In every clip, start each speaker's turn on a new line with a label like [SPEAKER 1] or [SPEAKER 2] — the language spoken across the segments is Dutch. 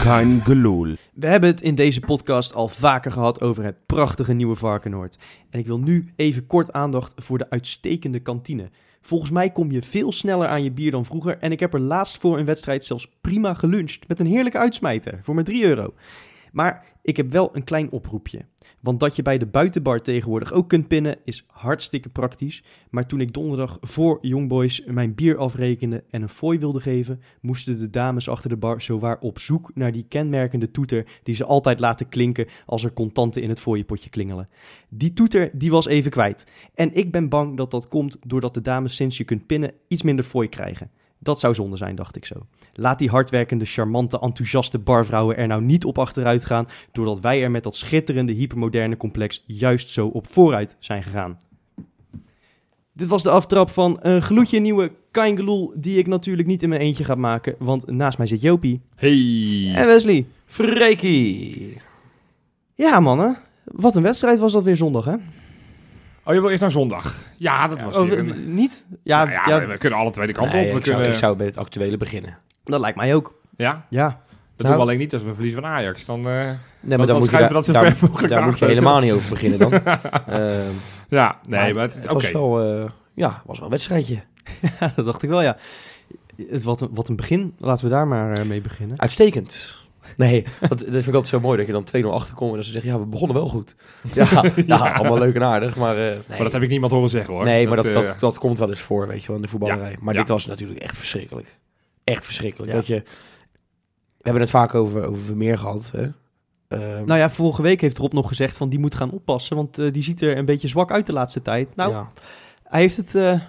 [SPEAKER 1] Kein geloel.
[SPEAKER 2] We hebben het in deze podcast al vaker gehad over het prachtige nieuwe Varkenoord. En ik wil nu even kort aandacht voor de uitstekende kantine. Volgens mij kom je veel sneller aan je bier dan vroeger. En ik heb er laatst voor een wedstrijd zelfs prima geluncht. Met een heerlijke uitsmijter voor maar 3 euro. Maar ik heb wel een klein oproepje. Want dat je bij de buitenbar tegenwoordig ook kunt pinnen is hartstikke praktisch. Maar toen ik donderdag voor Youngboys mijn bier afrekende en een fooi wilde geven, moesten de dames achter de bar zowaar op zoek naar die kenmerkende toeter die ze altijd laten klinken als er contanten in het fooiepotje klingelen. Die toeter die was even kwijt. En ik ben bang dat dat komt doordat de dames sinds je kunt pinnen iets minder fooi krijgen. Dat zou zonde zijn, dacht ik zo. Laat die hardwerkende, charmante, enthousiaste barvrouwen er nou niet op achteruit gaan, doordat wij er met dat schitterende hypermoderne complex juist zo op vooruit zijn gegaan. Dit was de aftrap van een gloedje nieuwe Kaingeloel, die ik natuurlijk niet in mijn eentje ga maken, want naast mij zit Jopie
[SPEAKER 1] Hey.
[SPEAKER 2] en Wesley.
[SPEAKER 1] Freekie.
[SPEAKER 2] Ja mannen, wat een wedstrijd was dat weer zondag hè?
[SPEAKER 3] Oh, je wil eerst naar zondag. Ja, dat was
[SPEAKER 2] Oh,
[SPEAKER 3] weer
[SPEAKER 2] w-
[SPEAKER 3] een-
[SPEAKER 2] w- niet? Ja,
[SPEAKER 3] Nou ja,
[SPEAKER 2] ja,
[SPEAKER 3] we- we kunnen alle twee de kant op. We
[SPEAKER 1] ik, zou,
[SPEAKER 3] kunnen,
[SPEAKER 1] ik zou met het actuele beginnen.
[SPEAKER 2] dat lijkt mij ook.
[SPEAKER 3] Ja,
[SPEAKER 2] Ja,
[SPEAKER 3] dat
[SPEAKER 1] Nou.
[SPEAKER 3] doen we alleen niet als we verliezen van Ajax. Dan, eh,
[SPEAKER 1] Nee,
[SPEAKER 3] dan schuiven we dat zo ver
[SPEAKER 1] daar,
[SPEAKER 3] mogelijk
[SPEAKER 1] daar
[SPEAKER 3] naar
[SPEAKER 1] moet je
[SPEAKER 3] achteren.
[SPEAKER 1] helemaal niet over beginnen dan. Ehm,
[SPEAKER 3] ja, nee, maar, het is
[SPEAKER 1] het
[SPEAKER 3] oké.
[SPEAKER 1] was wel, eh, ja, was wel een wedstrijdje.
[SPEAKER 2] dat dacht ik wel ja. Het, wat, een, wat een begin, laten we daar maar eh, mee beginnen.
[SPEAKER 1] Uitstekend. Nee, dat, dat vind ik altijd zo mooi dat je dan 2-0 achterkomt en dat ze zeggen, ja, we begonnen wel goed. Ja, ja, allemaal leuk en aardig, maar... eh, nee.
[SPEAKER 3] Maar dat heb ik niemand horen zeggen hoor.
[SPEAKER 1] nee, maar dat,
[SPEAKER 3] eh,
[SPEAKER 1] dat, dat, komt wel eens voor, weet je wel, in de voetballerij. maar
[SPEAKER 3] ja.
[SPEAKER 1] dit was natuurlijk echt verschrikkelijk. Echt verschrikkelijk.
[SPEAKER 2] Ja.
[SPEAKER 1] Dat je... We hebben het vaak over, over Vermeer gehad, hè? Ehm,
[SPEAKER 2] Nou ja, vorige week heeft Rob nog gezegd van die moet gaan oppassen, want eh, die ziet er een beetje zwak uit de laatste tijd. Nou,
[SPEAKER 1] ja.
[SPEAKER 2] hij heeft het... eh,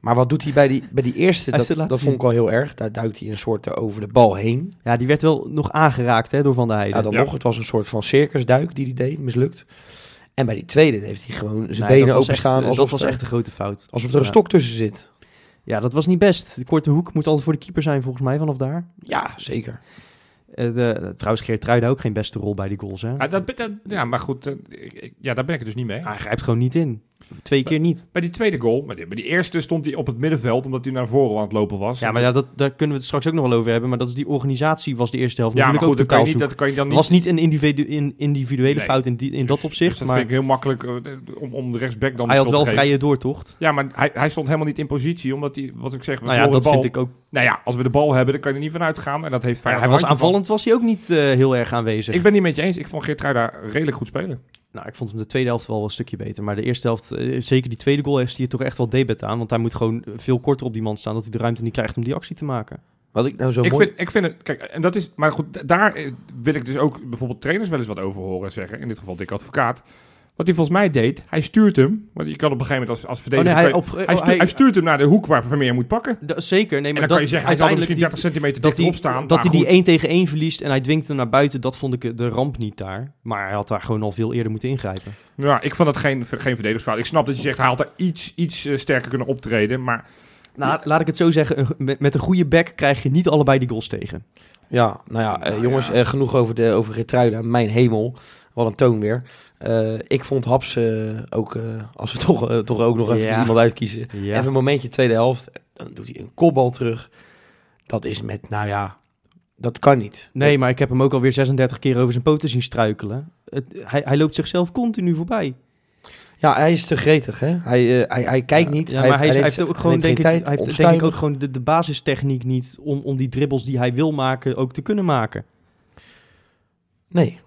[SPEAKER 1] Maar wat doet hij bij die, bij die eerste?
[SPEAKER 2] Hij heeft
[SPEAKER 1] Dat,
[SPEAKER 2] het laten
[SPEAKER 1] dat vond ik al heel erg. Daar duikt hij een soort eh, over de bal heen.
[SPEAKER 2] ja, die werd wel nog aangeraakt hè, door Van der Heijden.
[SPEAKER 1] Ja, dan
[SPEAKER 3] Ja.
[SPEAKER 1] nog. Het was een soort van circusduik die hij deed, mislukt. En bij die tweede heeft hij gewoon zijn
[SPEAKER 2] Nee, dat
[SPEAKER 1] benen
[SPEAKER 2] was echt- eh,
[SPEAKER 1] openstaan. alsof,
[SPEAKER 2] dat was
[SPEAKER 1] er,
[SPEAKER 2] echt een grote fout.
[SPEAKER 1] alsof er een
[SPEAKER 2] Ja.
[SPEAKER 1] stok tussen zit.
[SPEAKER 2] Ja, dat was niet best. De korte hoek moet altijd voor de keeper zijn volgens mij vanaf daar.
[SPEAKER 1] Ja, zeker.
[SPEAKER 2] Eh, de, trouwens, Geert Truida ook geen beste rol bij die goals. Hè?
[SPEAKER 3] ah, dat, dat- ja, maar goed, eh, ik- ik- ja, daar ben ik het dus niet mee.
[SPEAKER 2] Hij grijpt gewoon niet in. Twee keer niet.
[SPEAKER 3] Bij die tweede goal, maar die, bij die eerste stond hij op het middenveld omdat hij naar voren aan het lopen was.
[SPEAKER 2] Ja, maar ja, dat, daar kunnen we het straks ook nog wel over hebben. Maar dat is die organisatie was de eerste helft
[SPEAKER 3] Ja, maar
[SPEAKER 2] natuurlijk
[SPEAKER 3] goed, dat
[SPEAKER 2] ook
[SPEAKER 3] kan, je
[SPEAKER 2] totaal zoek.
[SPEAKER 3] niet, dat kan je dan
[SPEAKER 2] Het
[SPEAKER 3] niet.
[SPEAKER 2] was niet een individu- in- individuele
[SPEAKER 3] Nee.
[SPEAKER 2] fout in, die, in dat
[SPEAKER 3] Dus-
[SPEAKER 2] opzicht.
[SPEAKER 3] dus dat
[SPEAKER 2] maar
[SPEAKER 3] vind ik heel makkelijk eh, om, om de rechtsback dan de
[SPEAKER 2] hij had
[SPEAKER 3] schuld
[SPEAKER 2] wel
[SPEAKER 3] te geven.
[SPEAKER 2] vrije doortocht.
[SPEAKER 3] Ja, maar hij, hij stond helemaal niet in positie, omdat hij, wat ik zeg, we
[SPEAKER 2] Nou ja,
[SPEAKER 3] verloren
[SPEAKER 2] dat
[SPEAKER 3] de bal.
[SPEAKER 2] vind ik ook.
[SPEAKER 3] Nou ja, als we de bal hebben, dan kan je er niet van uitgaan. En dat heeft
[SPEAKER 2] Ja,
[SPEAKER 3] Feyenoord
[SPEAKER 2] hij
[SPEAKER 3] een
[SPEAKER 2] was
[SPEAKER 3] handje van.
[SPEAKER 2] aanvallend, was hij ook niet eh, heel erg aanwezig.
[SPEAKER 3] Ik ben het niet met je eens. Ik vond Geertruida redelijk goed spelen.
[SPEAKER 2] Nou, ik vond hem de tweede helft wel een stukje beter. Maar de eerste helft, eh, zeker die tweede goal, heeft hij toch echt wel debet aan. Want hij moet gewoon veel korter op die man staan, dat hij de ruimte niet krijgt om die actie te maken.
[SPEAKER 1] Wat ik nou zo
[SPEAKER 3] ik,
[SPEAKER 1] mooi...
[SPEAKER 3] vind, ik vind het... Kijk, en dat is... Maar goed, d- daar eh, wil ik dus ook bijvoorbeeld trainers wel eens wat over horen zeggen. In dit geval Dick Advocaat. Wat hij volgens mij deed, hij stuurt hem. Want je kan op een gegeven moment als, als
[SPEAKER 2] Oh,
[SPEAKER 3] verdediger...
[SPEAKER 2] nee, hij,
[SPEAKER 3] kan je-
[SPEAKER 2] op, eh,
[SPEAKER 3] hij,
[SPEAKER 2] oh,
[SPEAKER 3] stu- hij stuurt hem naar de hoek waar Vermeer moet pakken. En
[SPEAKER 2] d- zeker, nee,
[SPEAKER 3] dan
[SPEAKER 2] maar
[SPEAKER 3] kan je zeggen, hij zal er misschien 30 centimeter
[SPEAKER 2] dat
[SPEAKER 3] dichterop
[SPEAKER 2] hij,
[SPEAKER 3] staan.
[SPEAKER 2] dat
[SPEAKER 3] maar
[SPEAKER 2] hij die
[SPEAKER 3] goed.
[SPEAKER 2] 1 tegen 1 verliest en hij dwingt hem naar buiten, dat vond ik eh, de ramp niet daar. Maar hij had daar gewoon al veel eerder moeten ingrijpen.
[SPEAKER 3] Ja, ik vond dat geen, geen verdedigingsfout. Ik snap dat je zegt, hij had er iets, iets eh, sterker kunnen optreden. Maar
[SPEAKER 2] Nou, laat ik het zo zeggen, een- met, met een goede back krijg je niet allebei die goals tegen.
[SPEAKER 1] Ja, nou ja, eh,
[SPEAKER 3] Nou
[SPEAKER 1] jongens,
[SPEAKER 3] ja.
[SPEAKER 1] eh, genoeg over, de, over Geertruida. Mijn hemel. Wat een toon weer. Eh, ik vond Haps eh, ook, eh, als we toch, eh, toch ook nog even
[SPEAKER 2] Ja.
[SPEAKER 1] iemand uitkiezen.
[SPEAKER 2] Ja.
[SPEAKER 1] Even een momentje, tweede helft. Dan doet hij een kopbal terug. Dat is met, nou ja, dat kan niet.
[SPEAKER 2] Nee, maar ik heb hem ook alweer 36 keer over zijn poten zien struikelen. Het- hij, hij loopt zichzelf continu voorbij.
[SPEAKER 1] Ja, hij is te gretig, hè? Hij, eh, hij, hij kijkt niet.
[SPEAKER 2] Ja, maar hij,
[SPEAKER 1] neemt-
[SPEAKER 2] hij heeft ook gewoon,
[SPEAKER 1] neemt geen
[SPEAKER 2] denk ik, hij
[SPEAKER 1] tijd,
[SPEAKER 2] heeft denk ik ook
[SPEAKER 1] onstuimig.
[SPEAKER 2] gewoon de, de basistechniek niet om, om die dribbles die hij wil maken ook te kunnen maken.
[SPEAKER 1] Nee.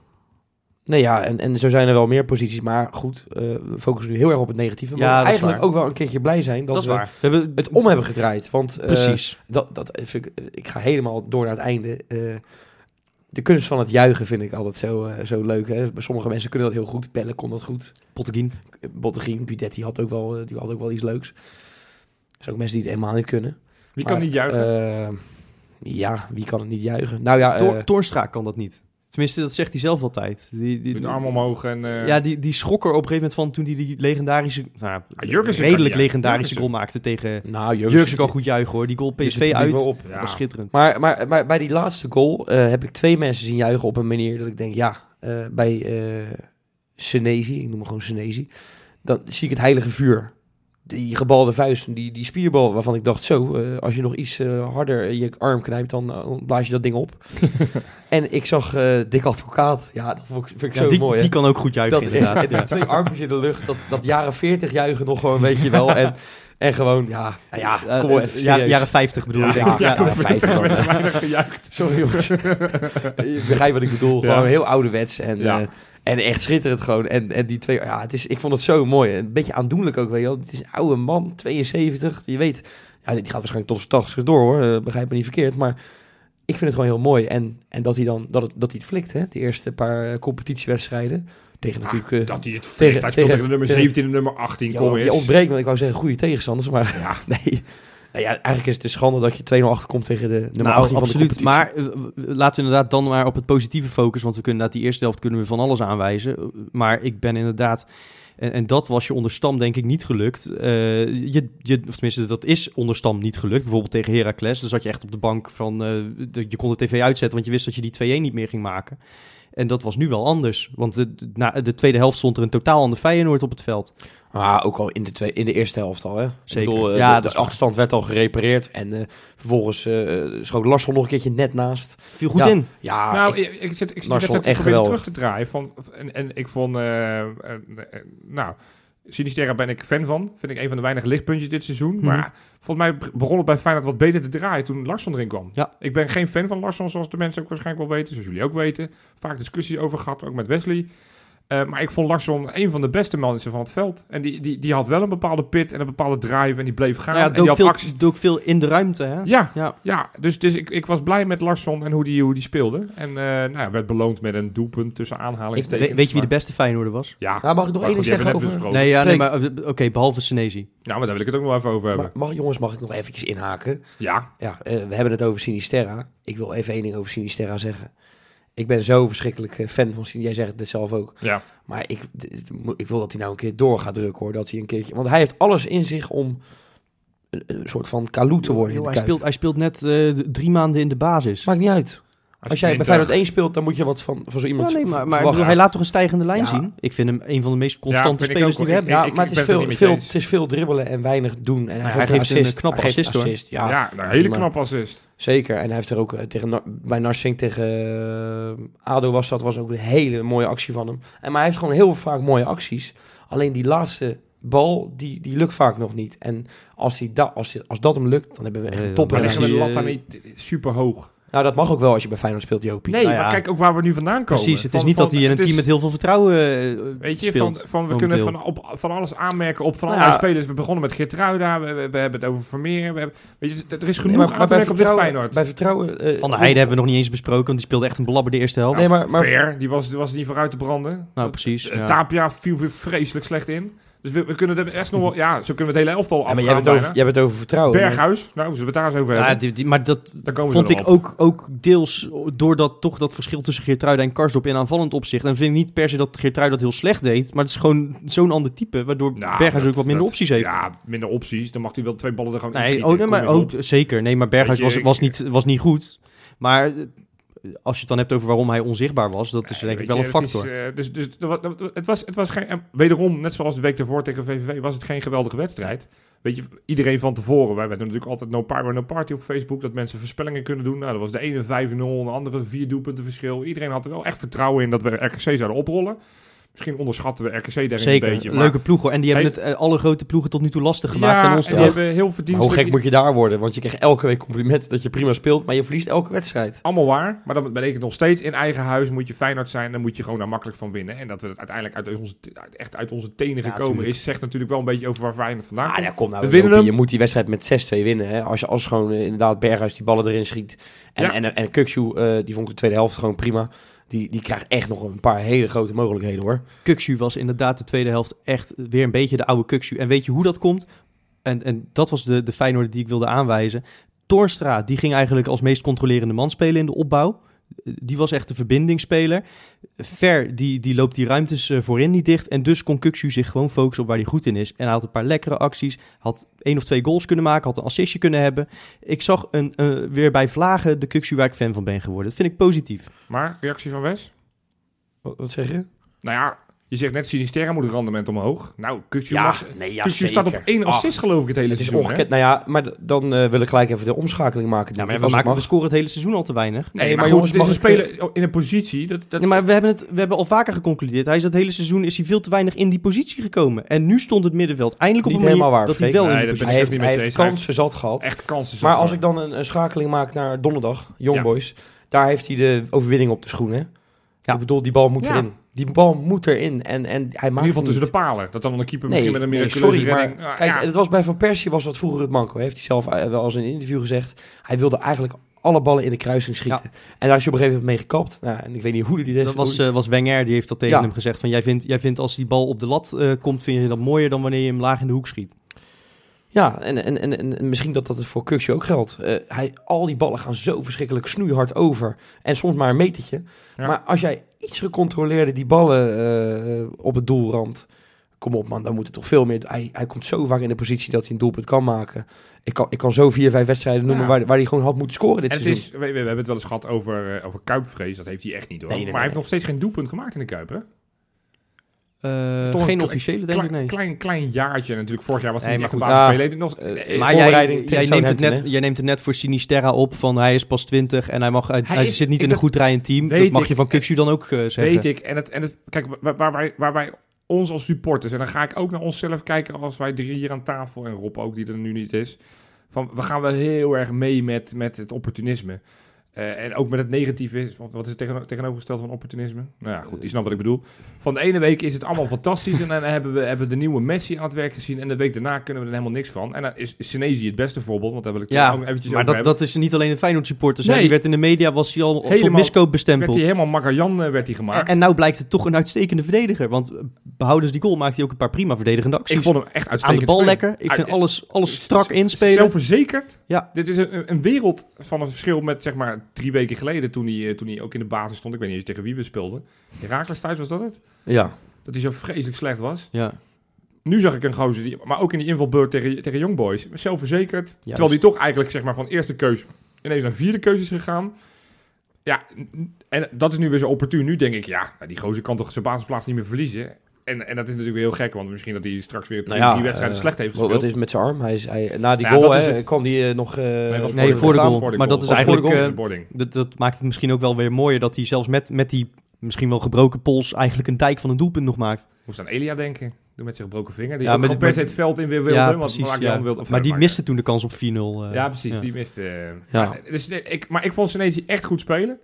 [SPEAKER 1] Nee, ja, en, en zo zijn er wel meer posities. Maar goed, eh, we focussen nu heel erg op het negatieve. Maar
[SPEAKER 2] Ja, dat is
[SPEAKER 1] eigenlijk
[SPEAKER 2] waar.
[SPEAKER 1] ook wel een keertje blij zijn dat, we
[SPEAKER 2] We hebben
[SPEAKER 1] het om hebben gedraaid. Want eh,
[SPEAKER 2] Precies.
[SPEAKER 1] dat, dat vind ik, ik ga helemaal door naar het einde. Eh, de kunst van het juichen vind ik altijd zo, eh, zo leuk. Hè? Bij Sommige mensen kunnen dat heel goed. Pelle kon dat goed.
[SPEAKER 2] Pottegien.
[SPEAKER 1] Bottegien, Budetti had ook wel, eh, die had ook wel iets leuks. Er zijn ook mensen die het helemaal niet kunnen.
[SPEAKER 3] wie kan
[SPEAKER 1] Maar,
[SPEAKER 3] niet juichen?
[SPEAKER 1] eh, Ja, wie kan het niet juichen? Nou ja,
[SPEAKER 2] Tor-
[SPEAKER 1] eh,
[SPEAKER 2] Toornstra kan dat niet. Tenminste, dat zegt hij zelf altijd. Die, die,
[SPEAKER 3] Met de arm omhoog en... eh,
[SPEAKER 2] ja, die, die schrok er op een gegeven moment van toen hij die legendarische, nou, ja,
[SPEAKER 3] Jurgensen kan niet
[SPEAKER 2] redelijk
[SPEAKER 3] juichen.
[SPEAKER 2] legendarische
[SPEAKER 3] Jurgensen.
[SPEAKER 2] goal maakte tegen
[SPEAKER 1] nou, Jurgensen-
[SPEAKER 2] Jurgensen kan goed juichen hoor. Die goal
[SPEAKER 1] die zit
[SPEAKER 2] PSV
[SPEAKER 1] er
[SPEAKER 2] uit,
[SPEAKER 1] niet meer op.
[SPEAKER 3] ja.
[SPEAKER 2] was schitterend.
[SPEAKER 1] Maar, maar, maar bij die laatste goal eh, heb ik twee mensen zien juichen op een manier dat ik denk, ja, eh, bij eh Senezi, ik noem hem gewoon Senezi, dan zie ik het heilige vuur. Die gebalde vuist, die, die spierbal waarvan ik dacht, zo, eh, als je nog iets eh, harder je arm knijpt, dan, eh, dan blaas je dat ding op. en ik zag eh Dick Advocaat, ja, dat vond ik, vind ik
[SPEAKER 2] Ja,
[SPEAKER 1] zo
[SPEAKER 2] die,
[SPEAKER 1] mooi. hè?
[SPEAKER 2] die kan ook goed juichen
[SPEAKER 1] Dat is
[SPEAKER 2] inderdaad.
[SPEAKER 1] het, twee armpjes in de lucht, dat, dat jaren 40 juichen nog gewoon, weet je wel. En, en gewoon, ja, nou ja,
[SPEAKER 2] Eh,
[SPEAKER 1] kom op,
[SPEAKER 2] eh,
[SPEAKER 1] even
[SPEAKER 2] ja,
[SPEAKER 1] serieus.
[SPEAKER 2] jaren 50 bedoel ik. denk ik.
[SPEAKER 1] ja,
[SPEAKER 2] Ja,
[SPEAKER 1] ja, 50 dan.
[SPEAKER 3] werd er weinig gejuicht.
[SPEAKER 1] Sorry jongens. je begrijpt wat ik bedoel.
[SPEAKER 3] Ja.
[SPEAKER 1] Gewoon heel ouderwets. En,
[SPEAKER 3] Ja.
[SPEAKER 1] eh, en echt schitterend gewoon. En, en die twee... Ja, het is, ik vond het zo mooi. Een beetje aandoenlijk ook, weet je wel. Het is een oude man, 72. Je weet... Ja, die gaat waarschijnlijk tot zijn 80 door, hoor. Eh, begrijp me niet verkeerd. Maar ik vind het gewoon heel mooi. En, en dat hij dan... Dat het, dat hij het flikt, hè. De eerste paar eh, competitiewedstrijden. Tegen natuurlijk... eh,
[SPEAKER 3] Dat hij het
[SPEAKER 1] tegen-
[SPEAKER 3] tegen, hij speelt tegen
[SPEAKER 1] tegen-
[SPEAKER 3] de nummer
[SPEAKER 1] tegen-
[SPEAKER 3] 17 en de nummer 18.
[SPEAKER 1] je,
[SPEAKER 3] Kom
[SPEAKER 1] je
[SPEAKER 3] eens.
[SPEAKER 1] ontbreekt, want ik wou zeggen goede tegenstanders. Maar
[SPEAKER 3] Ja.
[SPEAKER 1] nee... Nou ja, eigenlijk is het een schande dat je 2-0 achterkomt tegen de nummer
[SPEAKER 2] Nou,
[SPEAKER 1] 18 van de
[SPEAKER 2] absoluut.
[SPEAKER 1] competitie.
[SPEAKER 2] Maar eh, w- w- laten we inderdaad dan maar op het positieve focussen. Want we kunnen inderdaad die eerste helft kunnen we van alles aanwijzen. Eh, Maar ik ben inderdaad... En, en dat was je onder Stam denk ik niet gelukt. Eh, je, je, of tenminste, dat is onder Stam niet gelukt. Bijvoorbeeld tegen Heracles. Dan zat je echt op de bank van... eh, de- je kon de tv uitzetten, want je wist dat je die 2-1 niet meer ging maken. En dat was nu wel anders. Want de, de- na de tweede helft stond er een totaal ander Feyenoord op het veld.
[SPEAKER 1] Maar ook al in de, twee, in de eerste helft al, hè?
[SPEAKER 2] Zeker.
[SPEAKER 1] Ik bedoel, eh,
[SPEAKER 2] Ja,
[SPEAKER 1] de,
[SPEAKER 2] dat
[SPEAKER 1] de
[SPEAKER 2] is waar.
[SPEAKER 1] achterstand werd al gerepareerd. En eh, vervolgens eh eh, schoot Larsson nog een keertje net naast.
[SPEAKER 2] Viel goed
[SPEAKER 1] Ja.
[SPEAKER 2] in.
[SPEAKER 1] Ja,
[SPEAKER 3] nou,
[SPEAKER 1] ik-
[SPEAKER 3] ik, ik zit, ik zit
[SPEAKER 1] Larsson,
[SPEAKER 3] de wedstrijd
[SPEAKER 1] echt
[SPEAKER 3] echt wel
[SPEAKER 1] geweldig.
[SPEAKER 3] terug te draaien. Van, en, en ik vond, eh, eh, eh, nou, Sinisterra ben ik fan van. Vind ik een van de weinige lichtpuntjes dit seizoen.
[SPEAKER 2] Mhm.
[SPEAKER 3] Maar volgens mij begon het bij Feyenoord wat beter te draaien toen Larsson erin kwam.
[SPEAKER 2] Ja.
[SPEAKER 3] Ik ben geen fan van Larsson, zoals de mensen ook waarschijnlijk wel weten. Zoals jullie ook weten. Vaak discussies over gehad, ook met Wesley. Eh, maar ik vond Larsson een van de beste mensen van het veld. En die, die, die had wel een bepaalde pit en een bepaalde drive en die bleef gaan.
[SPEAKER 2] Nou ja,
[SPEAKER 3] en die
[SPEAKER 2] dook
[SPEAKER 3] had
[SPEAKER 2] veel,
[SPEAKER 3] acties.
[SPEAKER 2] dook veel in de ruimte, hè?
[SPEAKER 3] Ja,
[SPEAKER 2] Ja.
[SPEAKER 3] ja, dus, dus ik, ik was blij met Larsson en hoe die, hoe die speelde. En eh, nou ja, werd beloond met een doelpunt tussen aanhalingstekens.
[SPEAKER 2] We- weet je wie de
[SPEAKER 3] Maar-
[SPEAKER 2] beste Feyenoorder was?
[SPEAKER 3] Ja,
[SPEAKER 1] nou, mag ik nog
[SPEAKER 3] maar
[SPEAKER 1] één
[SPEAKER 3] goed,
[SPEAKER 1] ding
[SPEAKER 3] die hebben we net
[SPEAKER 1] zeggen over...
[SPEAKER 3] besproken.
[SPEAKER 2] Nee, ja, nee,
[SPEAKER 1] Freek.
[SPEAKER 2] maar eh, oké, behalve Senezi.
[SPEAKER 3] Nou, maar daar wil ik het ook nog even over hebben.
[SPEAKER 1] Maar, mag, jongens, mag ik nog eventjes inhaken?
[SPEAKER 3] ja,
[SPEAKER 1] Ja, eh, we hebben het over Sinisterra. Ik wil even één ding over Sinisterra zeggen. Ik ben zo verschrikkelijk eh, fan van Sinisterra. Jij zegt het zelf ook.
[SPEAKER 3] ja.
[SPEAKER 1] Maar ik, dit- mo- ik wil dat hij nou een keer door gaat drukken, hoor. Dat hij een keertje... Want hij heeft alles in zich om een, een soort van kaloe te worden in
[SPEAKER 2] Joh,
[SPEAKER 1] de
[SPEAKER 2] hij,
[SPEAKER 1] Kuip.
[SPEAKER 2] speelt, hij speelt net eh, d- drie maanden in de basis.
[SPEAKER 1] Maakt niet uit. Als, jij bij
[SPEAKER 3] 20
[SPEAKER 1] Feyenoord 1 speelt, dan moet je wat van, van zo
[SPEAKER 2] Ja,
[SPEAKER 1] iemand
[SPEAKER 2] nee, maar, maar ik
[SPEAKER 1] verwachten.
[SPEAKER 2] bedoel, hij laat toch een stijgende lijn
[SPEAKER 1] Ja.
[SPEAKER 2] zien? Ik vind hem een van de meest constante
[SPEAKER 3] vind ik
[SPEAKER 2] spelers
[SPEAKER 3] ook,
[SPEAKER 2] die we hebben.
[SPEAKER 1] ja,
[SPEAKER 3] ik-
[SPEAKER 1] maar het
[SPEAKER 3] ik
[SPEAKER 1] is,
[SPEAKER 3] ben het
[SPEAKER 1] veel,
[SPEAKER 3] er niet mee
[SPEAKER 1] veel,
[SPEAKER 3] eens.
[SPEAKER 1] het is veel dribbelen en weinig doen. En hij,
[SPEAKER 2] hij geeft een knappe
[SPEAKER 1] Hij geeft
[SPEAKER 2] assist, hoor.
[SPEAKER 1] ja,
[SPEAKER 3] ja, nou, een hele knap assist.
[SPEAKER 1] zeker. En hij heeft er ook eh, tegen, Nar- bij Narsing tegen eh, ADO was dat was ook een hele mooie actie van hem. En, maar hij heeft gewoon heel vaak mooie acties. Alleen die laatste bal, die, die lukt vaak nog niet. En als, die da, als, die- als dat hem lukt, dan hebben we echt
[SPEAKER 2] Nee,
[SPEAKER 1] een
[SPEAKER 2] dan
[SPEAKER 3] Maar
[SPEAKER 2] Ja,
[SPEAKER 1] topper.
[SPEAKER 3] liggen we de
[SPEAKER 2] die,
[SPEAKER 3] lat daar
[SPEAKER 2] eh,
[SPEAKER 3] niet super hoog?
[SPEAKER 1] Nou, dat mag ook wel als je bij Feyenoord speelt, Jopie.
[SPEAKER 3] Nee,
[SPEAKER 2] Nou ja.
[SPEAKER 3] maar kijk ook waar we nu vandaan komen.
[SPEAKER 2] Precies, het
[SPEAKER 3] Van-
[SPEAKER 2] is niet
[SPEAKER 3] van-
[SPEAKER 2] dat hij in een
[SPEAKER 3] het is-
[SPEAKER 2] team met heel veel vertrouwen eh,
[SPEAKER 3] Weet je,
[SPEAKER 2] speelt.
[SPEAKER 3] van, van, we
[SPEAKER 2] momenteel.
[SPEAKER 3] kunnen van, op, van alles aanmerken op van
[SPEAKER 1] Nou
[SPEAKER 3] allerlei
[SPEAKER 1] ja.
[SPEAKER 3] spelers. We begonnen met Geertruida, we, we, we hebben het over Vermeer. We hebben, weet je, er is
[SPEAKER 1] Nee,
[SPEAKER 3] genoeg aan te
[SPEAKER 1] bij
[SPEAKER 3] merken op dit
[SPEAKER 1] vertrouwen,
[SPEAKER 3] Feyenoord.
[SPEAKER 1] bij vertrouwen... eh,
[SPEAKER 2] Van de Heide hebben we nog niet eens besproken, want die speelde echt een blabber de eerste helft.
[SPEAKER 1] Nee, maar- maar-
[SPEAKER 3] Ver, die was, die was niet vooruit te branden.
[SPEAKER 2] nou, precies.
[SPEAKER 3] Eh,
[SPEAKER 2] ja.
[SPEAKER 3] Tapia viel weer vreselijk slecht in. Dus we, we kunnen er echt nog wel... Ja, zo kunnen we het hele elftal
[SPEAKER 1] Ja,
[SPEAKER 3] afgaan
[SPEAKER 1] maar jij hebt, het
[SPEAKER 3] bijna.
[SPEAKER 1] over, jij hebt het over vertrouwen.
[SPEAKER 3] Berghuis, nou, zullen we het daar eens over
[SPEAKER 2] Ja,
[SPEAKER 3] hebben?
[SPEAKER 2] die, die- maar dat
[SPEAKER 3] Daar komen
[SPEAKER 2] vond
[SPEAKER 3] ze
[SPEAKER 2] ik
[SPEAKER 3] nog op.
[SPEAKER 2] ook, ook deels doordat toch dat verschil tussen Geertruida en Karsdorp in aanvallend opzicht. En vind ik niet per se dat Geertruida dat heel slecht deed, maar het is gewoon zo'n ander type, waardoor
[SPEAKER 3] Nou,
[SPEAKER 2] Berghuis
[SPEAKER 3] dat-
[SPEAKER 2] ook wat minder
[SPEAKER 3] dat-
[SPEAKER 2] opties heeft.
[SPEAKER 3] Ja, minder opties. Dan mag hij wel twee ballen er gewoon in
[SPEAKER 2] Nee,
[SPEAKER 3] schieten.
[SPEAKER 2] oh, nee,
[SPEAKER 3] Kom
[SPEAKER 2] maar,
[SPEAKER 3] eens
[SPEAKER 2] oh,
[SPEAKER 3] op.
[SPEAKER 2] zeker. Nee, maar Berghuis
[SPEAKER 3] Weet je,
[SPEAKER 2] was,
[SPEAKER 3] ik-
[SPEAKER 2] was, niet, was niet goed. Maar eh, als je het dan hebt over waarom hij onzichtbaar was, dat is
[SPEAKER 3] Nee,
[SPEAKER 2] Dus denk ik
[SPEAKER 3] weet
[SPEAKER 2] wel een
[SPEAKER 3] je, het is,
[SPEAKER 2] factor.
[SPEAKER 3] eh, dus dus er wa- er- het, was, het was geen... en Wederom, net zoals de week daarvoor tegen VVV, was het geen geweldige wedstrijd. Weet je, iedereen van tevoren. Wij hebben natuurlijk altijd no power, no party op Facebook. Dat mensen voorspellingen kunnen doen. Nou, dat was de ene 5-0, de andere vier doelpunten verschil. Iedereen had er wel echt vertrouwen in dat we RKC zouden oprollen. Misschien onderschatten we RKC daarin
[SPEAKER 2] zeker.
[SPEAKER 3] een beetje. maar-
[SPEAKER 2] Leuke ploeg hoor. En die hebben het eh, alle grote ploegen tot nu toe lastig gemaakt.
[SPEAKER 3] ja,
[SPEAKER 2] en ons
[SPEAKER 3] en
[SPEAKER 2] ook.
[SPEAKER 3] die hebben heel
[SPEAKER 1] Maar hoe
[SPEAKER 3] verdienstelijk...
[SPEAKER 1] gek moet je daar worden? Want je krijgt elke week compliment dat je prima speelt, maar je verliest elke wedstrijd.
[SPEAKER 3] Allemaal waar, maar dat betekent nog steeds in eigen huis moet je Feyenoord zijn. Dan moet je gewoon daar makkelijk van winnen. En dat we het uiteindelijk uit onze, echt uit onze tenen
[SPEAKER 2] Ja,
[SPEAKER 3] gekomen
[SPEAKER 2] tuurlijk.
[SPEAKER 3] is, zegt natuurlijk wel een beetje over waar Feyenoord vandaan
[SPEAKER 1] Ah,
[SPEAKER 3] komt.
[SPEAKER 1] ja, kom nou.
[SPEAKER 3] We winnen
[SPEAKER 1] Jopie,
[SPEAKER 3] hem.
[SPEAKER 1] Je moet die wedstrijd met 6-2 winnen. Hè? Als je als gewoon eh, inderdaad Berghuis die ballen erin schiet. En,
[SPEAKER 3] Ja.
[SPEAKER 1] en, en Kukzu, eh, die vond ik de tweede helft gewoon prima. Die, die krijgt echt nog een paar hele grote mogelijkheden hoor.
[SPEAKER 2] Kuxu was inderdaad de tweede helft echt weer een beetje de oude Kuxu. En weet je hoe dat komt? En, en dat was de, de Feyenoord die ik wilde aanwijzen. Torstra, die ging eigenlijk als meest controlerende man spelen in de opbouw. Eh, Die was echt de verbindingsspeler. Ver, die, die loopt die ruimtes eh, voorin niet dicht. En dus kon Kuksu zich gewoon focussen op waar hij goed in is. En hij had een paar lekkere acties. Had één of twee goals kunnen maken. Had een assistje kunnen hebben. Ik zag een, eh, weer bij Vlagen de Kuksu waar ik fan van ben geworden. Dat vind ik positief.
[SPEAKER 3] Maar, reactie van Wes?
[SPEAKER 1] Wat, wat zeg je?
[SPEAKER 3] Nou ja, je zegt net Sinisterra moet het rendement omhoog. Nou, Kutsu
[SPEAKER 1] nee, ja,
[SPEAKER 3] Kutsu staat op één
[SPEAKER 1] Ach,
[SPEAKER 3] assist geloof ik het hele
[SPEAKER 1] Het is
[SPEAKER 3] seizoen. hè?
[SPEAKER 1] ongekend. Nou ja, maar d- dan eh, wil ik gelijk even de omschakeling maken.
[SPEAKER 2] Ja,
[SPEAKER 1] denk
[SPEAKER 2] maar
[SPEAKER 1] ik,
[SPEAKER 2] we,
[SPEAKER 1] als het
[SPEAKER 2] maken, we
[SPEAKER 1] mag.
[SPEAKER 2] scoren het hele seizoen al te weinig.
[SPEAKER 3] Nee,
[SPEAKER 1] Nee,
[SPEAKER 3] maar,
[SPEAKER 1] maar
[SPEAKER 3] goed, dit is een
[SPEAKER 1] jongens, mag ik,
[SPEAKER 3] speler in een positie. Dat, dat,
[SPEAKER 2] Nee, maar we hebben, het, we hebben al vaker geconcludeerd. Hij is dat hele seizoen is hij veel te weinig in die positie gekomen. En nu stond het middenveld eindelijk op
[SPEAKER 1] Niet
[SPEAKER 2] een manier
[SPEAKER 1] helemaal waar,
[SPEAKER 2] dat hij
[SPEAKER 1] Freek.
[SPEAKER 2] wel
[SPEAKER 3] Nee,
[SPEAKER 2] in die
[SPEAKER 3] dat ben
[SPEAKER 2] positie
[SPEAKER 1] Hij
[SPEAKER 3] ik
[SPEAKER 1] heeft,
[SPEAKER 3] niet
[SPEAKER 1] hij
[SPEAKER 3] met
[SPEAKER 1] heeft
[SPEAKER 3] je eens.
[SPEAKER 1] kansen zat gehad.
[SPEAKER 3] echt kansen. zat
[SPEAKER 1] maar als
[SPEAKER 3] er.
[SPEAKER 1] ik dan een, een schakeling maak naar donderdag,
[SPEAKER 3] Ja.
[SPEAKER 1] Young Boys, daar heeft hij de overwinning op de schoen. Hè?
[SPEAKER 2] Ja.
[SPEAKER 1] Ik bedoel, die bal moet
[SPEAKER 3] Ja.
[SPEAKER 1] erin. Die bal moet erin. En, en hij
[SPEAKER 3] in
[SPEAKER 1] maakt
[SPEAKER 3] ieder geval
[SPEAKER 1] hem
[SPEAKER 3] tussen de
[SPEAKER 1] niet.
[SPEAKER 3] palen. Dat dan een keeper
[SPEAKER 1] Nee,
[SPEAKER 3] misschien met een
[SPEAKER 1] nee,
[SPEAKER 3] miraculeuze
[SPEAKER 1] sorry, maar
[SPEAKER 3] redding. Ah,
[SPEAKER 1] kijk,
[SPEAKER 3] ja.
[SPEAKER 1] het was bij Van Persie was dat vroeger het manco. Heeft hij zelf eh, wel eens in een interview gezegd. Hij wilde eigenlijk alle ballen in de kruising schieten. En daar is je op een gegeven moment mee gekapt. Nou, en ik weet niet hoe hij dit heeft.
[SPEAKER 2] Dat was,
[SPEAKER 1] hoe-
[SPEAKER 2] eh, was Wenger, die heeft dat tegen
[SPEAKER 1] Ja.
[SPEAKER 2] hem gezegd. Van, jij, vindt, jij vindt als die bal op de lat eh, komt, vind je dat mooier dan wanneer je hem laag in de hoek schiet.
[SPEAKER 1] Ja, en, en, en, en- en misschien dat dat het voor Kuksje ook geldt. Eh, hij, al die ballen gaan zo verschrikkelijk snoeihard over. En soms maar een metertje.
[SPEAKER 3] Ja.
[SPEAKER 1] Maar als jij iets gecontroleerder die ballen eh, op het doel ramt... Kom op man, dan moet het toch veel meer... Hij, hij komt zo vaak in de positie dat hij een doelpunt kan maken. Ik kan, ik kan zo vier, vijf wedstrijden noemen
[SPEAKER 3] Ja.
[SPEAKER 1] waar, waar hij gewoon had moeten scoren dit
[SPEAKER 3] En het
[SPEAKER 1] seizoen.
[SPEAKER 3] is, we, we hebben het wel eens gehad over, eh, over Kuipvrees. Dat heeft hij echt niet hoor.
[SPEAKER 1] Nee, nee,
[SPEAKER 3] maar
[SPEAKER 1] nee,
[SPEAKER 3] hij heeft nog steeds geen doelpunt gemaakt in de Kuip. Hè?
[SPEAKER 2] Eh,
[SPEAKER 3] Toch een
[SPEAKER 2] geen
[SPEAKER 3] kle-
[SPEAKER 2] officiële, denk ik,
[SPEAKER 3] Klein,
[SPEAKER 2] nee.
[SPEAKER 3] klein, klein jaartje. En natuurlijk vorig jaar was hij
[SPEAKER 2] Nee,
[SPEAKER 3] niet echt
[SPEAKER 2] maar
[SPEAKER 3] de
[SPEAKER 1] goed.
[SPEAKER 3] basisspeler. Nog-
[SPEAKER 1] Eh,
[SPEAKER 3] eh,
[SPEAKER 1] maar
[SPEAKER 2] Maar jij,
[SPEAKER 1] voorbereiding tegen
[SPEAKER 2] jij, neemt het
[SPEAKER 1] Southampton,
[SPEAKER 2] net, jij neemt het net voor Sinisterra op van hij is pas 20 en hij, mag, hij,
[SPEAKER 3] Hij
[SPEAKER 2] hij
[SPEAKER 3] is-
[SPEAKER 2] zit niet
[SPEAKER 3] ik
[SPEAKER 2] in een
[SPEAKER 3] dat-
[SPEAKER 2] goed rijend team. Dat
[SPEAKER 3] weet
[SPEAKER 2] mag
[SPEAKER 3] ik.
[SPEAKER 2] je van Kuksu dan ook eh, zeggen.
[SPEAKER 3] Weet ik. En het, en het, kijk, waar, waar, wij, waar wij ons als supporters, en dan ga ik ook naar onszelf kijken als wij drie hier aan tafel, en Rob ook, die er nu niet is. Van, we gaan wel heel erg mee met, met het opportunisme. Eh, en ook met het negatieve, want wat is het tegeno- tegenovergesteld van opportunisme? Nou ja, goed, die snapt wat ik bedoel. Van de ene week is het allemaal fantastisch en dan hebben we hebben we de nieuwe Messi aan het werk gezien en de week daarna kunnen we er helemaal niks van. En dan is is Senesi het beste voorbeeld, want daar wil ik
[SPEAKER 2] Ja,
[SPEAKER 3] ook eventjes
[SPEAKER 2] maar
[SPEAKER 3] over
[SPEAKER 2] dat,
[SPEAKER 3] hebben.
[SPEAKER 2] dat is niet alleen een Feyenoord supporter.
[SPEAKER 3] Nee.
[SPEAKER 2] Die werd in de media was hij al tot
[SPEAKER 3] Helemaal-
[SPEAKER 2] miskoop
[SPEAKER 3] werd
[SPEAKER 2] bestempeld.
[SPEAKER 3] hij helemaal Macarjan eh, werd hij gemaakt.
[SPEAKER 2] En, en nou blijkt het toch een uitstekende verdediger. Want behoudens die goal maakte hij ook een paar prima verdedigende acties.
[SPEAKER 3] ik vond hem echt
[SPEAKER 2] Aan
[SPEAKER 3] uitstekend
[SPEAKER 2] de bal
[SPEAKER 3] spelen.
[SPEAKER 2] lekker. Ik
[SPEAKER 3] Uit-
[SPEAKER 2] vind alles, alles strak inspelen.
[SPEAKER 3] Zelfverzekerd.
[SPEAKER 2] Ja.
[SPEAKER 3] Dit is een, een wereld van een verschil met zeg maar drie weken geleden toen hij, eh, toen hij ook in de basis stond. Ik weet niet eens tegen wie we speelden. Herakles thuis was dat het?
[SPEAKER 1] Ja,
[SPEAKER 3] Dat hij zo vreselijk slecht was.
[SPEAKER 2] Ja.
[SPEAKER 3] Nu zag ik een gozer, die, maar ook in die invalbeurt tegen, tegen Young Boys. Zelfverzekerd. Terwijl hij
[SPEAKER 2] Juist.
[SPEAKER 3] toch eigenlijk zeg maar van eerste keus ineens naar vierde keus is gegaan. Ja, n- en dat is nu weer zo opportun. Nu denk ik, ja, nou, die gozer kan toch zijn basisplaats niet meer verliezen. En, en dat is natuurlijk weer heel gek, want misschien dat hij straks weer drie,
[SPEAKER 1] Nou ja,
[SPEAKER 3] drie wedstrijden
[SPEAKER 1] eh,
[SPEAKER 3] slecht heeft
[SPEAKER 1] wat,
[SPEAKER 3] gespeeld.
[SPEAKER 1] wat is het met zijn arm? Hij is, hij, na die
[SPEAKER 3] Ja,
[SPEAKER 1] goal
[SPEAKER 3] dat is
[SPEAKER 1] hè,
[SPEAKER 3] het.
[SPEAKER 1] kwam hij eh, nog... eh,
[SPEAKER 3] dat was
[SPEAKER 1] op
[SPEAKER 2] Nee, voor de goal. Maar dat is
[SPEAKER 3] Voor de
[SPEAKER 2] eigenlijk,
[SPEAKER 3] goal.
[SPEAKER 2] eh,
[SPEAKER 3] Voor de boarding.
[SPEAKER 2] Dat, dat maakt het misschien ook wel weer mooier dat hij zelfs met, met die misschien wel gebroken pols eigenlijk een dijk van een doelpunt nog maakt.
[SPEAKER 3] Moest aan Elia denken. Doe met zijn gebroken vinger. Die
[SPEAKER 2] Ja,
[SPEAKER 3] ja,
[SPEAKER 2] maar
[SPEAKER 3] met,
[SPEAKER 2] die-
[SPEAKER 3] per se het veld in weer wilde.
[SPEAKER 2] ja,
[SPEAKER 3] want Mark
[SPEAKER 2] ja.
[SPEAKER 3] Jan wilde
[SPEAKER 2] maar die
[SPEAKER 3] verder
[SPEAKER 2] miste toen de kans op 4-0. eh.
[SPEAKER 3] maken. Ja, precies.
[SPEAKER 2] ja.
[SPEAKER 3] Die miste. eh,
[SPEAKER 1] Ja.
[SPEAKER 3] maar, dus, nee, ik, maar ik vond Senesi echt goed spelen.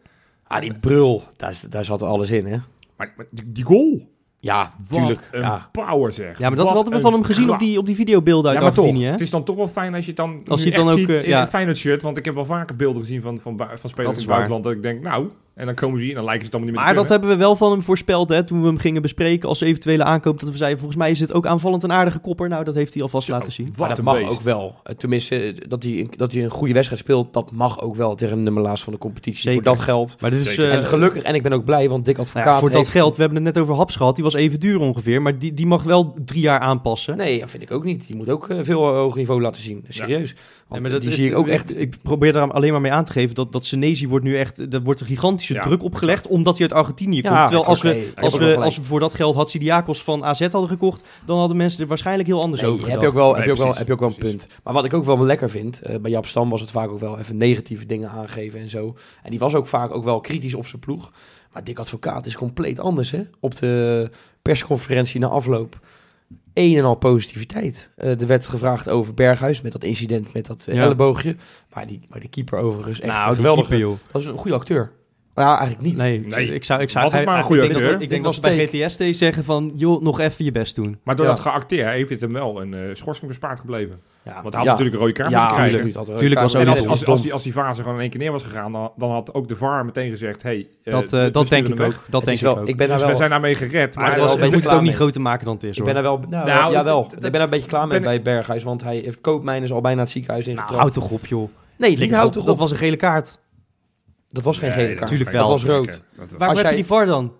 [SPEAKER 1] Ah, die brul, daar, is- daar zat alles in, hè?
[SPEAKER 3] Maar, maar die, die goal.
[SPEAKER 1] Ja,
[SPEAKER 3] Wat
[SPEAKER 1] tuurlijk.
[SPEAKER 3] een
[SPEAKER 1] Ja.
[SPEAKER 3] power zeg.
[SPEAKER 2] Ja, maar dat
[SPEAKER 3] Wat
[SPEAKER 2] hadden we
[SPEAKER 3] een
[SPEAKER 2] van hem gezien op
[SPEAKER 3] kracht.
[SPEAKER 2] die, op die videobeelden uit
[SPEAKER 3] ja, maar toch,
[SPEAKER 2] Argentinië. hè?
[SPEAKER 3] het is dan toch wel fijn als je het dan,
[SPEAKER 2] Als
[SPEAKER 3] als
[SPEAKER 2] je
[SPEAKER 3] je
[SPEAKER 2] het dan ook,
[SPEAKER 3] ziet
[SPEAKER 2] eh,
[SPEAKER 3] in
[SPEAKER 2] ja.
[SPEAKER 3] een Feyenoord shirt. Want ik heb wel vaker beelden gezien van, van, bu- van
[SPEAKER 1] Dat
[SPEAKER 3] spelers
[SPEAKER 1] is
[SPEAKER 3] in het
[SPEAKER 1] waar.
[SPEAKER 3] buitenland. Dat ik denk, nou, en dan komen ze hier en dan lijken ze het allemaal niet
[SPEAKER 2] Maar
[SPEAKER 3] meer
[SPEAKER 2] dat hebben we wel van hem voorspeld hè, toen we hem gingen bespreken als eventuele aankoop. Dat we zeiden, volgens mij is het ook aanvallend een aardige kopper. Nou, dat heeft hij alvast laten zien.
[SPEAKER 1] Maar dat mag ook wel. Eh, Tenminste, eh, dat hij, dat hij een goede wedstrijd speelt, dat mag ook wel tegen een nummerlaas van de competitie.
[SPEAKER 2] Zeker.
[SPEAKER 1] Voor dat geld.
[SPEAKER 2] Maar dit is,
[SPEAKER 3] Zeker.
[SPEAKER 2] eh,
[SPEAKER 1] en gelukkig, en ik ben ook blij, want Dick
[SPEAKER 2] Nou
[SPEAKER 1] Advocaat
[SPEAKER 2] ja, voor dat
[SPEAKER 1] heeft-
[SPEAKER 2] geld, we hebben het net over Haps gehad. Die was even duur ongeveer, maar die, die mag wel drie jaar aanpassen.
[SPEAKER 1] Nee, dat vind ik ook niet. Die moet ook eh, veel hoger niveau laten zien. Serieus. Want
[SPEAKER 2] Nee,
[SPEAKER 1] eh,
[SPEAKER 2] maar dat
[SPEAKER 1] die
[SPEAKER 2] is-
[SPEAKER 1] zie ik ook echt...
[SPEAKER 2] Ik probeer daar alleen maar mee aan te geven dat, dat Senezi wordt nu echt. Er wordt een gigantische
[SPEAKER 3] Ja,
[SPEAKER 2] druk opgelegd omdat hij uit Argentinië
[SPEAKER 1] Ja,
[SPEAKER 2] komt. Terwijl als
[SPEAKER 1] oké,
[SPEAKER 2] we,
[SPEAKER 1] ik heb
[SPEAKER 2] als,
[SPEAKER 1] ook
[SPEAKER 2] we,
[SPEAKER 1] gelijk.
[SPEAKER 2] als we voor dat geld Hatsidiakos van AZ hadden gekocht, dan hadden mensen er waarschijnlijk heel anders
[SPEAKER 1] Nee,
[SPEAKER 2] over
[SPEAKER 1] heb
[SPEAKER 2] gedacht.
[SPEAKER 1] je ook wel, heb
[SPEAKER 3] Nee,
[SPEAKER 1] je ook wel,
[SPEAKER 3] precies,
[SPEAKER 1] heb je ook wel een
[SPEAKER 3] precies.
[SPEAKER 1] punt. Maar wat ik ook wel lekker vind, eh, bij Jap Stam was het vaak ook wel even negatieve dingen aangeven en zo. En die was ook vaak ook wel kritisch op zijn ploeg. Maar Dick Advocaat is compleet anders, hè? Op de persconferentie na afloop. Een en al positiviteit. Eh, er werd gevraagd over Berghuis met dat incident met dat eh,
[SPEAKER 2] Ja.
[SPEAKER 1] elleboogje. Maar die, maar die keeper overigens echt
[SPEAKER 2] nou,
[SPEAKER 1] geweldig.
[SPEAKER 2] geweldig joh.
[SPEAKER 1] Dat is een goede acteur. Nou Ja, eigenlijk niet.
[SPEAKER 2] Nee,
[SPEAKER 3] Nee,
[SPEAKER 2] ik zou, ik zou
[SPEAKER 3] was het
[SPEAKER 2] hij-
[SPEAKER 3] maar een
[SPEAKER 2] ik
[SPEAKER 3] goede
[SPEAKER 2] denk dat-
[SPEAKER 3] acteur.
[SPEAKER 2] Ik denk dat ze bij GTSD zeggen van, joh, nog even je best doen.
[SPEAKER 3] Maar door
[SPEAKER 1] Ja.
[SPEAKER 3] dat geacteerd heeft het hem wel een eh, schorsing bespaard gebleven.
[SPEAKER 2] Ja,
[SPEAKER 3] Want hij had
[SPEAKER 1] Ja.
[SPEAKER 3] natuurlijk een rode kaart moeten krijgen.
[SPEAKER 1] absoluut. Had er-
[SPEAKER 2] Tuurlijk was
[SPEAKER 1] En
[SPEAKER 2] ook Ja,
[SPEAKER 3] En als,
[SPEAKER 2] dat
[SPEAKER 3] als,
[SPEAKER 2] was
[SPEAKER 3] als, die, als die fase gewoon in één keer neer was gegaan, dan, dan had ook de VAR meteen gezegd: hey, eh,
[SPEAKER 2] dat
[SPEAKER 3] we
[SPEAKER 2] eh, dat
[SPEAKER 3] sturen
[SPEAKER 2] denk ik
[SPEAKER 3] hem
[SPEAKER 2] ook.
[SPEAKER 3] weg.
[SPEAKER 2] Dat
[SPEAKER 1] het
[SPEAKER 2] denk
[SPEAKER 1] is
[SPEAKER 2] ik
[SPEAKER 1] wel,
[SPEAKER 2] ook.
[SPEAKER 1] ik ben daar
[SPEAKER 3] dus
[SPEAKER 1] wel...
[SPEAKER 3] we zijn daarmee gered.
[SPEAKER 1] Maar
[SPEAKER 3] Maar
[SPEAKER 1] het
[SPEAKER 3] dat-
[SPEAKER 1] was-
[SPEAKER 2] we
[SPEAKER 1] ben
[SPEAKER 2] moeten het
[SPEAKER 1] klaar
[SPEAKER 2] ook niet
[SPEAKER 1] mee.
[SPEAKER 2] groter maken dan het is
[SPEAKER 1] Ik
[SPEAKER 2] hoor.
[SPEAKER 1] ben er wel, nou,
[SPEAKER 3] Nou,
[SPEAKER 1] jawel.
[SPEAKER 3] dat-
[SPEAKER 1] ik ben er een beetje klaar mee
[SPEAKER 3] ben
[SPEAKER 1] bij Berghuis, want hij heeft koopmijners al bijna het ziekenhuis
[SPEAKER 2] Nou,
[SPEAKER 1] ingetrapt.
[SPEAKER 2] houd toch op joh.
[SPEAKER 1] Nee,
[SPEAKER 2] Flikker
[SPEAKER 1] niet houdt
[SPEAKER 2] op,
[SPEAKER 1] toch
[SPEAKER 2] Dat
[SPEAKER 1] op.
[SPEAKER 2] was een gele kaart.
[SPEAKER 1] Dat was geen
[SPEAKER 3] Nee,
[SPEAKER 1] gele
[SPEAKER 3] dat
[SPEAKER 1] kaart.
[SPEAKER 2] Tuurlijk
[SPEAKER 3] geen-
[SPEAKER 2] wel.
[SPEAKER 1] Dat was rood.
[SPEAKER 3] Dat was-
[SPEAKER 2] Waarom heb
[SPEAKER 1] jij-
[SPEAKER 2] je die VAR dan?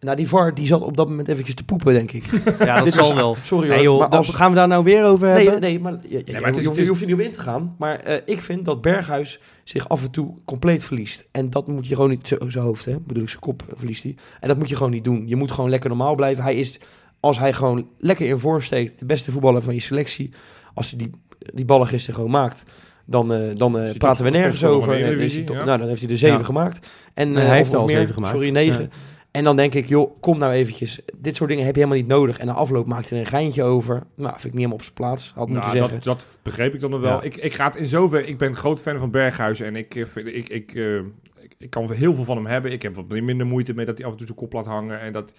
[SPEAKER 1] Nou, die VAR die zat op dat moment eventjes te poepen, denk ik.
[SPEAKER 2] Ja, dat
[SPEAKER 1] Dit
[SPEAKER 2] zal
[SPEAKER 1] was-
[SPEAKER 2] wel.
[SPEAKER 1] Sorry hoor.
[SPEAKER 2] Nee joh,
[SPEAKER 1] maar
[SPEAKER 2] dan
[SPEAKER 1] als...
[SPEAKER 2] gaan we daar nou weer over
[SPEAKER 1] nee,
[SPEAKER 2] hebben?
[SPEAKER 1] nee, maar, ja, ja,
[SPEAKER 3] maar het
[SPEAKER 1] je
[SPEAKER 3] is- dus-
[SPEAKER 1] hoeft- je,
[SPEAKER 3] het is-
[SPEAKER 1] hoeft er niet op in te gaan. Maar eh, ik vind dat Berghuis zich af en toe compleet verliest. En dat moet je gewoon niet... zo- Zijn hoofd, hè? bedoel ik, zijn kop eh, verliest hij. En dat moet je gewoon niet doen. Je moet gewoon lekker normaal blijven. Hij is, als hij gewoon lekker in vorm steekt... de beste voetballer van je selectie. Als hij die, die ballen gisteren gewoon maakt... dan, eh, dan eh,
[SPEAKER 3] hij
[SPEAKER 1] praten we
[SPEAKER 3] toch-
[SPEAKER 1] nergens
[SPEAKER 3] toch wel
[SPEAKER 1] over.
[SPEAKER 3] een
[SPEAKER 1] En is hij
[SPEAKER 3] Eredivisie,
[SPEAKER 1] toch-
[SPEAKER 3] ja.
[SPEAKER 1] Nou, dan heeft hij er zeven
[SPEAKER 2] Ja.
[SPEAKER 1] gemaakt. En,
[SPEAKER 2] Nee, hij
[SPEAKER 1] eh, of-
[SPEAKER 2] heeft er
[SPEAKER 1] of
[SPEAKER 2] al
[SPEAKER 1] meer.
[SPEAKER 2] zeven gemaakt.
[SPEAKER 1] Sorry, negen.
[SPEAKER 2] Ja.
[SPEAKER 1] En dan denk ik, joh, kom nou eventjes. Dit soort dingen heb je helemaal niet nodig. En na afloop maakt hij er een geintje over. Nou, vind ik niet helemaal op zijn plaats. Had moeten
[SPEAKER 3] Nou,
[SPEAKER 1] zeggen.
[SPEAKER 3] dat, dat begreep ik dan nog wel.
[SPEAKER 2] Ja.
[SPEAKER 3] Ik, ik ga het in zover. Ik ben groot fan van Berghuis en ik, eh, vind- ik, ik, eh, ik, ik kan heel veel van hem hebben. Ik heb wat minder moeite mee dat hij af en toe zijn kop laat hangen en dat.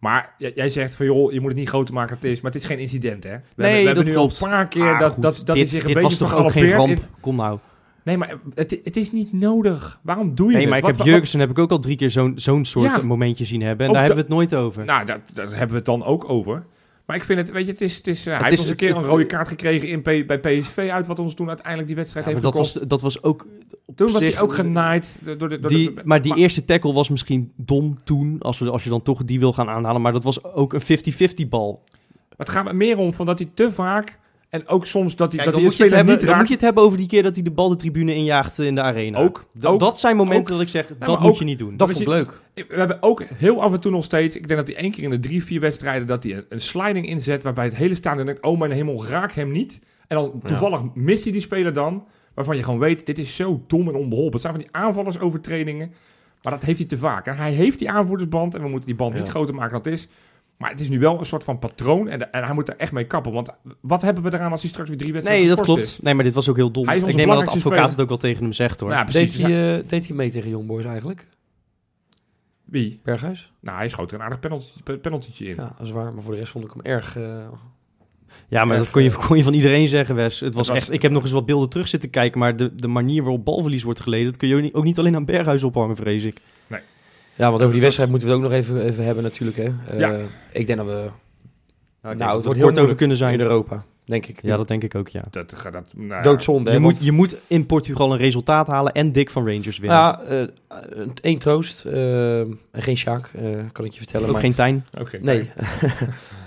[SPEAKER 3] Maar j- jij zegt van joh, je moet het niet groter maken dan het is. Maar het is geen incident, hè? We
[SPEAKER 2] Nee,
[SPEAKER 3] hebben, we hebben
[SPEAKER 2] dat
[SPEAKER 3] nu
[SPEAKER 2] klopt.
[SPEAKER 3] al een paar keer
[SPEAKER 2] Ah,
[SPEAKER 3] dat,
[SPEAKER 2] goed,
[SPEAKER 3] dat, dat
[SPEAKER 2] dit,
[SPEAKER 3] hij zich een
[SPEAKER 2] dit
[SPEAKER 3] beetje
[SPEAKER 2] was toch ook geen
[SPEAKER 3] vergalopeerd
[SPEAKER 2] ramp?
[SPEAKER 3] in-
[SPEAKER 2] Kom nou.
[SPEAKER 3] Nee, maar het, het is niet nodig. Waarom doe je
[SPEAKER 2] Nee,
[SPEAKER 3] het?
[SPEAKER 2] maar ik
[SPEAKER 3] Wat-
[SPEAKER 2] heb
[SPEAKER 3] wat-
[SPEAKER 2] Jurgensen heb ik ook al drie keer zo'n zo'n soort
[SPEAKER 3] Ja.
[SPEAKER 2] momentje zien hebben. En
[SPEAKER 3] Ook
[SPEAKER 2] daar
[SPEAKER 3] da-
[SPEAKER 2] hebben we het nooit over.
[SPEAKER 3] Nou, dat, dat hebben we het dan ook over. Maar ik vind het, weet je, het is, het is, eh, hij
[SPEAKER 2] is-
[SPEAKER 3] heeft ons een keer
[SPEAKER 2] het-
[SPEAKER 3] een
[SPEAKER 2] het-
[SPEAKER 3] rode kaart gekregen in P- bij PSV uit, wat ons toen uiteindelijk die wedstrijd
[SPEAKER 2] Ja, maar
[SPEAKER 3] heeft
[SPEAKER 2] dat,
[SPEAKER 3] gekost.
[SPEAKER 2] was, dat was ook. op
[SPEAKER 3] Toen was
[SPEAKER 2] zich- eh,
[SPEAKER 3] hij ook genaaid door de... Door de,
[SPEAKER 2] Die,
[SPEAKER 3] door de-
[SPEAKER 2] maar die eerste tackle was misschien dom toen, als, we, als je dan toch die wil gaan aanhalen. Maar dat was ook een 50-50 bal.
[SPEAKER 3] maar het gaat me meer om van dat hij te vaak... En ook soms dat hij,
[SPEAKER 2] Kijk,
[SPEAKER 3] dat
[SPEAKER 2] dan,
[SPEAKER 3] hij een
[SPEAKER 2] moet je het
[SPEAKER 3] speler
[SPEAKER 2] hebben,
[SPEAKER 3] niet
[SPEAKER 2] dan moet
[SPEAKER 3] raakt.
[SPEAKER 2] je het hebben over die keer dat hij de bal de tribune injaagt in de arena.
[SPEAKER 3] Ook,
[SPEAKER 2] Da-
[SPEAKER 3] ook,
[SPEAKER 2] dat zijn momenten dat ik zeg, dat
[SPEAKER 3] maar
[SPEAKER 2] moet
[SPEAKER 3] ook-
[SPEAKER 2] je niet doen.
[SPEAKER 1] Dat
[SPEAKER 3] maar
[SPEAKER 1] vond ik
[SPEAKER 3] zie-
[SPEAKER 1] leuk.
[SPEAKER 3] We hebben ook heel af en toe nog steeds... Ik denk dat hij één keer in de drie, vier wedstrijden... dat hij een, een sliding inzet waarbij het hele staande denkt... oh mijn hemel, raak hem niet. En dan toevallig mist hij die speler dan... waarvan je gewoon weet, dit is zo dom en onbeholpen. Het zijn van die aanvallersovertredingen. Maar dat heeft hij te vaak. En hij heeft die aanvoerdersband... en we moeten die band niet
[SPEAKER 2] Ja.
[SPEAKER 3] groter maken dan het is... Maar het is nu wel een soort van patroon en, de- en hij moet er echt mee kappen. Want wat hebben we eraan als hij straks weer drie wedstrijden
[SPEAKER 2] nee, dat
[SPEAKER 3] geschorst
[SPEAKER 2] klopt.
[SPEAKER 3] is?
[SPEAKER 2] Nee, maar dit was ook heel dom.
[SPEAKER 3] Hij is
[SPEAKER 2] Ik
[SPEAKER 3] onze
[SPEAKER 2] neem aan dat de
[SPEAKER 3] belangrijkste
[SPEAKER 2] advocaat
[SPEAKER 3] speler.
[SPEAKER 2] het ook wel tegen hem zegt hoor.
[SPEAKER 3] Nou,
[SPEAKER 1] Deed
[SPEAKER 3] precies.
[SPEAKER 1] hij, eh, deed hij mee tegen Young Boys eigenlijk?
[SPEAKER 3] Wie?
[SPEAKER 1] Berghuis?
[SPEAKER 3] Nou, hij schoot er een aardig penalty, pe- penaltytje in.
[SPEAKER 1] Ja, dat is waar. Maar voor de rest vond ik hem erg... eh,
[SPEAKER 2] ja, maar
[SPEAKER 1] erg,
[SPEAKER 2] dat kon je, kon je van iedereen zeggen, Wes. Het was
[SPEAKER 3] was-
[SPEAKER 2] echt, ik heb nog eens wat beelden terug zitten kijken, maar de, de manier waarop balverlies wordt geleden, dat kun je ook niet, ook niet alleen aan Berghuis ophangen, vrees ik.
[SPEAKER 1] Ja, want over die wedstrijd moeten we het ook nog even, even hebben natuurlijk. Hè. Eh,
[SPEAKER 3] Ja.
[SPEAKER 1] Ik denk dat we
[SPEAKER 2] Nou,
[SPEAKER 1] Nou,
[SPEAKER 2] dat
[SPEAKER 1] het
[SPEAKER 2] we
[SPEAKER 1] wordt
[SPEAKER 2] kort
[SPEAKER 1] heel
[SPEAKER 2] over kunnen zijn.
[SPEAKER 1] in Europa, denk ik.
[SPEAKER 2] Ja, dat denk ik ook, ja.
[SPEAKER 3] Dat, ga- dat, nou ja.
[SPEAKER 1] Doodzonde.
[SPEAKER 2] Je moet, je moet in Portugal een resultaat halen en dik van Rangers winnen.
[SPEAKER 1] Ja, één troost. eh, en geen Sjaak, eh, kan ik je vertellen.
[SPEAKER 2] ook
[SPEAKER 1] maar-
[SPEAKER 2] geen Tijn.
[SPEAKER 3] Oké, kijk.
[SPEAKER 1] Nee.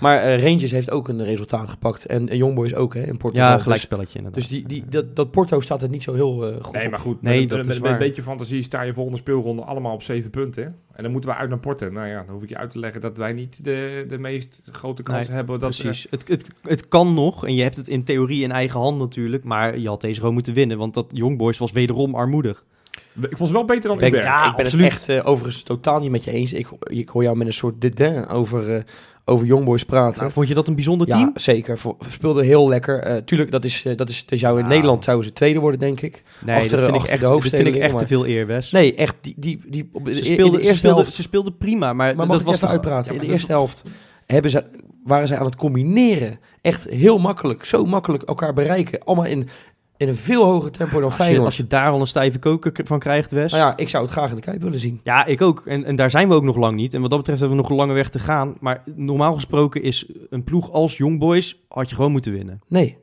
[SPEAKER 1] maar eh, Rangers heeft ook een resultaat gepakt. En eh, Youngboys ook, hè, in Portugal.
[SPEAKER 2] Ja,
[SPEAKER 1] Dus-
[SPEAKER 2] gelijkspelletje inderdaad.
[SPEAKER 1] Dus, die, die, dat, dat Porto staat het niet zo heel eh, goed
[SPEAKER 3] Nee,
[SPEAKER 1] op.
[SPEAKER 3] maar goed.
[SPEAKER 2] Nee,
[SPEAKER 3] met,
[SPEAKER 2] dat
[SPEAKER 3] met-
[SPEAKER 2] is
[SPEAKER 3] met een
[SPEAKER 2] waar.
[SPEAKER 3] beetje fantasie sta je volgende speelronde allemaal op zeven punten. hè? En dan moeten we uit naar Porto. Nou ja, dan hoef ik je uit te leggen dat wij niet de, de meest grote kans
[SPEAKER 2] Nee,
[SPEAKER 3] hebben. Dat, eh,
[SPEAKER 1] eh,
[SPEAKER 2] Precies. Het, het, het kan nog, en je hebt het in theorie in eigen hand natuurlijk, maar je had deze gewoon moeten winnen, want dat Youngboys was wederom armoedig.
[SPEAKER 3] eh, we- ik vond ze wel beter dan
[SPEAKER 1] ben,
[SPEAKER 3] Uber.
[SPEAKER 1] ik- ik ben
[SPEAKER 2] absoluut.
[SPEAKER 1] het echt eh, overigens totaal niet met je eens. Ik, ik hoor jou met een soort dédain over, eh, over Youngboys praten.
[SPEAKER 2] Nou, vond je dat een bijzonder
[SPEAKER 1] ja,
[SPEAKER 2] team?
[SPEAKER 1] zeker. Vo- Speelde heel lekker. Eh, tuurlijk, dat, is, eh, dat, is, dat zou in
[SPEAKER 2] Ja.
[SPEAKER 1] Nederland zouden ze tweede worden, denk ik.
[SPEAKER 2] Nee,
[SPEAKER 1] Achter-
[SPEAKER 2] dat vind ik echt,
[SPEAKER 1] achter de
[SPEAKER 2] dat vind ik
[SPEAKER 1] hoofdstedeling,
[SPEAKER 2] echt te
[SPEAKER 1] maar-
[SPEAKER 2] veel eer, Wes.
[SPEAKER 1] Nee, echt. Die, die, die, op, in
[SPEAKER 2] ze,
[SPEAKER 1] de
[SPEAKER 2] speelden, ze,
[SPEAKER 1] eerste
[SPEAKER 2] speelden,
[SPEAKER 1] helft-
[SPEAKER 2] ze speelden prima, maar,
[SPEAKER 1] Maar mag
[SPEAKER 2] Eh, dat
[SPEAKER 1] ik
[SPEAKER 2] was
[SPEAKER 1] even
[SPEAKER 2] toch-
[SPEAKER 1] uitpraten?
[SPEAKER 2] Ja,
[SPEAKER 1] in de
[SPEAKER 2] maar dat-
[SPEAKER 1] eerste helft hebben ze, waren zij aan het combineren. Echt heel makkelijk, zo makkelijk elkaar bereiken. Allemaal in, in een veel hoger tempo dan
[SPEAKER 2] Als je,
[SPEAKER 1] Feyenoord.
[SPEAKER 2] als je daar al een stijve koker k- van krijgt, Wes.
[SPEAKER 1] Nou ja, ik zou het graag in de Kuip willen zien.
[SPEAKER 2] Ja, ik ook. En, en daar zijn we ook nog lang niet. En wat dat betreft hebben we nog een lange weg te gaan. Maar normaal gesproken is een ploeg als Young Boys had je gewoon moeten winnen.
[SPEAKER 1] Nee.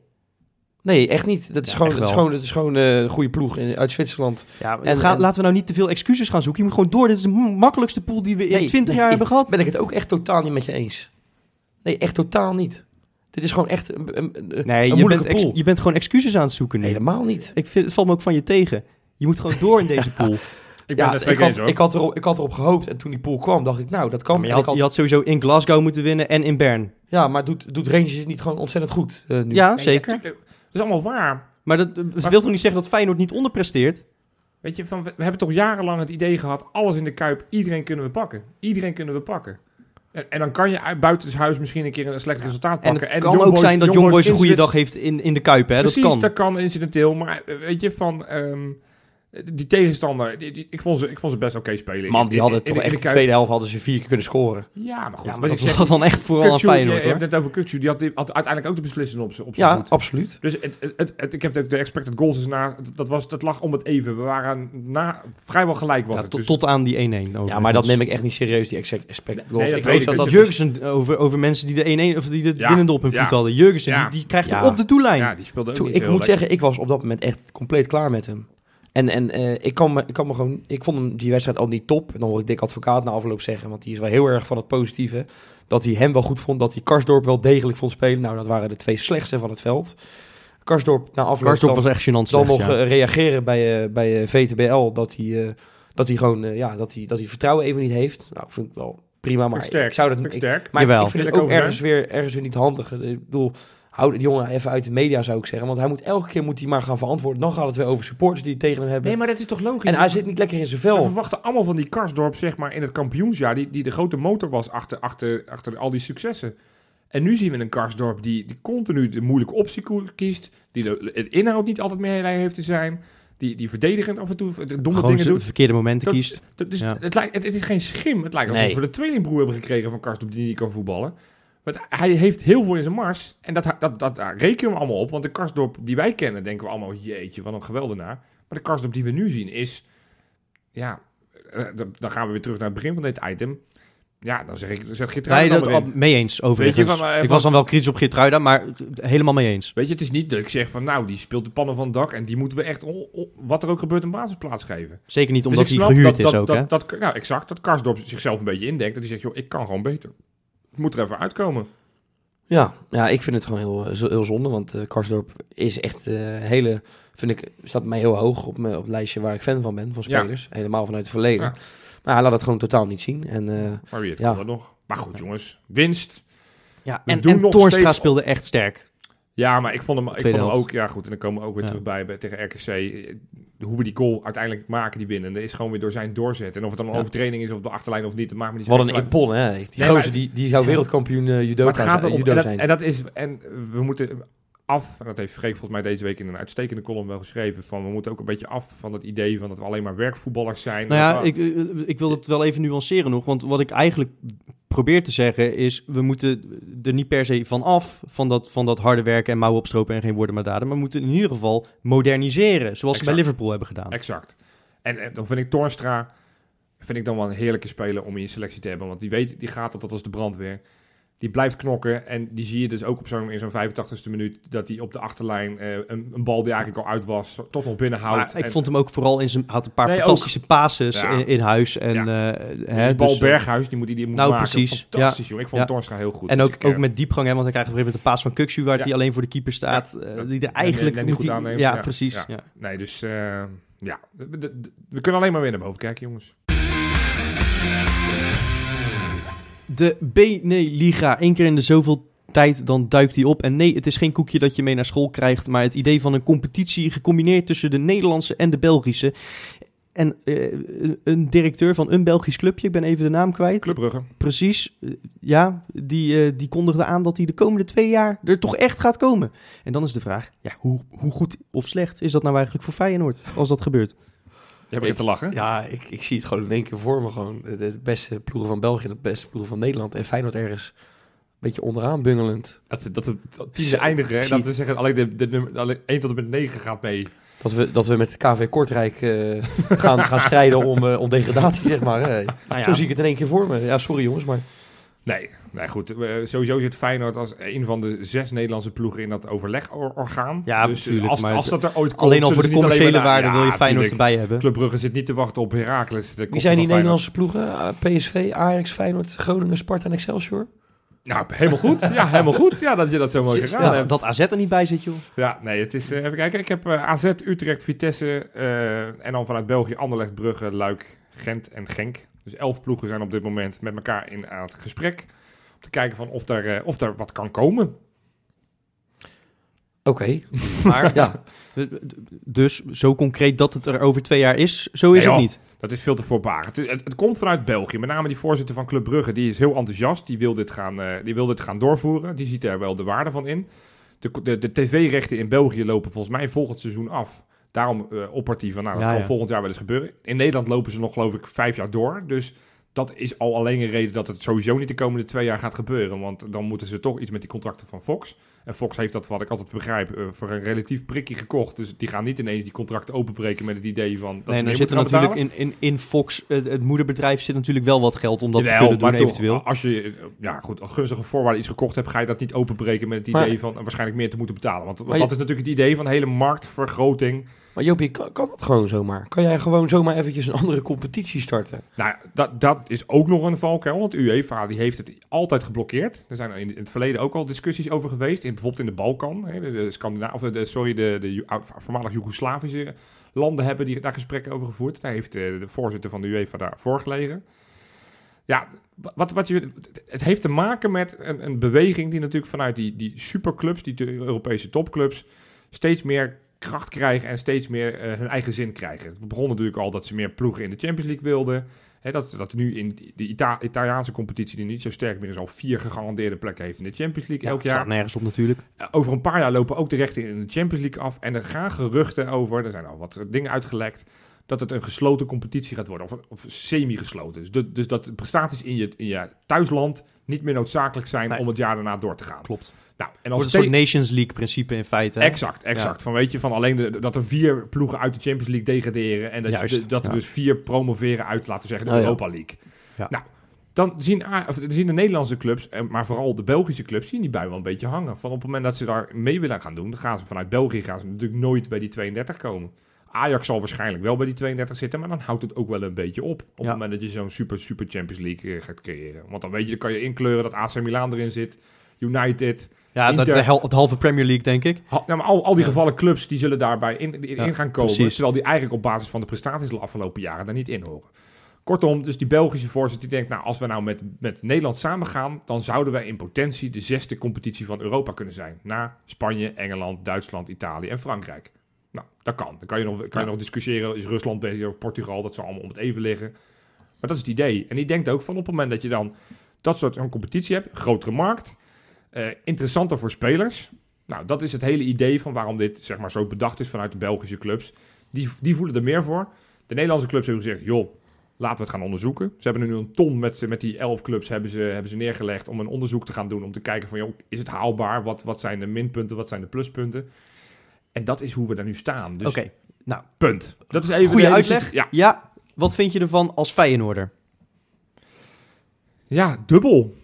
[SPEAKER 1] Nee, echt niet. Dat is
[SPEAKER 2] Ja,
[SPEAKER 1] gewoon,
[SPEAKER 2] echt
[SPEAKER 1] dat is
[SPEAKER 2] wel.
[SPEAKER 1] gewoon, dat is gewoon eh, een goede ploeg in, uit Zwitserland.
[SPEAKER 2] Ja,
[SPEAKER 1] en-
[SPEAKER 2] ga,
[SPEAKER 1] en-
[SPEAKER 2] laten we nou niet te veel excuses gaan zoeken. Je moet gewoon door. Dit is de m- makkelijkste pool die we in
[SPEAKER 1] Nee,
[SPEAKER 2] 20 jaar
[SPEAKER 1] nee,
[SPEAKER 2] hebben gehad.
[SPEAKER 1] Ben ik het ook echt totaal niet met je eens? Nee, echt totaal niet. Dit is gewoon echt een, een, een-
[SPEAKER 2] Nee,
[SPEAKER 1] een
[SPEAKER 2] je bent,
[SPEAKER 1] moeilijke
[SPEAKER 2] ex-
[SPEAKER 1] pool.
[SPEAKER 2] je bent gewoon excuses aan het zoeken nu.
[SPEAKER 1] Helemaal niet.
[SPEAKER 2] ik vind, het valt me ook van je tegen. Je moet gewoon door in deze pool.
[SPEAKER 3] Ik ben
[SPEAKER 1] Ja,
[SPEAKER 3] het
[SPEAKER 1] ik,
[SPEAKER 3] twee keer eens
[SPEAKER 1] had,
[SPEAKER 3] hoor.
[SPEAKER 1] ik, had erop, ik had erop gehoopt en toen die pool kwam dacht ik, nou dat kan.
[SPEAKER 2] maar je
[SPEAKER 1] En ik
[SPEAKER 2] had, je had sowieso in Glasgow moeten winnen en in Bern.
[SPEAKER 1] Ja, maar doet, doet Rangers het niet gewoon ontzettend goed eh, nu?
[SPEAKER 2] Ja,
[SPEAKER 3] Nee,
[SPEAKER 2] zeker.
[SPEAKER 3] ja, tuurlijk. dat is allemaal waar.
[SPEAKER 2] Maar dat, dat wil toch niet zeggen dat Feyenoord niet onderpresteert?
[SPEAKER 3] Weet je, van, we we hebben toch jarenlang het idee gehad... alles in de Kuip, iedereen kunnen we pakken. Iedereen kunnen we pakken. En, en dan kan je uit- buitenshuis misschien een keer een slecht resultaat
[SPEAKER 2] En
[SPEAKER 3] pakken.
[SPEAKER 2] het
[SPEAKER 3] de
[SPEAKER 2] kan ook
[SPEAKER 3] Young Boys-
[SPEAKER 2] zijn dat
[SPEAKER 3] Young
[SPEAKER 2] Young Boys
[SPEAKER 3] Boys
[SPEAKER 2] een
[SPEAKER 3] in
[SPEAKER 2] goede
[SPEAKER 3] Zwits-
[SPEAKER 2] dag heeft in, in de Kuip, hè?
[SPEAKER 3] Precies,
[SPEAKER 2] dat kan.
[SPEAKER 3] dat kan incidenteel. Maar eh, weet je, van... ehm, Die tegenstander, die- die- ik, vond ze, ik vond ze best oké spelen.
[SPEAKER 1] Man, die
[SPEAKER 3] In-
[SPEAKER 1] hadden
[SPEAKER 3] in- in- in
[SPEAKER 1] toch echt...
[SPEAKER 3] de
[SPEAKER 1] De
[SPEAKER 3] kuip-
[SPEAKER 1] tweede helft hadden ze vier keer kunnen scoren.
[SPEAKER 3] Ja, maar goed.
[SPEAKER 2] Ja,
[SPEAKER 3] wat
[SPEAKER 2] maar
[SPEAKER 3] ik
[SPEAKER 2] dat
[SPEAKER 3] zeg,
[SPEAKER 2] was dan echt vooral aan
[SPEAKER 3] Kukçu,
[SPEAKER 2] Feyenoord,
[SPEAKER 3] je hebt
[SPEAKER 2] hoor.
[SPEAKER 3] het net over Kukçu. Die had, die had uiteindelijk ook de beslissende op zijn op zijn
[SPEAKER 1] Ja,
[SPEAKER 3] voet.
[SPEAKER 1] absoluut.
[SPEAKER 3] Dus het, het, het, het- ik heb ook de expected goals is na. het- Dat, was, dat lag om het even. We waren na, vrijwel gelijk. Was
[SPEAKER 2] Ja,
[SPEAKER 3] het.
[SPEAKER 2] tot,
[SPEAKER 3] Dus-
[SPEAKER 2] tot aan die 1-1. overigens.
[SPEAKER 1] Ja, maar dat neem ik echt niet serieus, die exact expect goals.
[SPEAKER 3] dat weet
[SPEAKER 1] ik weet
[SPEAKER 3] ik,
[SPEAKER 1] dat
[SPEAKER 3] weet
[SPEAKER 1] dat...
[SPEAKER 3] je.
[SPEAKER 2] Jurgensen, over, over mensen die de 1-1 of die de
[SPEAKER 3] Ja,
[SPEAKER 2] winnende op hun voet
[SPEAKER 3] ja.
[SPEAKER 2] hadden. Jurgensen,
[SPEAKER 3] Ja.
[SPEAKER 2] die, die krijgt
[SPEAKER 1] Ja.
[SPEAKER 2] hem op de doellijn.
[SPEAKER 3] ja, die speelde ook
[SPEAKER 1] Toen,
[SPEAKER 3] niet
[SPEAKER 1] ik
[SPEAKER 3] heel
[SPEAKER 1] moet
[SPEAKER 3] lekker.
[SPEAKER 1] zeggen, ik was op dat moment echt compleet klaar met hem. En, en eh, ik, kan me, ik kan me gewoon... Ik vond hem die wedstrijd al niet top. En dan hoor ik Dick Advocaat na afloop zeggen, want die is wel heel erg van het positieve. Dat hij hem wel goed vond, dat hij Karsdorp wel degelijk vond spelen. Nou, dat waren de twee slechtste van het veld. Karsdorp na afloop...
[SPEAKER 2] Karsdorp
[SPEAKER 1] dan-
[SPEAKER 2] was echt gênant
[SPEAKER 1] zal
[SPEAKER 2] slecht,
[SPEAKER 1] nog
[SPEAKER 2] ja.
[SPEAKER 1] eh, reageren bij, eh, bij eh, VTBL dat hij, eh, dat hij gewoon eh, ja, dat hij, dat hij vertrouwen even niet heeft. Nou, ik vind het wel prima,
[SPEAKER 3] Vind
[SPEAKER 1] maar
[SPEAKER 3] ik sterk.
[SPEAKER 1] ik zou dat
[SPEAKER 3] Vind ik
[SPEAKER 1] niet. ik-
[SPEAKER 3] sterk.
[SPEAKER 1] maar
[SPEAKER 2] Jawel.
[SPEAKER 1] ik vind het
[SPEAKER 3] Wil ik
[SPEAKER 1] ook
[SPEAKER 3] over
[SPEAKER 1] ergens weer, ergens weer niet handig. Ik bedoel, hou de jongen even uit de media zou ik zeggen, want hij moet elke keer moet hij maar gaan verantwoorden. Dan gaat het weer over supporters die het tegen hem hebben.
[SPEAKER 3] Nee, maar dat is toch logisch?
[SPEAKER 1] en hij zit niet lekker in zijn
[SPEAKER 3] We
[SPEAKER 1] vel.
[SPEAKER 3] verwachten allemaal van die Karsdorp, zeg maar, in het kampioensjaar, die, die de grote motor was achter, achter, achter al die successen. En nu zien we een Karsdorp die, die continu de moeilijke optie ko- kiest, die de, het inhoud niet altijd meer heeft te zijn, die, die verdedigend af en toe de domme
[SPEAKER 2] Gewoon
[SPEAKER 3] dingen
[SPEAKER 2] de
[SPEAKER 3] doet.
[SPEAKER 2] verkeerde momenten
[SPEAKER 3] Dat-
[SPEAKER 2] kiest.
[SPEAKER 3] Dat- dus
[SPEAKER 2] Ja.
[SPEAKER 3] het, lijkt, het, het is geen schim. Het lijkt alsof
[SPEAKER 1] Nee.
[SPEAKER 3] we de tweelingbroer hebben gekregen van Karsdorp die niet kan voetballen. Want hij heeft heel veel in zijn mars. En dat, dat, dat, daar rekenen we allemaal op. Want de Karsdorp die wij kennen, denken we allemaal... Jeetje, wat een geweldenaar. Maar de Karsdorp die we nu zien is... Ja, eh, dan dan gaan we weer terug naar het begin van dit item. Ja, dan zeg ik... Zet Geertruiden
[SPEAKER 2] Nee,
[SPEAKER 3] dan
[SPEAKER 2] dat
[SPEAKER 3] maar in.
[SPEAKER 2] al- mee eens, overigens.
[SPEAKER 3] van, eh,
[SPEAKER 2] ik
[SPEAKER 3] van-
[SPEAKER 2] was dan wel kritisch op Geertruida, maar eh, helemaal mee eens.
[SPEAKER 3] Weet je, het is niet dat ik zeg van... Nou, die speelt de pannen van het dak. En die moeten we echt... on- on- wat er ook gebeurt een basisplaats geven.
[SPEAKER 2] Zeker niet
[SPEAKER 3] Dus
[SPEAKER 2] omdat
[SPEAKER 3] ik
[SPEAKER 2] hij
[SPEAKER 3] snap
[SPEAKER 2] gehuurd is
[SPEAKER 3] dat,
[SPEAKER 2] ook,
[SPEAKER 3] dat,
[SPEAKER 2] hè?
[SPEAKER 3] Dat, dat, nou, exact. Dat Karsdorp zichzelf een beetje indenkt. Dat hij zegt, joh, ik kan gewoon beter. Het moet er even uitkomen.
[SPEAKER 1] Ja, ja, ik vind het gewoon heel, eh, zo- heel zonde, want eh, Karsdorp is echt eh, hele, vind ik, staat bij mij heel hoog op, mijn- op het lijstje waar ik fan van ben, van
[SPEAKER 3] Ja.
[SPEAKER 1] spelers. Helemaal vanuit het verleden.
[SPEAKER 3] Ja.
[SPEAKER 1] Maar hij laat het gewoon totaal niet zien. En eh,
[SPEAKER 3] Maar wie het
[SPEAKER 1] Ja.
[SPEAKER 3] kan dat nog. Maar goed, jongens. Winst.
[SPEAKER 2] Ja,
[SPEAKER 3] we
[SPEAKER 2] en
[SPEAKER 3] doen
[SPEAKER 2] en
[SPEAKER 3] nog
[SPEAKER 2] Toornstra
[SPEAKER 3] steeds-
[SPEAKER 2] speelde echt sterk.
[SPEAKER 3] Ja, maar ik vond hem, ik vond
[SPEAKER 2] Tweede
[SPEAKER 3] hem
[SPEAKER 2] helft.
[SPEAKER 3] ook... Ja, goed. En dan komen we ook weer
[SPEAKER 2] Ja.
[SPEAKER 3] terug bij, bij tegen RKC. Eh, Hoe we die goal uiteindelijk maken, die winnende, is gewoon weer door zijn doorzet. En of het dan een
[SPEAKER 2] Ja.
[SPEAKER 3] overtreding is op de achterlijn of niet, dat maakt me niet zo
[SPEAKER 1] Wat een
[SPEAKER 3] uit.
[SPEAKER 1] epon, hè? Die
[SPEAKER 3] maar
[SPEAKER 1] gozer
[SPEAKER 3] het-
[SPEAKER 1] die, die zou wereldkampioen eh, judoka
[SPEAKER 3] Maar het gaat
[SPEAKER 1] zijn-
[SPEAKER 3] erom.
[SPEAKER 1] judo
[SPEAKER 3] En dat,
[SPEAKER 1] zijn.
[SPEAKER 3] en dat is. En eh, we moeten af. En dat heeft Freek volgens mij deze week in een uitstekende column wel geschreven. Van we moeten ook een beetje af van het idee van dat we alleen maar werkvoetballers zijn.
[SPEAKER 2] Nou
[SPEAKER 3] Dat
[SPEAKER 2] ja,
[SPEAKER 3] we-
[SPEAKER 2] ik, eh, ik wil het wel even nuanceren nog. Want wat ik eigenlijk probeer te zeggen is... we moeten er niet per se van af... van dat, van dat harde werken en mouwen opstropen en geen woorden maar daden. Maar we moeten in ieder geval moderniseren. Zoals ze bij
[SPEAKER 3] Exact.
[SPEAKER 2] Liverpool hebben gedaan.
[SPEAKER 3] Exact. En, eh, dan vind ik Torstra vind ik dan wel een heerlijke speler om in je selectie te hebben. Want die weet, die gaat altijd als de brandweer. Die blijft knokken en die zie je dus ook op zo'n, in zo'n 85e minuut... dat hij op de achterlijn eh, een, een bal die eigenlijk al uit was... toch nog binnenhoudt.
[SPEAKER 2] Maar ik
[SPEAKER 3] En
[SPEAKER 2] vond hem ook vooral in zijn... had een paar
[SPEAKER 3] Nee,
[SPEAKER 2] fantastische passes
[SPEAKER 3] Ja.
[SPEAKER 2] in, in huis. En,
[SPEAKER 3] die
[SPEAKER 2] eh, hè,
[SPEAKER 3] bal
[SPEAKER 2] dus, eh,
[SPEAKER 3] Berghuis, die moet hij die moet
[SPEAKER 2] nou,
[SPEAKER 3] maken.
[SPEAKER 2] precies.
[SPEAKER 3] Fantastisch, joh. Ik vond
[SPEAKER 2] Ja.
[SPEAKER 3] Torstra heel goed.
[SPEAKER 2] en
[SPEAKER 3] Dus
[SPEAKER 2] ook,
[SPEAKER 3] ik, eh,
[SPEAKER 2] ook met diepgang, hè, want hij krijgt op een gegeven moment de paas van Kukshu... waar
[SPEAKER 3] Ja.
[SPEAKER 2] hij alleen voor de keeper staat. eh,
[SPEAKER 3] dat-
[SPEAKER 2] die er
[SPEAKER 3] nee,
[SPEAKER 2] eigenlijk...
[SPEAKER 3] nee,
[SPEAKER 2] moet
[SPEAKER 3] goed
[SPEAKER 2] hij-
[SPEAKER 3] aannemen.
[SPEAKER 2] ja,
[SPEAKER 3] Ja,
[SPEAKER 2] precies.
[SPEAKER 3] ja.
[SPEAKER 2] Ja.
[SPEAKER 3] Nee, dus eh, ja. We, de- de- we kunnen alleen maar weer naar boven kijken, jongens.
[SPEAKER 2] De Beneliga. Eén keer in de zoveel tijd, dan duikt die op. En nee, het is geen koekje dat je mee naar school krijgt. Maar het idee van een competitie gecombineerd tussen de Nederlandse en de Belgische. En eh, een directeur van een Belgisch clubje, ik ben even de naam kwijt.
[SPEAKER 3] Club Brugge.
[SPEAKER 2] Precies, eh, ja. Die, eh, die kondigde aan dat hij de komende twee jaar er toch echt gaat komen. En dan is de vraag, ja, hoe, hoe goed of slecht is dat nou eigenlijk voor Feyenoord als dat gebeurt?
[SPEAKER 3] Je hebt te lachen.
[SPEAKER 1] Ja, ik, ik zie het gewoon in één keer voor me. Gewoon de, de beste ploegen van België, de beste ploegen van Nederland. En Feyenoord ergens een beetje onderaan bungelend.
[SPEAKER 3] Dat, dat we dat tiende eindigen. hè.
[SPEAKER 1] Ziet.
[SPEAKER 3] Dat we zeggen, alleen de, de nummer alleen 1 tot en met 9 gaat mee.
[SPEAKER 1] Dat we, dat we met KV Kortrijk eh, gaan, gaan strijden om, eh, om degradatie, zeg maar. hè.
[SPEAKER 3] Ah,
[SPEAKER 2] Nou ja,
[SPEAKER 1] Zo zie ik het in één keer voor me. Ja, sorry jongens, maar...
[SPEAKER 3] Nee, nee goed. Eh, sowieso zit Feyenoord als een van de zes Nederlandse ploegen in dat overlegorgaan.
[SPEAKER 2] Ja,
[SPEAKER 3] dus
[SPEAKER 2] natuurlijk,
[SPEAKER 3] Als,
[SPEAKER 2] maar
[SPEAKER 3] als dat er ooit komt...
[SPEAKER 2] alleen al voor
[SPEAKER 3] zullen ze
[SPEAKER 2] de
[SPEAKER 3] niet alleen
[SPEAKER 2] commerciële
[SPEAKER 3] maar naar-
[SPEAKER 2] waarde wil je
[SPEAKER 3] Ja,
[SPEAKER 2] Feyenoord
[SPEAKER 3] tuurlijk.
[SPEAKER 2] erbij hebben.
[SPEAKER 3] Club Brugge zit niet te wachten op Heracles. De
[SPEAKER 1] Wie
[SPEAKER 3] kosten
[SPEAKER 1] zijn die
[SPEAKER 3] van Feyenoord.
[SPEAKER 1] Nederlandse ploegen? Ah, PSV, Ajax, Feyenoord, Groningen, Sparta en Excelsior?
[SPEAKER 3] Nou, helemaal goed. Ja, helemaal goed. Ja, dat je dat zo mooi
[SPEAKER 2] Ja,
[SPEAKER 3] gedaan hebt.
[SPEAKER 2] dat AZ er niet bij zit, joh.
[SPEAKER 3] Ja, nee, het is... eh, even kijken. Ik heb eh, AZ, Utrecht, Vitesse eh, en dan vanuit België Anderlecht, Brugge, Luik, Gent en Genk. Dus elf ploegen zijn op dit moment met elkaar in aan het gesprek. Om te kijken van of daar, eh, of daar wat kan komen.
[SPEAKER 1] Oké,
[SPEAKER 2] Maar
[SPEAKER 1] ja.
[SPEAKER 2] Dus zo concreet dat het er over twee jaar is, zo is
[SPEAKER 3] Nee,
[SPEAKER 2] het
[SPEAKER 3] joh.
[SPEAKER 2] niet.
[SPEAKER 3] Dat is veel te voorbarig. Het, het, het komt vanuit België. Met name die voorzitter van Club Brugge, die is heel enthousiast. Die wil dit gaan, eh, die wil dit gaan doorvoeren. Die ziet er wel de waarde van in. De, de, de tv-rechten in België lopen volgens mij volgend seizoen af. Daarom eh oppartie van, nou, dat
[SPEAKER 2] Ja,
[SPEAKER 3] kan
[SPEAKER 2] ja.
[SPEAKER 3] volgend jaar wel eens gebeuren. In Nederland lopen ze nog, geloof ik, vijf jaar door. Dus dat is al alleen een reden dat het sowieso niet de komende twee jaar gaat gebeuren. Want dan moeten ze toch iets met die contracten van Fox. En Fox heeft dat, wat ik altijd begrijp, eh, voor een relatief prikkie gekocht. Dus die gaan niet ineens die contracten openbreken met het idee van... Dat ze
[SPEAKER 2] nee,
[SPEAKER 3] meer
[SPEAKER 2] er zit
[SPEAKER 3] moeten
[SPEAKER 2] er
[SPEAKER 3] gaan
[SPEAKER 2] natuurlijk
[SPEAKER 3] betalen.
[SPEAKER 2] in, in, in Fox, eh, het, het moederbedrijf, zit natuurlijk wel wat geld om dat te
[SPEAKER 3] Jawel,
[SPEAKER 2] kunnen doen
[SPEAKER 3] maar toch,
[SPEAKER 2] eventueel.
[SPEAKER 3] Als je eh, ja, goed, als gunstige voorwaarden iets gekocht hebt, ga je dat niet openbreken met het
[SPEAKER 1] Maar-
[SPEAKER 3] idee van eh, waarschijnlijk meer te moeten betalen. Want, want
[SPEAKER 1] Maar je-
[SPEAKER 3] dat is natuurlijk het idee van hele marktvergroting.
[SPEAKER 1] Maar Jopie, kan, kan dat gewoon zomaar? Kan jij gewoon zomaar eventjes een andere competitie starten?
[SPEAKER 3] Nou, dat, dat is ook nog een valkuil, want UEFA die heeft het altijd geblokkeerd. Er zijn in, in het verleden ook al discussies over geweest, in, bijvoorbeeld in de Balkan. Hè, de, de Scandina- of de, sorry, de, de Ju- ou- voormalig Joegoslavische landen hebben die, daar gesprekken over gevoerd. Daar heeft eh, de voorzitter van de UEFA daar voorgelegen. Ja, wat, wat je, het heeft te maken met een, een beweging die natuurlijk vanuit die, die superclubs, die de Europese topclubs, steeds meer kracht krijgen en steeds meer eh, hun eigen zin krijgen. Het begon natuurlijk al dat ze meer ploegen in de Champions League wilden. Hè, dat, dat nu in de Ita- Italiaanse competitie, die niet zo sterk meer is, al vier gegarandeerde plekken heeft in de Champions League elk jaar.
[SPEAKER 2] Staat nergens op natuurlijk.
[SPEAKER 3] Eh, Over een paar jaar lopen ook de rechten in de Champions League af. En er gaan geruchten over, er zijn al wat dingen uitgelekt, dat het een gesloten competitie gaat worden. Of, of semi-gesloten. Dus, dat- dus dat de prestaties in je, in je thuisland niet meer noodzakelijk zijn
[SPEAKER 2] Nee.
[SPEAKER 3] om het jaar daarna door te gaan.
[SPEAKER 2] Klopt.
[SPEAKER 3] Nou, en
[SPEAKER 2] Wordt
[SPEAKER 3] als
[SPEAKER 2] een
[SPEAKER 3] twee-
[SPEAKER 2] soort Nations League principe in feite. hè?
[SPEAKER 3] Exact, exact. Van weet je, van alleen de- dat er vier ploegen uit de Champions League degraderen. En dat, je
[SPEAKER 2] Juist,
[SPEAKER 3] de- dat er
[SPEAKER 2] ja.
[SPEAKER 3] dus vier promoveren uit, laten we zeggen, de
[SPEAKER 1] Oh ja.
[SPEAKER 3] Europa League.
[SPEAKER 2] Ja.
[SPEAKER 3] Nou, dan zien, A- of, dan zien de Nederlandse clubs, en- maar vooral de Belgische clubs, zien die bui wel een beetje hangen. Van op het moment dat ze daar mee willen gaan doen, dan gaan ze vanuit België gaan ze natuurlijk nooit bij die 32 komen. Ajax zal waarschijnlijk wel bij die 32 zitten, maar dan houdt het ook wel een beetje op. Op het
[SPEAKER 2] Ja.
[SPEAKER 3] moment dat je zo'n super, super Champions League eh, gaat creëren. Want dan weet je, dan kan je inkleuren dat AC Milan erin zit, United,
[SPEAKER 2] Ja, dat,
[SPEAKER 3] Inter-
[SPEAKER 2] de hel- het halve Premier League, denk ik.
[SPEAKER 3] Ha- nou, maar al, al die
[SPEAKER 2] Ja.
[SPEAKER 3] gevallen clubs die zullen daarbij in, in,
[SPEAKER 2] Ja,
[SPEAKER 3] in gaan komen.
[SPEAKER 2] precies.
[SPEAKER 3] Terwijl die eigenlijk op basis van de prestaties de afgelopen jaren daar niet in horen. Kortom, dus die Belgische voorzitter die denkt, nou, als we nou met, met Nederland samen gaan, dan zouden wij in potentie de zesde competitie van Europa kunnen zijn. Na Spanje, Engeland, Duitsland, Italië en Frankrijk. Nou, dat kan. Dan kan je nog, kan je nog discussiëren, is Rusland beter of Portugal, dat zou allemaal om het even liggen. Maar dat is het idee. En die denkt ook van op het moment dat je dan dat soort zo'n competitie hebt, grotere markt, eh, interessanter voor spelers. Nou, dat is het hele idee van waarom dit zeg maar, zo bedacht is vanuit de Belgische clubs. Die, die voelen er meer voor. De Nederlandse clubs hebben gezegd, joh, laten we het gaan onderzoeken. Ze hebben nu een ton met, ze- met die elf clubs hebben ze, hebben ze neergelegd om een onderzoek te gaan doen. Om te kijken van, joh, is het haalbaar? Wat, wat zijn de minpunten? Wat zijn de pluspunten? En dat is hoe we daar nu staan. Dus
[SPEAKER 2] Oké, nou,
[SPEAKER 3] punt. Dat is even
[SPEAKER 2] goede
[SPEAKER 3] de hele
[SPEAKER 2] uitleg.
[SPEAKER 3] situ- Ja,
[SPEAKER 2] Ja, wat vind je ervan als Feyenoorder?
[SPEAKER 3] Ja, dubbel.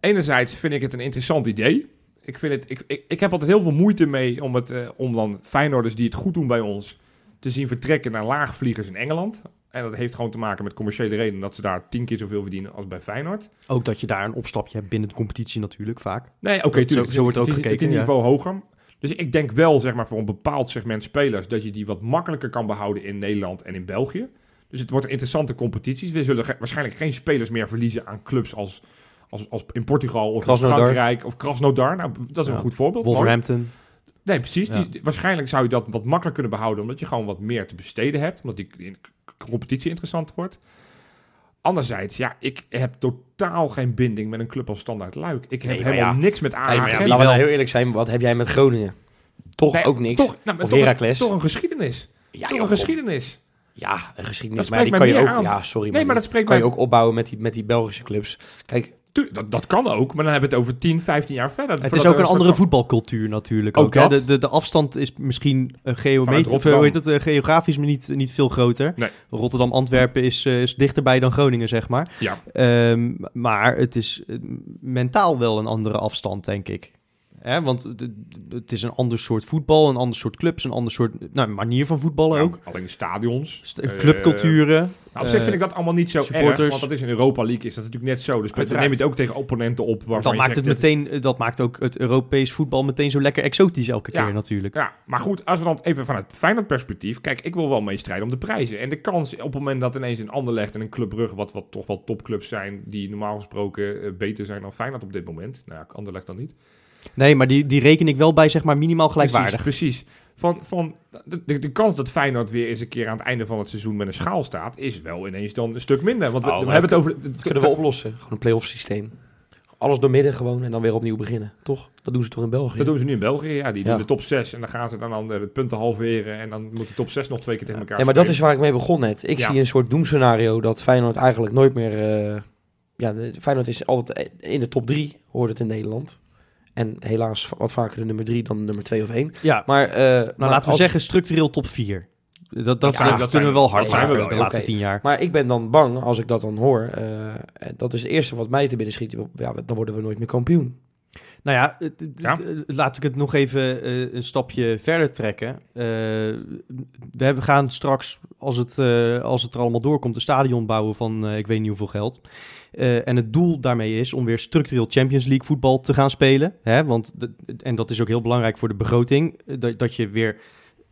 [SPEAKER 3] Enerzijds vind ik het een interessant idee. Ik, vind het, ik, ik, ik heb altijd heel veel moeite mee om, het, eh, om dan Feyenoorders die het goed doen bij ons... te zien vertrekken naar laagvliegers in Engeland. En dat heeft gewoon te maken met commerciële redenen... dat ze daar tien keer zoveel verdienen als bij Feyenoord.
[SPEAKER 2] Ook dat je daar een opstapje hebt binnen de competitie natuurlijk, vaak.
[SPEAKER 3] Nee, oké,
[SPEAKER 2] Zo-
[SPEAKER 3] tuurlijk.
[SPEAKER 2] zo wordt
[SPEAKER 3] het
[SPEAKER 2] ook
[SPEAKER 3] is- Het is
[SPEAKER 2] gekeken,
[SPEAKER 3] een
[SPEAKER 2] ja.
[SPEAKER 3] niveau hoger. Dus ik denk wel, zeg maar, voor een bepaald segment spelers... dat je die wat makkelijker kan behouden in Nederland en in België. Dus het wordt interessante competities. We zullen ge- waarschijnlijk geen spelers meer verliezen aan clubs als... Als, als in Portugal of in
[SPEAKER 1] Krasnodar.
[SPEAKER 3] Frankrijk of Krasnodar. Nou, dat is
[SPEAKER 2] Ja.
[SPEAKER 3] een goed voorbeeld.
[SPEAKER 2] Wolverhampton.
[SPEAKER 3] Nee, precies.
[SPEAKER 2] Ja.
[SPEAKER 3] Die, waarschijnlijk zou je dat wat makkelijker kunnen behouden, omdat je gewoon wat meer te besteden hebt, omdat die in- competitie interessant wordt. Anderzijds, ja, ik heb totaal geen binding met een club als Standaard Luik. Ik heb
[SPEAKER 1] Nee, maar
[SPEAKER 3] helemaal
[SPEAKER 1] ja.
[SPEAKER 3] niks met AAG.
[SPEAKER 2] Nee, maar ja,
[SPEAKER 1] Laten
[SPEAKER 2] wie
[SPEAKER 1] we nou
[SPEAKER 2] wel?
[SPEAKER 1] heel eerlijk zijn, wat heb jij met Groningen? Toch
[SPEAKER 3] Nee,
[SPEAKER 1] ook niks.
[SPEAKER 3] Toch, nou, maar
[SPEAKER 1] Of
[SPEAKER 3] toch, een,
[SPEAKER 1] Heracles.
[SPEAKER 3] toch een geschiedenis.
[SPEAKER 1] ja,
[SPEAKER 3] toch
[SPEAKER 1] joh,
[SPEAKER 3] een
[SPEAKER 1] kom.
[SPEAKER 3] geschiedenis.
[SPEAKER 1] Ja, een geschiedenis.
[SPEAKER 3] Dat
[SPEAKER 1] maar
[SPEAKER 3] spreekt
[SPEAKER 1] die kan
[SPEAKER 3] mij
[SPEAKER 1] je ook.
[SPEAKER 3] meer aan.
[SPEAKER 1] Ja, sorry.
[SPEAKER 3] Nee, maar
[SPEAKER 1] die
[SPEAKER 3] dat spreekt
[SPEAKER 1] kan je
[SPEAKER 3] mij-
[SPEAKER 1] ook opbouwen met die, met die Belgische clubs. Kijk,
[SPEAKER 3] Tu- dat, dat kan ook, maar dan hebben we het over 10, 15 jaar verder.
[SPEAKER 2] Het
[SPEAKER 3] Voordat
[SPEAKER 2] is
[SPEAKER 3] er
[SPEAKER 2] ook een
[SPEAKER 3] soort
[SPEAKER 2] andere
[SPEAKER 3] van-
[SPEAKER 2] voetbalcultuur natuurlijk.
[SPEAKER 3] Ook
[SPEAKER 2] Ook, hè.
[SPEAKER 3] dat.
[SPEAKER 2] de, de, de afstand is misschien eh, geomet- of, eh,
[SPEAKER 3] Rotterdam.
[SPEAKER 2] hoe heet het, eh, geografisch maar niet, niet veel groter.
[SPEAKER 3] Nee.
[SPEAKER 2] Rotterdam-Antwerpen is, eh, is dichterbij dan Groningen, zeg maar.
[SPEAKER 3] Ja.
[SPEAKER 2] Ehm, maar het is eh, mentaal wel een andere afstand, denk ik. Hè, want het- het is een ander soort voetbal, een ander soort clubs, een ander soort nou, manier van voetballen ook.
[SPEAKER 3] Ja, Nou, alleen de stadions.
[SPEAKER 2] St-
[SPEAKER 3] Eh,
[SPEAKER 2] Clubculturen.
[SPEAKER 3] Nou, op zich
[SPEAKER 2] Eh,
[SPEAKER 3] vind ik dat allemaal niet zo erg,
[SPEAKER 2] supporters.
[SPEAKER 3] want dat is in Europa League is dat natuurlijk net zo. Dus dan
[SPEAKER 2] Uiteraard.
[SPEAKER 3] neem je het ook tegen opponenten op waarvan
[SPEAKER 2] dat
[SPEAKER 3] je
[SPEAKER 2] maakt, het
[SPEAKER 3] zegt, dit is-
[SPEAKER 2] meteen, eh, dat maakt ook het Europees voetbal meteen zo lekker exotisch elke
[SPEAKER 3] Ja.
[SPEAKER 2] keer natuurlijk.
[SPEAKER 3] Ja, maar goed, als we dan even vanuit Feyenoord perspectief... Kijk, ik wil wel meestrijden om de prijzen. En de kans op het moment dat ineens een Anderlecht en een Club Brugge... wat, wat toch wel topclubs zijn, die normaal gesproken eh, beter zijn dan Feyenoord op dit moment. Nou ja, Anderlecht dan niet.
[SPEAKER 2] Nee, maar die, die reken ik wel bij zeg maar minimaal gelijkwaardig.
[SPEAKER 3] Precies, precies. Van, van de, de- de kans dat Feyenoord weer eens een keer aan het einde van het seizoen met een schaal staat... is wel ineens dan een stuk minder. Want we,
[SPEAKER 1] Oh,
[SPEAKER 3] we
[SPEAKER 1] maar
[SPEAKER 3] hebben het
[SPEAKER 1] dat
[SPEAKER 3] over...
[SPEAKER 1] dat kunnen we oplossen. Gewoon een play-off systeem. Alles doormidden gewoon en dan weer opnieuw beginnen. Toch? Dat doen ze toch in België?
[SPEAKER 3] Dat doen ze nu in België. Ja, die
[SPEAKER 1] Ja.
[SPEAKER 3] doen de top 6 en dan gaan ze dan, dan de punten halveren. En dan moet de top 6 nog twee keer tegen elkaar
[SPEAKER 1] Ja, maar dat
[SPEAKER 3] spelen.
[SPEAKER 1] is waar ik mee begon net. Ik
[SPEAKER 3] Ja.
[SPEAKER 1] zie een soort doemscenario dat Feyenoord eigenlijk nooit meer... eh, ja, de- Feyenoord is altijd e- in de top drie, hoort het in Nederland. En helaas wat vaker de nummer drie dan de nummer twee of één.
[SPEAKER 2] Ja,
[SPEAKER 1] Maar, eh, maar
[SPEAKER 2] nou laten we
[SPEAKER 1] als-
[SPEAKER 2] zeggen structureel top 4. Dat, dat,
[SPEAKER 3] Ja,
[SPEAKER 2] dat
[SPEAKER 3] dat
[SPEAKER 2] kunnen
[SPEAKER 3] zijn-
[SPEAKER 2] we wel hard
[SPEAKER 3] dat zijn we
[SPEAKER 2] maken
[SPEAKER 3] wel,
[SPEAKER 2] de
[SPEAKER 3] ja,
[SPEAKER 2] laatste
[SPEAKER 1] oké.
[SPEAKER 2] tien jaar.
[SPEAKER 1] Maar ik ben dan bang, als ik dat dan hoor, eh, dat is het eerste wat mij te binnen schiet. Ja, dan worden we nooit meer kampioen.
[SPEAKER 2] Nou ja, het- het-
[SPEAKER 3] Ja.
[SPEAKER 2] het- laat ik het nog even eh, een stapje verder trekken. Eh, we hebben- gaan straks, als het, eh, als het er allemaal doorkomt, een stadion bouwen van eh, ik weet niet hoeveel geld. Eh, en het doel daarmee is om weer structureel Champions League voetbal te gaan spelen. Hè? Want de- en dat is ook heel belangrijk voor de begroting. eh, Dat, dat je weer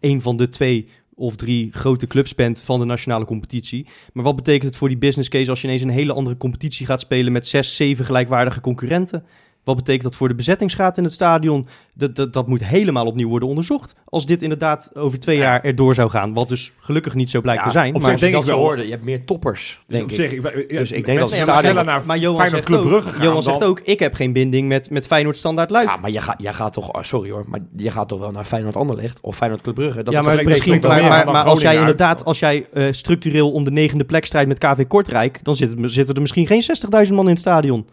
[SPEAKER 2] een van de twee of drie grote clubs bent van de nationale competitie. Maar wat betekent het voor die business case als je ineens een hele andere competitie gaat spelen met zes, zeven gelijkwaardige concurrenten? Wat betekent dat voor de bezettingsgraad in het stadion? Dat, dat, dat moet helemaal opnieuw worden onderzocht. Als dit inderdaad over twee
[SPEAKER 3] Ja.
[SPEAKER 2] jaar erdoor zou gaan. Wat dus gelukkig niet zo blijkt
[SPEAKER 1] Ja,
[SPEAKER 2] te zijn.
[SPEAKER 3] op
[SPEAKER 2] maar-
[SPEAKER 3] zich
[SPEAKER 1] als je
[SPEAKER 3] denk
[SPEAKER 1] dat
[SPEAKER 3] ik wel.
[SPEAKER 1] zo hoorde, je hebt meer toppers,
[SPEAKER 3] Dus op
[SPEAKER 1] denk ik.
[SPEAKER 3] zich, ik, ben- ja,
[SPEAKER 1] Dus ik denk dat
[SPEAKER 3] mensen
[SPEAKER 1] het
[SPEAKER 3] zijn
[SPEAKER 1] stadion-
[SPEAKER 3] sneller naar
[SPEAKER 2] maar Johan
[SPEAKER 3] Feyenoord
[SPEAKER 2] zegt
[SPEAKER 3] Club
[SPEAKER 2] ook-
[SPEAKER 3] Brugge gaan
[SPEAKER 2] Johan
[SPEAKER 3] dan-
[SPEAKER 2] zegt ook, ik heb geen binding met, met Feyenoord standaard Luik.
[SPEAKER 1] Ja, maar jij gaat, jij gaat toch, ah, sorry hoor, maar je gaat toch wel naar Feyenoord Anderlecht of Feyenoord Club Brugge. Dat
[SPEAKER 2] ja,
[SPEAKER 1] is
[SPEAKER 2] maar
[SPEAKER 1] toch-
[SPEAKER 3] spreekt
[SPEAKER 2] misschien,
[SPEAKER 3] toch
[SPEAKER 2] maar,
[SPEAKER 3] meer
[SPEAKER 2] maar,
[SPEAKER 3] dan
[SPEAKER 2] maar als jij
[SPEAKER 3] Groningen uit?
[SPEAKER 2] inderdaad, als jij eh, structureel om de negende plek strijdt met KV Kortrijk, dan zitten, er- zitten er misschien geen 60.000 man in het stadion.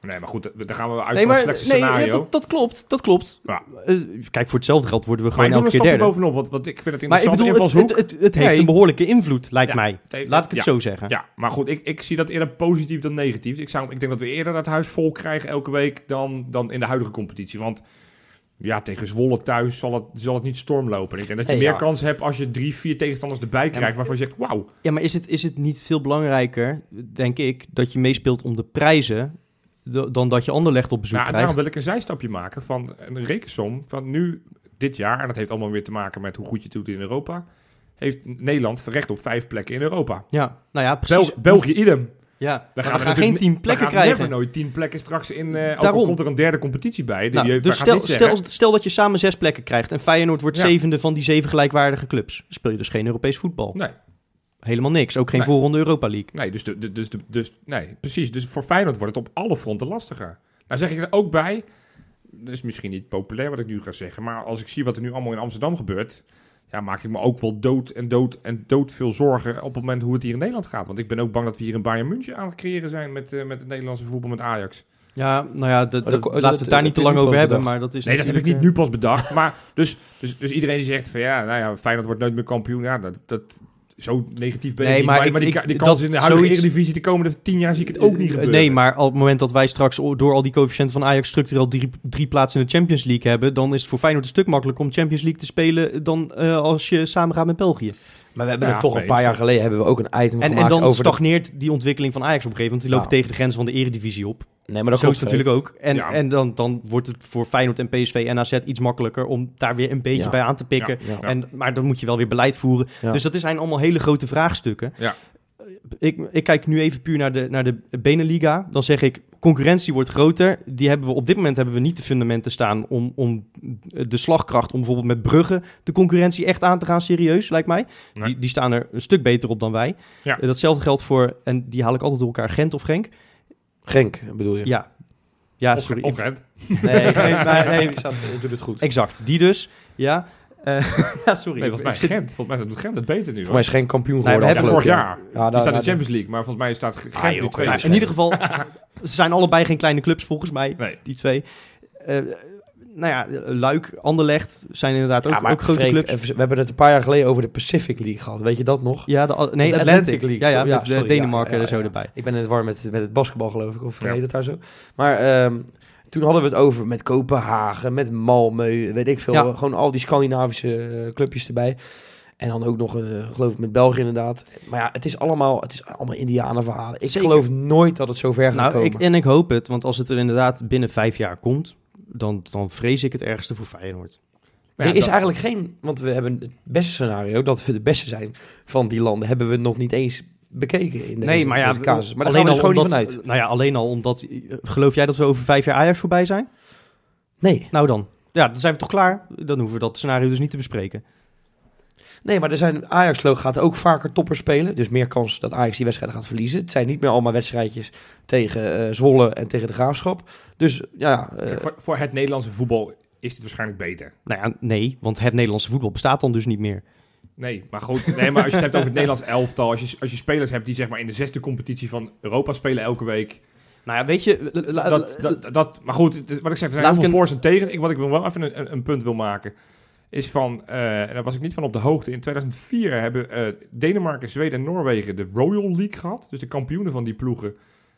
[SPEAKER 3] Nee, maar goed, dat- daar gaan we
[SPEAKER 2] Nee,
[SPEAKER 3] uit van het
[SPEAKER 2] maar
[SPEAKER 3] slechtste
[SPEAKER 2] nee,
[SPEAKER 3] scenario.
[SPEAKER 2] ja, dat, dat klopt, dat klopt.
[SPEAKER 3] Ja.
[SPEAKER 2] Eh, kijk, voor hetzelfde geld worden we
[SPEAKER 3] maar
[SPEAKER 2] gewoon
[SPEAKER 3] ik doe
[SPEAKER 2] elke
[SPEAKER 3] een
[SPEAKER 2] keer
[SPEAKER 3] stapje
[SPEAKER 2] derde.
[SPEAKER 3] bovenop, want, want ik vind het
[SPEAKER 2] Maar ik
[SPEAKER 3] interessant
[SPEAKER 2] bedoel, het,
[SPEAKER 3] invalshoek.
[SPEAKER 2] het, het, het heeft
[SPEAKER 3] Nee.
[SPEAKER 2] een behoorlijke invloed, lijkt
[SPEAKER 3] Ja,
[SPEAKER 2] mij.
[SPEAKER 3] het heeft-
[SPEAKER 2] Laat ik het
[SPEAKER 3] ja.
[SPEAKER 2] zo zeggen.
[SPEAKER 3] Ja, maar goed, ik, ik zie dat eerder positief dan negatief. Ik, zou, ik denk dat we eerder dat huis vol krijgen elke week dan, dan in de huidige competitie. Want ja, tegen Zwolle thuis zal het, zal het niet stormlopen. Ik denk dat je
[SPEAKER 1] Nee,
[SPEAKER 3] meer
[SPEAKER 1] ja.
[SPEAKER 3] kans hebt als je drie, vier tegenstanders erbij krijgt waarvan je zegt, wauw. nou,
[SPEAKER 2] Ja, maar is het, is het niet veel belangrijker, denk ik, dat je meespeelt om de prijzen d- dan dat je Anderlecht op bezoek
[SPEAKER 3] Nou, en
[SPEAKER 2] krijgt?
[SPEAKER 3] daarom wil ik een zijstapje maken van een rekensom van nu, dit jaar. En dat heeft allemaal weer te maken met hoe goed je het doet in Europa. Heeft Nederland recht op vijf plekken in Europa.
[SPEAKER 2] Ja, nou ja, precies.
[SPEAKER 3] Bel- België idem.
[SPEAKER 2] Ja,
[SPEAKER 3] We
[SPEAKER 2] we
[SPEAKER 3] gaan,
[SPEAKER 2] gaan, geen
[SPEAKER 3] er natuurlijk
[SPEAKER 2] tien
[SPEAKER 3] ne-
[SPEAKER 2] plekken
[SPEAKER 3] we gaan
[SPEAKER 2] krijgen.
[SPEAKER 3] never nooit tien plekken straks in. eh ook
[SPEAKER 2] Daarom.
[SPEAKER 3] al komt er een derde competitie bij. Die
[SPEAKER 2] Nou,
[SPEAKER 3] je-
[SPEAKER 2] dus
[SPEAKER 3] gaat
[SPEAKER 2] stel,
[SPEAKER 3] niet zeggen-
[SPEAKER 2] stel, stel dat je samen zes plekken krijgt en Feyenoord wordt
[SPEAKER 3] Ja.
[SPEAKER 2] zevende van die zeven gelijkwaardige clubs. Dan speel je dus geen Europees voetbal.
[SPEAKER 3] Nee,
[SPEAKER 2] Helemaal niks, ook geen
[SPEAKER 3] Nee.
[SPEAKER 2] voorronde Europa League.
[SPEAKER 3] nee, dus de, de- dus de, dus, nee, precies. Dus voor Feyenoord wordt het op alle fronten lastiger. Nou zeg ik er ook bij. Dat is misschien niet populair wat ik nu ga zeggen. Maar als ik zie wat er nu allemaal in Amsterdam gebeurt. Ja, maak ik me ook wel dood en dood en dood veel zorgen op het moment hoe het hier in Nederland gaat. Want ik ben ook bang dat we hier een Bayern München aan het creëren zijn met, eh, met het Nederlandse voetbal, met Ajax.
[SPEAKER 2] Ja, nou ja, dat- dat-
[SPEAKER 1] Maar dat-
[SPEAKER 2] laten we het
[SPEAKER 1] dat-
[SPEAKER 2] daar
[SPEAKER 1] dat
[SPEAKER 2] niet te
[SPEAKER 1] heb
[SPEAKER 2] lang
[SPEAKER 1] ik ook
[SPEAKER 2] over hebben,
[SPEAKER 1] bedacht.
[SPEAKER 2] maar dat is
[SPEAKER 3] Nee, dat heb ik niet
[SPEAKER 2] natuurlijk, eh,
[SPEAKER 3] nu pas bedacht. Maar dus, dus, dus iedereen die zegt van ja, nou ja, Feyenoord wordt nooit meer kampioen. Ja, dat, dat, zo negatief ben
[SPEAKER 2] Nee,
[SPEAKER 3] ik niet.
[SPEAKER 2] maar
[SPEAKER 3] Maar,
[SPEAKER 2] ik-
[SPEAKER 3] maar die,
[SPEAKER 2] ik-
[SPEAKER 3] ka- die kans
[SPEAKER 2] dat
[SPEAKER 3] in de huidige
[SPEAKER 2] zoiets-
[SPEAKER 3] Eredivisie de komende tien jaar zie ik het ook niet
[SPEAKER 2] eh,
[SPEAKER 3] gebeuren.
[SPEAKER 2] Nee, maar op het moment dat wij straks o- door al die coëfficiënten van Ajax structureel drie, drie plaatsen in de Champions League hebben, dan is het voor Feyenoord een stuk makkelijker om Champions League te spelen dan eh, als je samen gaat met België.
[SPEAKER 1] maar we hebben
[SPEAKER 3] Ja,
[SPEAKER 1] het toch een
[SPEAKER 3] opeens.
[SPEAKER 1] paar jaar geleden hebben we ook een item
[SPEAKER 2] En,
[SPEAKER 1] gemaakt
[SPEAKER 2] en dan
[SPEAKER 1] over... de- Nou.
[SPEAKER 2] stagneert die ontwikkeling van Ajax op een gegeven moment, want die lopen
[SPEAKER 1] Ja.
[SPEAKER 2] tegen de grens van de eredivisie op.
[SPEAKER 1] Nee, maar dat
[SPEAKER 2] Zo is
[SPEAKER 1] klopt
[SPEAKER 2] het natuurlijk ook. En,
[SPEAKER 3] Ja.
[SPEAKER 2] en dan, dan wordt het voor Feyenoord en PSV en AZ iets makkelijker om daar weer een beetje
[SPEAKER 1] Ja.
[SPEAKER 2] bij aan te pikken.
[SPEAKER 1] Ja.
[SPEAKER 3] Ja.
[SPEAKER 2] En, maar dan moet je wel weer beleid voeren.
[SPEAKER 1] Ja.
[SPEAKER 2] Dus dat zijn allemaal hele grote vraagstukken. Eh,
[SPEAKER 3] Ja.
[SPEAKER 2] Ik, ik kijk nu even puur naar de, naar de Beneliga. Dan zeg ik, concurrentie wordt groter. Die hebben we, op dit moment hebben we niet de fundamenten staan om, om de slagkracht... om bijvoorbeeld met Brugge de concurrentie echt aan te gaan, serieus, lijkt mij.
[SPEAKER 3] Nee.
[SPEAKER 2] Die, die staan er een stuk beter op dan wij.
[SPEAKER 3] Ja.
[SPEAKER 2] Eh, Datzelfde geldt voor, en die haal ik altijd door elkaar, Gent of Genk.
[SPEAKER 1] Genk, bedoel je?
[SPEAKER 2] Ja, ja
[SPEAKER 3] of,
[SPEAKER 2] sorry.
[SPEAKER 3] of Gent.
[SPEAKER 1] Nee, Genk, nee, nee,
[SPEAKER 2] Nee.
[SPEAKER 1] ik, zat, ik doe het goed.
[SPEAKER 2] Exact, die dus. Ja, Eh, ja sorry.
[SPEAKER 3] Nee, volgens mij
[SPEAKER 2] Ik zit-
[SPEAKER 3] Gent. Volgens mij doet Gent het beter nu.
[SPEAKER 1] Voor mij
[SPEAKER 3] Volgens
[SPEAKER 1] is geen kampioen
[SPEAKER 2] Nee, we
[SPEAKER 1] geworden
[SPEAKER 3] mij
[SPEAKER 2] hebben
[SPEAKER 3] vorig
[SPEAKER 1] afgelopen
[SPEAKER 3] jaar.
[SPEAKER 1] Ja,
[SPEAKER 3] Die
[SPEAKER 1] daar,
[SPEAKER 3] staat in de
[SPEAKER 1] daar-
[SPEAKER 3] Champions League, maar volgens mij staat Gent
[SPEAKER 1] Ah, joh,
[SPEAKER 3] nu tweede.
[SPEAKER 2] Nou, in ieder geval, ze zijn allebei geen kleine clubs volgens mij,
[SPEAKER 3] Nee.
[SPEAKER 2] die twee. Eh, nou ja, Luik, Anderlecht zijn inderdaad ook,
[SPEAKER 1] Ja, maar
[SPEAKER 2] ook grote
[SPEAKER 1] Freek,
[SPEAKER 2] clubs.
[SPEAKER 1] even- we hebben het een paar jaar geleden over de Pacific League gehad. Weet je dat nog?
[SPEAKER 2] ja, de, nee, Atlantic,
[SPEAKER 1] Atlantic League,
[SPEAKER 2] Ja, ja,
[SPEAKER 1] sorry. Ja,
[SPEAKER 2] met eh,
[SPEAKER 1] sorry,
[SPEAKER 2] Denemarken
[SPEAKER 1] ja, ja,
[SPEAKER 2] er zo
[SPEAKER 1] ja.
[SPEAKER 2] erbij.
[SPEAKER 1] Ik ben in het war met, met het basketbal, geloof ik. Of
[SPEAKER 3] Ja.
[SPEAKER 1] heet het daar zo? Maar ehm, toen hadden we het over met Kopenhagen, met Malmö, weet ik veel. eh,
[SPEAKER 2] Ja.
[SPEAKER 1] Gewoon al die Scandinavische eh, clubjes erbij. En dan ook nog, eh, geloof ik, met België inderdaad. Maar ja, het is allemaal, het is allemaal indianenverhalen. Ik
[SPEAKER 2] Zeker.
[SPEAKER 1] geloof nooit dat het zo ver gaat
[SPEAKER 2] Nou,
[SPEAKER 1] komen.
[SPEAKER 2] ik, en ik hoop het, want als het er inderdaad binnen vijf jaar komt, dan, dan vrees ik het ergste voor Feyenoord.
[SPEAKER 3] Nou ja,
[SPEAKER 1] er is
[SPEAKER 3] dat-
[SPEAKER 1] eigenlijk geen, want we hebben het beste scenario dat we de beste zijn van die landen, hebben we nog niet eens bekeken in deze,
[SPEAKER 2] nee, maar ja,
[SPEAKER 1] deze casus. Maar daar gaan we dus
[SPEAKER 2] al
[SPEAKER 1] gewoon niet
[SPEAKER 2] omdat-
[SPEAKER 1] vanuit.
[SPEAKER 2] Nou ja, alleen al omdat, eh, geloof jij dat we over vijf jaar Ajax voorbij zijn?
[SPEAKER 1] Nee.
[SPEAKER 2] Nou dan. Ja, dan zijn we toch klaar. Dan hoeven we dat scenario dus niet te bespreken.
[SPEAKER 1] Nee, maar er zijn ajax gaat ook vaker toppers spelen. Dus meer kans dat Ajax die wedstrijden gaat verliezen. Het zijn niet meer allemaal wedstrijdjes tegen eh, Zwolle en tegen de Graafschap. Dus ja, eh,
[SPEAKER 3] Kijk, voor, voor het Nederlandse voetbal is dit waarschijnlijk beter.
[SPEAKER 2] Nou ja, nee, want het Nederlandse voetbal bestaat dan dus niet meer.
[SPEAKER 3] Nee, maar goed. Nee, maar als je het hebt over het Nederlands elftal. Als je, als je spelers hebt die zeg maar in de zesde competitie van Europa spelen elke week.
[SPEAKER 2] Nou ja, weet je... la- la-
[SPEAKER 3] Dat,
[SPEAKER 2] la-
[SPEAKER 3] dat, dat, maar goed, het is- wat ik zeg, er zijn
[SPEAKER 2] Laat
[SPEAKER 3] heel
[SPEAKER 2] ik
[SPEAKER 3] veel
[SPEAKER 2] een-
[SPEAKER 3] voor's en tegens. Ik, wat ik wil wel even een, een, een punt wil maken. Is van, eh, en daar was ik niet van op de hoogte. In 2004 hebben eh, Denemarken, Zweden en Noorwegen de Royal League gehad. Dus de kampioenen van die ploegen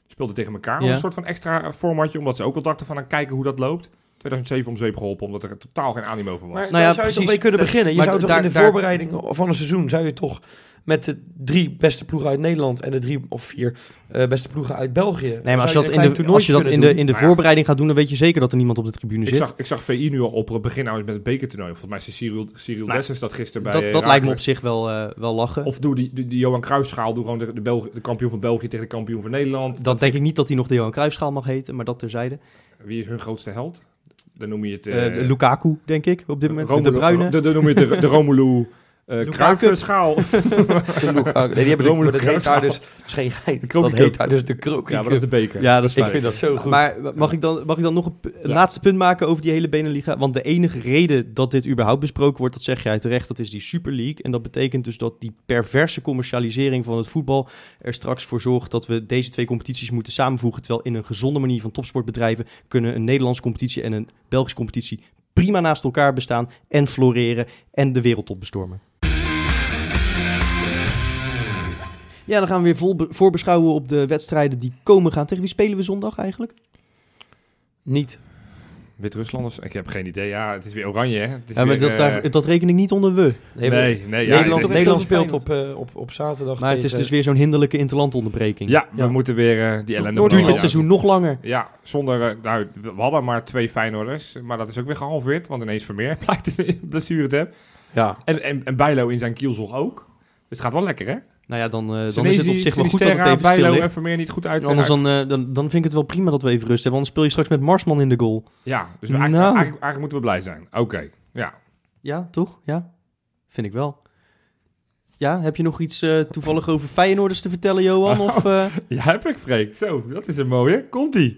[SPEAKER 3] speelden tegen elkaar.
[SPEAKER 2] Ja.
[SPEAKER 3] Een soort van extra formatje, omdat ze ook al dachten van, nou, kijken hoe dat loopt. 2007 om zeep geholpen, omdat er totaal geen animo voor was.
[SPEAKER 1] Maar
[SPEAKER 2] Nou
[SPEAKER 1] nou
[SPEAKER 2] ja,
[SPEAKER 1] zou je
[SPEAKER 2] precies.
[SPEAKER 1] toch mee kunnen
[SPEAKER 2] Dus-
[SPEAKER 1] beginnen. Je
[SPEAKER 2] maar
[SPEAKER 1] zou
[SPEAKER 2] d-
[SPEAKER 1] toch
[SPEAKER 2] daar-
[SPEAKER 1] in de
[SPEAKER 2] daar-
[SPEAKER 1] voorbereiding van een seizoen... zou je toch met de drie beste ploegen uit Nederland... en de drie of vier eh, beste ploegen uit België...
[SPEAKER 2] nee, maar als je
[SPEAKER 1] zou
[SPEAKER 2] dat
[SPEAKER 1] een
[SPEAKER 2] in de,
[SPEAKER 1] klein
[SPEAKER 2] als je dat
[SPEAKER 1] toernooitje
[SPEAKER 2] in de,
[SPEAKER 1] kunnen
[SPEAKER 2] in de
[SPEAKER 3] Nou ja.
[SPEAKER 2] voorbereiding gaat doen, dan weet je zeker dat er niemand op de tribune
[SPEAKER 3] Ik
[SPEAKER 2] zit.
[SPEAKER 3] zag, ik zag VI nu al opperen beginnen met het bekertoernooi. Volgens mij is Cyril, Cyril
[SPEAKER 2] Nou,
[SPEAKER 3] Dessers dat gisteren bij...
[SPEAKER 2] dat
[SPEAKER 3] eh,
[SPEAKER 2] dat lijkt me op
[SPEAKER 3] Raakles.
[SPEAKER 2] zich wel, eh, wel lachen.
[SPEAKER 3] Of doe die, die, die Johan Cruijffschaal. Doe gewoon de, de, Belgi- de kampioen van België tegen de kampioen van Nederland.
[SPEAKER 2] dan denk ik niet dat hij nog de Johan Cruijffschaal mag heten, maar dat terzijde.
[SPEAKER 3] Wie is hun grootste held? Dan noem je het...
[SPEAKER 2] Eh,
[SPEAKER 3] eh,
[SPEAKER 2] de Lukaku, denk ik, op dit moment. De, de
[SPEAKER 3] Romelu-
[SPEAKER 2] Bruyne.
[SPEAKER 3] Dan noem je het de, de Romelu... eh
[SPEAKER 2] Lukaku.
[SPEAKER 3] Cruijffschaal.
[SPEAKER 1] doen. Toen ook- eh, Nee, die hebben de,
[SPEAKER 3] Romelu
[SPEAKER 1] maar dat heet daar
[SPEAKER 3] Kruijschaal.
[SPEAKER 1] dus... Dat is geen geheim.
[SPEAKER 3] Krookie
[SPEAKER 1] Dat heet
[SPEAKER 3] Cup.
[SPEAKER 1] daar dus de Kroki
[SPEAKER 3] ja, maar dat is de beker.
[SPEAKER 2] ja, dat is
[SPEAKER 1] Ik
[SPEAKER 2] waar.
[SPEAKER 1] vind dat zo goed.
[SPEAKER 2] Maar mag ik, dan, mag ik dan nog een, pu- een
[SPEAKER 3] Ja.
[SPEAKER 2] laatste punt maken over die hele Beneliga? Want de enige reden dat dit überhaupt besproken wordt, dat zeg jij terecht, dat is die Super League. En dat betekent dus dat die perverse commercialisering van het voetbal er straks voor zorgt dat we deze twee competities moeten samenvoegen. Terwijl in een gezonde manier van topsportbedrijven kunnen een Nederlandse competitie en een Belgische competitie prima naast elkaar bestaan en floreren en de wereldtop bestormen. Ja, dan gaan we weer vol be- voorbeschouwen op de wedstrijden die komen gaan. Tegen wie spelen we zondag eigenlijk?
[SPEAKER 1] Niet.
[SPEAKER 3] Wit-Rusland of... Ik heb geen idee. Ja, het is weer oranje, hè? Het is
[SPEAKER 2] Ja, maar
[SPEAKER 3] weer,
[SPEAKER 2] dat,
[SPEAKER 3] eh,
[SPEAKER 2] daar, dat reken ik niet onder we.
[SPEAKER 1] Nee, maar-
[SPEAKER 3] nee, nee. Ja,
[SPEAKER 1] Nederland,
[SPEAKER 3] het-
[SPEAKER 2] toch
[SPEAKER 1] Nederland
[SPEAKER 2] echt wel
[SPEAKER 1] speelt op, eh, op, op zaterdag
[SPEAKER 2] Maar het is
[SPEAKER 1] tegen-
[SPEAKER 2] dus weer zo'n hinderlijke interlandonderbreking.
[SPEAKER 3] ja, we
[SPEAKER 1] Ja.
[SPEAKER 3] moeten weer eh, die ellende...
[SPEAKER 2] Duurt
[SPEAKER 3] van
[SPEAKER 2] dit
[SPEAKER 3] Oranje
[SPEAKER 2] seizoen nog langer.
[SPEAKER 3] Ja, zonder. eh, Nou, we hadden maar twee Feyenoorders. Maar dat is ook weer gehalveerd. Want ineens Vermeer blijkt een blessure te hebben.
[SPEAKER 1] Ja.
[SPEAKER 3] En, en, en Bijlo in zijn kielzog ook. Dus het gaat wel lekker, hè?
[SPEAKER 2] Nou ja, dan, eh, dan is het
[SPEAKER 3] Senesi,
[SPEAKER 2] op zich wel goed dat het
[SPEAKER 3] Sinisterra,
[SPEAKER 2] even stil
[SPEAKER 3] Bijlo
[SPEAKER 2] ligt.
[SPEAKER 3] en Vermeer niet goed uit.
[SPEAKER 2] Anders dan, eh, dan, dan vind ik het wel prima dat we even rust hebben. Anders speel je straks met Marsman in de goal.
[SPEAKER 3] Ja, dus we eigenlijk,
[SPEAKER 2] Nou.
[SPEAKER 3] eigenlijk, eigenlijk moeten we blij zijn. Oké, ja.
[SPEAKER 2] Ja, toch? Ja, vind ik wel. Ja, heb je nog iets eh, toevallig over Feyenoorders te vertellen, Johan? Of, eh,
[SPEAKER 3] Ja, heb ik, Freek. Zo, dat is een mooie. Komt-ie.